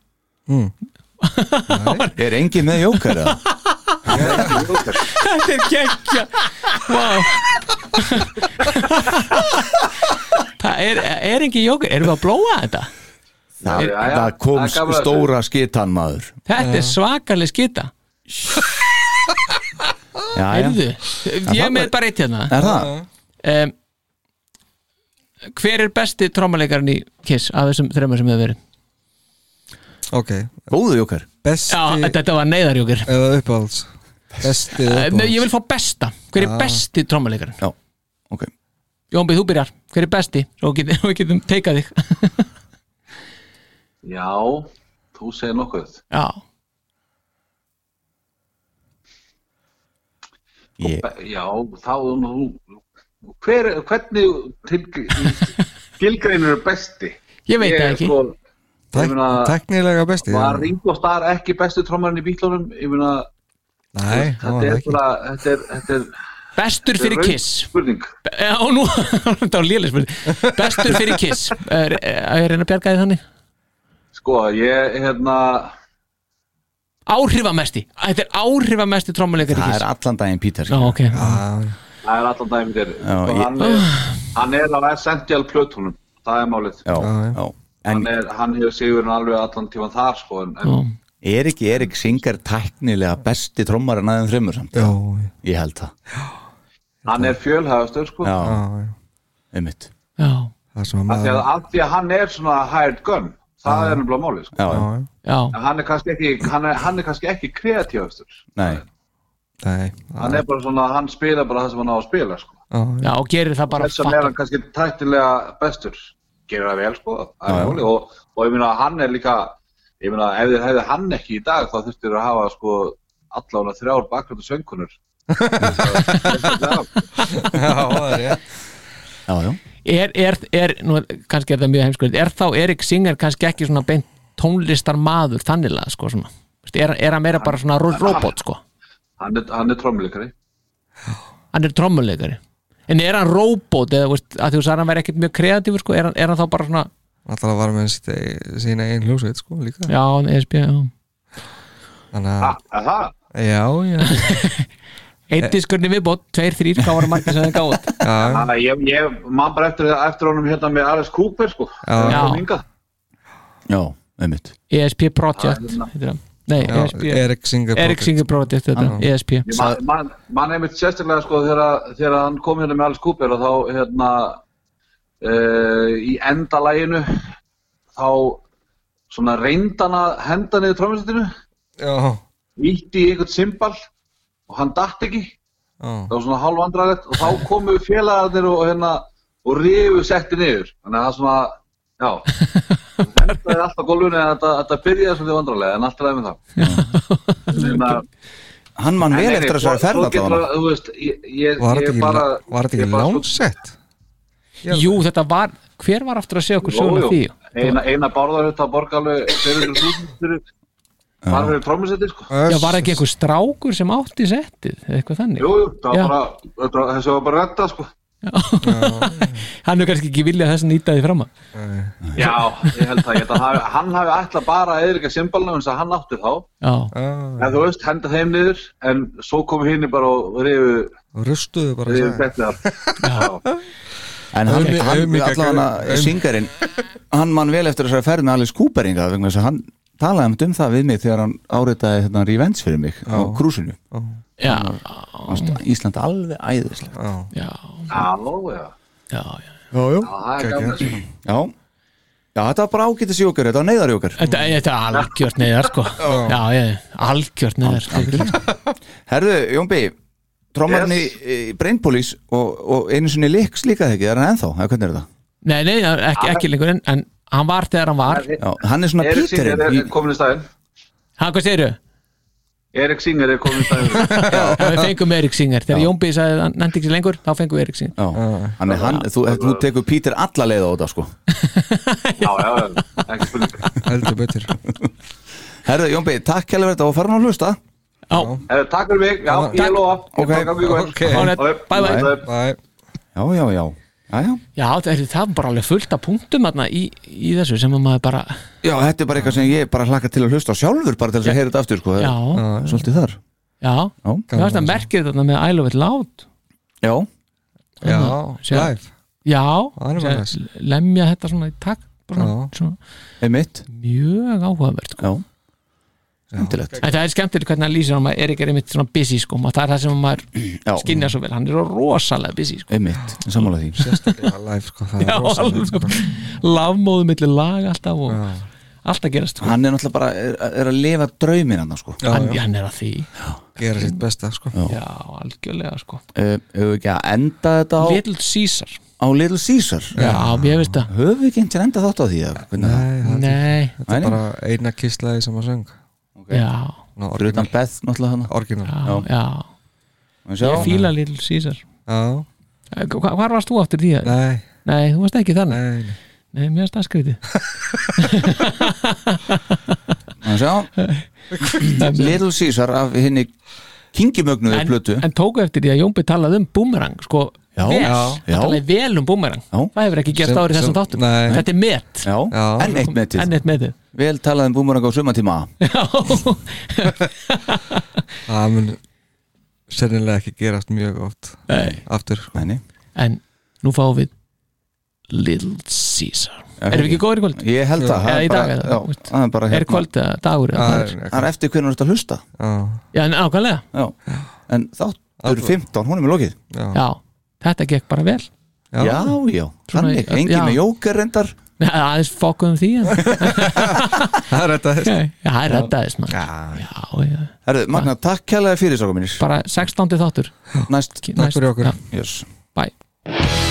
Speaker 2: mm. Er enginn með jóker eða?
Speaker 3: Þetta er geggja Vá Það er, er engin jókur Erum við að blóa þetta?
Speaker 2: Það,
Speaker 3: Já, já, já.
Speaker 2: það kom
Speaker 3: Það er gaman að
Speaker 2: stóra skitan maður
Speaker 3: Þetta er svakaleg skita
Speaker 2: já, já.
Speaker 3: Heyrðu, ég er
Speaker 2: það
Speaker 3: með
Speaker 2: var-
Speaker 3: bara eitt hérna
Speaker 2: Er það?
Speaker 3: um, Hver er besti trómalegarinn í Kiss af þessum þreymur sem hefur verið?
Speaker 4: ok,
Speaker 2: góðu jóker
Speaker 4: besti
Speaker 3: Já, þetta- þetta var neyðarjókur
Speaker 4: eða uppáhalds besti
Speaker 3: Eh,
Speaker 4: eða
Speaker 3: Nei,
Speaker 4: uppáhalds
Speaker 3: ég vil fá besta Hver er
Speaker 4: Ah.
Speaker 3: besti trómalegarinn?
Speaker 2: Já, ok
Speaker 3: Jónbið, þú byrjar Hver er besti? Svo getum við getum teikað þig
Speaker 13: Já, þú segir nokkuð
Speaker 3: Já
Speaker 2: Ég,
Speaker 13: Já, þá hver, hvernig til, gilgreinur er besti?
Speaker 3: Ég veit það
Speaker 13: er
Speaker 3: ekki.
Speaker 13: sko,
Speaker 4: Tæk,
Speaker 13: Ég meina-
Speaker 4: teknilega besti
Speaker 13: Var Ringo Starr ekki besti trommarinn í bílunum? Ég meina,
Speaker 4: Nei, það
Speaker 13: þetta
Speaker 4: var
Speaker 13: er
Speaker 4: ekki
Speaker 13: bara, þetta er, þetta er
Speaker 3: Bestur
Speaker 13: þetta er
Speaker 3: fyrir
Speaker 13: röng
Speaker 3: Kiss
Speaker 13: Spurning
Speaker 3: Be- Já, og nú, (laughs) þetta var lélega spurning Bestur fyrir Kiss Er, er ég að reyna að bjarga því þannig?
Speaker 13: Sko, ég, hérna,
Speaker 3: Áhrifamesti, þetta er áhrifamesti trómuleikar í
Speaker 2: Það
Speaker 3: Kiss
Speaker 2: er allan daginn Pítar
Speaker 3: Já, ok
Speaker 13: það er allan dæmi þér
Speaker 2: Já, ég-
Speaker 13: hann, er, hann er á essential plötunum það er málið
Speaker 2: Já, já. En
Speaker 13: hann, er, hann hefur sigurinn alveg allan tíman þar sko, en, en
Speaker 2: er ekki Erik Singer tæknilega besti trommar en aðeins þreymur samt?
Speaker 4: Já,
Speaker 2: Ég held það
Speaker 13: hann er fjölhæfastur sko.
Speaker 2: Já,
Speaker 13: af
Speaker 4: já.
Speaker 2: einmitt
Speaker 3: Já,
Speaker 4: það sem að
Speaker 13: því að,
Speaker 4: maður
Speaker 13: af því að hann er svona hired gun það er nefnilega málið sko.
Speaker 2: Já, já.
Speaker 3: já,
Speaker 13: En hann er kannski ekki hann er, hann er kannski ekki kreatífastur
Speaker 2: Nei
Speaker 4: Nei,
Speaker 13: hann er bara svona, hann spila bara það sem hann á að spila sko.
Speaker 3: já, og gerir það bara
Speaker 13: þess vegna er hann kannski tættilega bestur gerir það vel sko það er málið. og, og ég meina hann er líka ég meina ef þið hefði hann ekki í dag þá þurftir að hafa sko allavega þrjár bakgröndu söngunur
Speaker 2: Já, já
Speaker 3: er, er, er, nú er, kannski er það mjög heimskuð er þá Erik Singer kannski ekki svona beint tónlistar maður þanniglega sko svona Veist, er, er hann meira bara svona ro- robot sko
Speaker 13: hann er, hann er trommuleikari
Speaker 3: hann er trommuleikari en er hann robot eða veist, að þú sagði hann væri ekkert mjög kreatífur sko er hann, er hann þá bara svona
Speaker 4: alltaf var með sitt eigið- sína einn hljósveit sko líka
Speaker 3: já, hann ESB já.
Speaker 4: þannig að
Speaker 13: Aha.
Speaker 4: já, já Eh.
Speaker 3: einn diskurni viðbót, tveir, þrýr, hvað var margir sem það gáð
Speaker 4: já,
Speaker 13: Þannig að ég, ég man bara eftir, eftir honum hérna með Alice Cooper sko
Speaker 4: (laughs) Já.
Speaker 13: Hann kom hingað.
Speaker 2: Já, einmitt
Speaker 3: ESP E Project
Speaker 13: Já, hérna.
Speaker 3: heitir hann. nei, E
Speaker 4: Já,
Speaker 3: ESP
Speaker 4: Eric Singer
Speaker 3: Eric
Speaker 4: Project.
Speaker 3: Singer Project þetta, E
Speaker 4: Já.
Speaker 3: ESP
Speaker 13: Ég man- man- man einmitt sérstaklega sko þegar, að- þegar hann kom hérna með Alice Cooper og þá hérna uh, í endalæginu þá svona reyndan að henda niður trómminsitinu
Speaker 4: já,
Speaker 13: ítti í einhvern simbal og hann datt ekki
Speaker 4: já
Speaker 13: það var svona hálf andralett og þá komu
Speaker 4: (laughs)
Speaker 13: félagarnir og hérna og rifu setti niður þannig að það svona já lagði alltaf gólfinu en þetta, þetta byrjaði svolítið vandrarlega en alltaf lagði með það Þannig að-
Speaker 2: Hann man
Speaker 13: En
Speaker 2: vel
Speaker 13: nei,
Speaker 2: eftir
Speaker 13: nei,
Speaker 2: þessari
Speaker 13: svo-
Speaker 2: ferð
Speaker 13: svo getur
Speaker 2: allavega.
Speaker 13: það, þú veist, ég- ég-
Speaker 4: Var þetta
Speaker 13: ég
Speaker 4: ekki,
Speaker 13: bara
Speaker 4: var þetta ekki lánsett?
Speaker 3: Jú, þetta var, hver var aftur að segja okkur söguna af því?
Speaker 13: eina, eina bárðarhut að borga alveg 200.000 fyrir bara fyrir trómusettir sko
Speaker 3: Já, var það ekki einhver strákur sem átti settið, eða eitthvað þannig?
Speaker 13: Jú, jú, það
Speaker 3: Já.
Speaker 13: var bara, þetta, þessi var bara retta sko
Speaker 3: Hann er kannski ekki viljað þess að nýta því fram að
Speaker 13: Já, ég held það, ég held að hafi- hann hafi ætlað bara að eðrika simbalna eins að hann átti þá
Speaker 3: Já,
Speaker 13: en þú veist, henda þeim niður en svo kom hinn bara og rifu
Speaker 4: Rustuðu bara
Speaker 13: rifu
Speaker 4: sagði.
Speaker 13: betnar
Speaker 2: En hann,
Speaker 4: Aumi-
Speaker 2: hann
Speaker 4: aumingja-
Speaker 2: allan að
Speaker 4: aum-
Speaker 2: syngarinn hann man vel eftir þessari ferð með Alice Cooper inga, vegna þess að hann talaði einmitt um það við mig þegar hann áritaði þetta revenge fyrir mig á krúsinu
Speaker 3: já.
Speaker 2: Ísland alveg æðislega
Speaker 3: Já,
Speaker 13: Halló, já
Speaker 3: já,
Speaker 2: já, já.
Speaker 13: það er gaman sko.
Speaker 2: já. já þetta var bara ágætis í okkur, þetta var neyðar í okkur
Speaker 3: Þetta, þetta er algjört neðar sko Já, ég, algjört neðar sko.
Speaker 2: Herðu, Jónbi trommarinn yes. í, í Brain Police og, og einu sinni líks líka þegar er hann ennþá, eða hvernig er það?
Speaker 3: Nei, nei, ekki, ekki lengur en, en hann var þegar hann var
Speaker 2: Já, hann er svona
Speaker 13: Erik Singer er
Speaker 2: píterinn í,
Speaker 13: er komin í staðinn
Speaker 3: Hann, hvað segirðu?
Speaker 13: Erik Singer er komin í staðinn
Speaker 3: Já, við fengum Erik Singer Þegar Jón Bíði sagði að hann nefndi ekki sig lengur þá fengum við Erik Singer
Speaker 2: Já, hann er hann, þú, þú tekur Píter alla leið á þetta sko
Speaker 13: Já, já, já, ekki spurning
Speaker 4: Heldur betur
Speaker 2: Herðu, Jónbi, takk kælega verið þetta og farin að hlusta
Speaker 3: Já,
Speaker 13: Eh, Takk fyrir mig, (laughs) já, ég
Speaker 3: Takk.
Speaker 13: lofa Ég
Speaker 2: Ok.
Speaker 13: bara gangi ykkur vel.
Speaker 4: Ok. Á net.
Speaker 13: Ok,
Speaker 3: Bye, bye.
Speaker 4: Bæ
Speaker 2: Já, já, já, já, já.
Speaker 3: Já, það er það var bara alveg fullt af punktum þarna í, í þessu sem að maður bara
Speaker 2: Já, þetta er bara eitthvað sem ég bara hlakka til að hlusta á sjálfur bara til þess að heyra þetta aftur sko.
Speaker 3: Já.
Speaker 2: Svolítið þar
Speaker 3: Já, já. það var það merkir þarna með I love it loud
Speaker 2: Já,
Speaker 4: Já,
Speaker 3: Sjá.
Speaker 4: live
Speaker 3: Já,
Speaker 4: Það er bara
Speaker 3: sem lemja þetta svona í takt bara svona, svona,
Speaker 2: einmitt
Speaker 3: mjög áhugavert sko.
Speaker 2: Já, skemmtilegt
Speaker 3: en það er skemmtilegt hvernig hann lýsir hann maður er ekki einmitt svona busy sko og það er það sem
Speaker 2: Já.
Speaker 3: maður skinja svo vel hann er rosalega busy sko
Speaker 2: Einmitt, sammála því
Speaker 4: Sérstaklega live sko Það
Speaker 3: Já,
Speaker 4: er rosalega sko.
Speaker 3: lafmóðu milli lag alltaf og alltaf gerast sko.
Speaker 2: Hann er náttúrulega bara, er, er að lifa drauminn hann sko
Speaker 4: Já,
Speaker 3: hann,
Speaker 4: já.
Speaker 3: hann er að því
Speaker 4: Gera sitt besta sko
Speaker 3: já, algjörlega sko
Speaker 2: Hefur uh, ekki að enda þetta á,
Speaker 3: Little Caesar
Speaker 2: á Little Caesar
Speaker 3: já, ég veist það
Speaker 2: Höfum við ekki einhvern enda þátt á því eða hvernig er það?
Speaker 4: Nei, það
Speaker 3: nei,
Speaker 4: þetta
Speaker 2: Nei,
Speaker 4: er
Speaker 2: nei.
Speaker 4: bara eina kistlaði sem að söng
Speaker 3: já,
Speaker 4: Ná,
Speaker 2: Fyrir utan
Speaker 4: orginal,
Speaker 2: Beth náttúrulega hann
Speaker 4: orginal.
Speaker 3: já, já
Speaker 2: Við sjá
Speaker 3: ég fíla Little Caesar
Speaker 4: Já,
Speaker 3: Eh, hva- hvar varst þú aftur í því? að-
Speaker 4: nei,
Speaker 3: nei, þú varst ekki þannig
Speaker 4: nei, nei.
Speaker 3: nei, mér varst það skrítið
Speaker 2: Við sjá Little Caesar af henni kingimögnuðu
Speaker 3: en,
Speaker 2: plötu
Speaker 3: en tóku eftir því að Jónbi talaði um boomerang sko,
Speaker 2: Já.
Speaker 3: vel,
Speaker 2: Já.
Speaker 3: hann talaði vel um boomerang
Speaker 2: Já.
Speaker 3: það hefur ekki gerst
Speaker 4: Sem-
Speaker 3: árið þessum
Speaker 4: sem-
Speaker 3: þáttum
Speaker 4: nei.
Speaker 3: þetta er met
Speaker 2: Já,
Speaker 4: Já.
Speaker 2: enn eitt metið
Speaker 3: enn eitt metið (laughs)
Speaker 2: Vel talaði um búmurang á sumatíma
Speaker 3: Já.
Speaker 4: Það mun sennilega ekki gerast mjög oft
Speaker 3: Nei.
Speaker 4: Aftur sko.
Speaker 2: Nei, nei.
Speaker 3: en nú fáum við Little Caesar
Speaker 2: Já,
Speaker 3: erum við ekki góðir í kvöld?
Speaker 2: Ég held það, það
Speaker 3: eða
Speaker 2: er
Speaker 3: í dag
Speaker 2: bara-
Speaker 3: eða,
Speaker 2: já,
Speaker 3: þú veist.
Speaker 2: það er bara
Speaker 3: er
Speaker 2: hérna
Speaker 3: kvöld eða dagur eða
Speaker 4: Það
Speaker 3: það
Speaker 4: er-
Speaker 2: Það er eftir hvernig þú ert að hlusta
Speaker 4: Já, (laughs)
Speaker 3: já, en ákvæmlega
Speaker 2: Já. En þáttur 15, hún er með lokið
Speaker 4: já,
Speaker 3: já, þetta gekk bara vel (laughs)
Speaker 4: já.
Speaker 2: Já, já,
Speaker 3: Svona
Speaker 2: þannig,
Speaker 3: í-
Speaker 2: engin
Speaker 3: já.
Speaker 2: með jóker reyndar
Speaker 3: Nei, aðeins fokkuðum því en
Speaker 4: Það er þetta
Speaker 3: Já, það er reddaðist maður
Speaker 4: Já,
Speaker 3: já, já.
Speaker 2: Herðu, Magna, takk kælega fyrir sákum mínir
Speaker 3: bara 16. þáttur
Speaker 2: Næst,
Speaker 4: Takk fyrir okkur
Speaker 2: yes
Speaker 3: bye
Speaker 10: oh, Oh,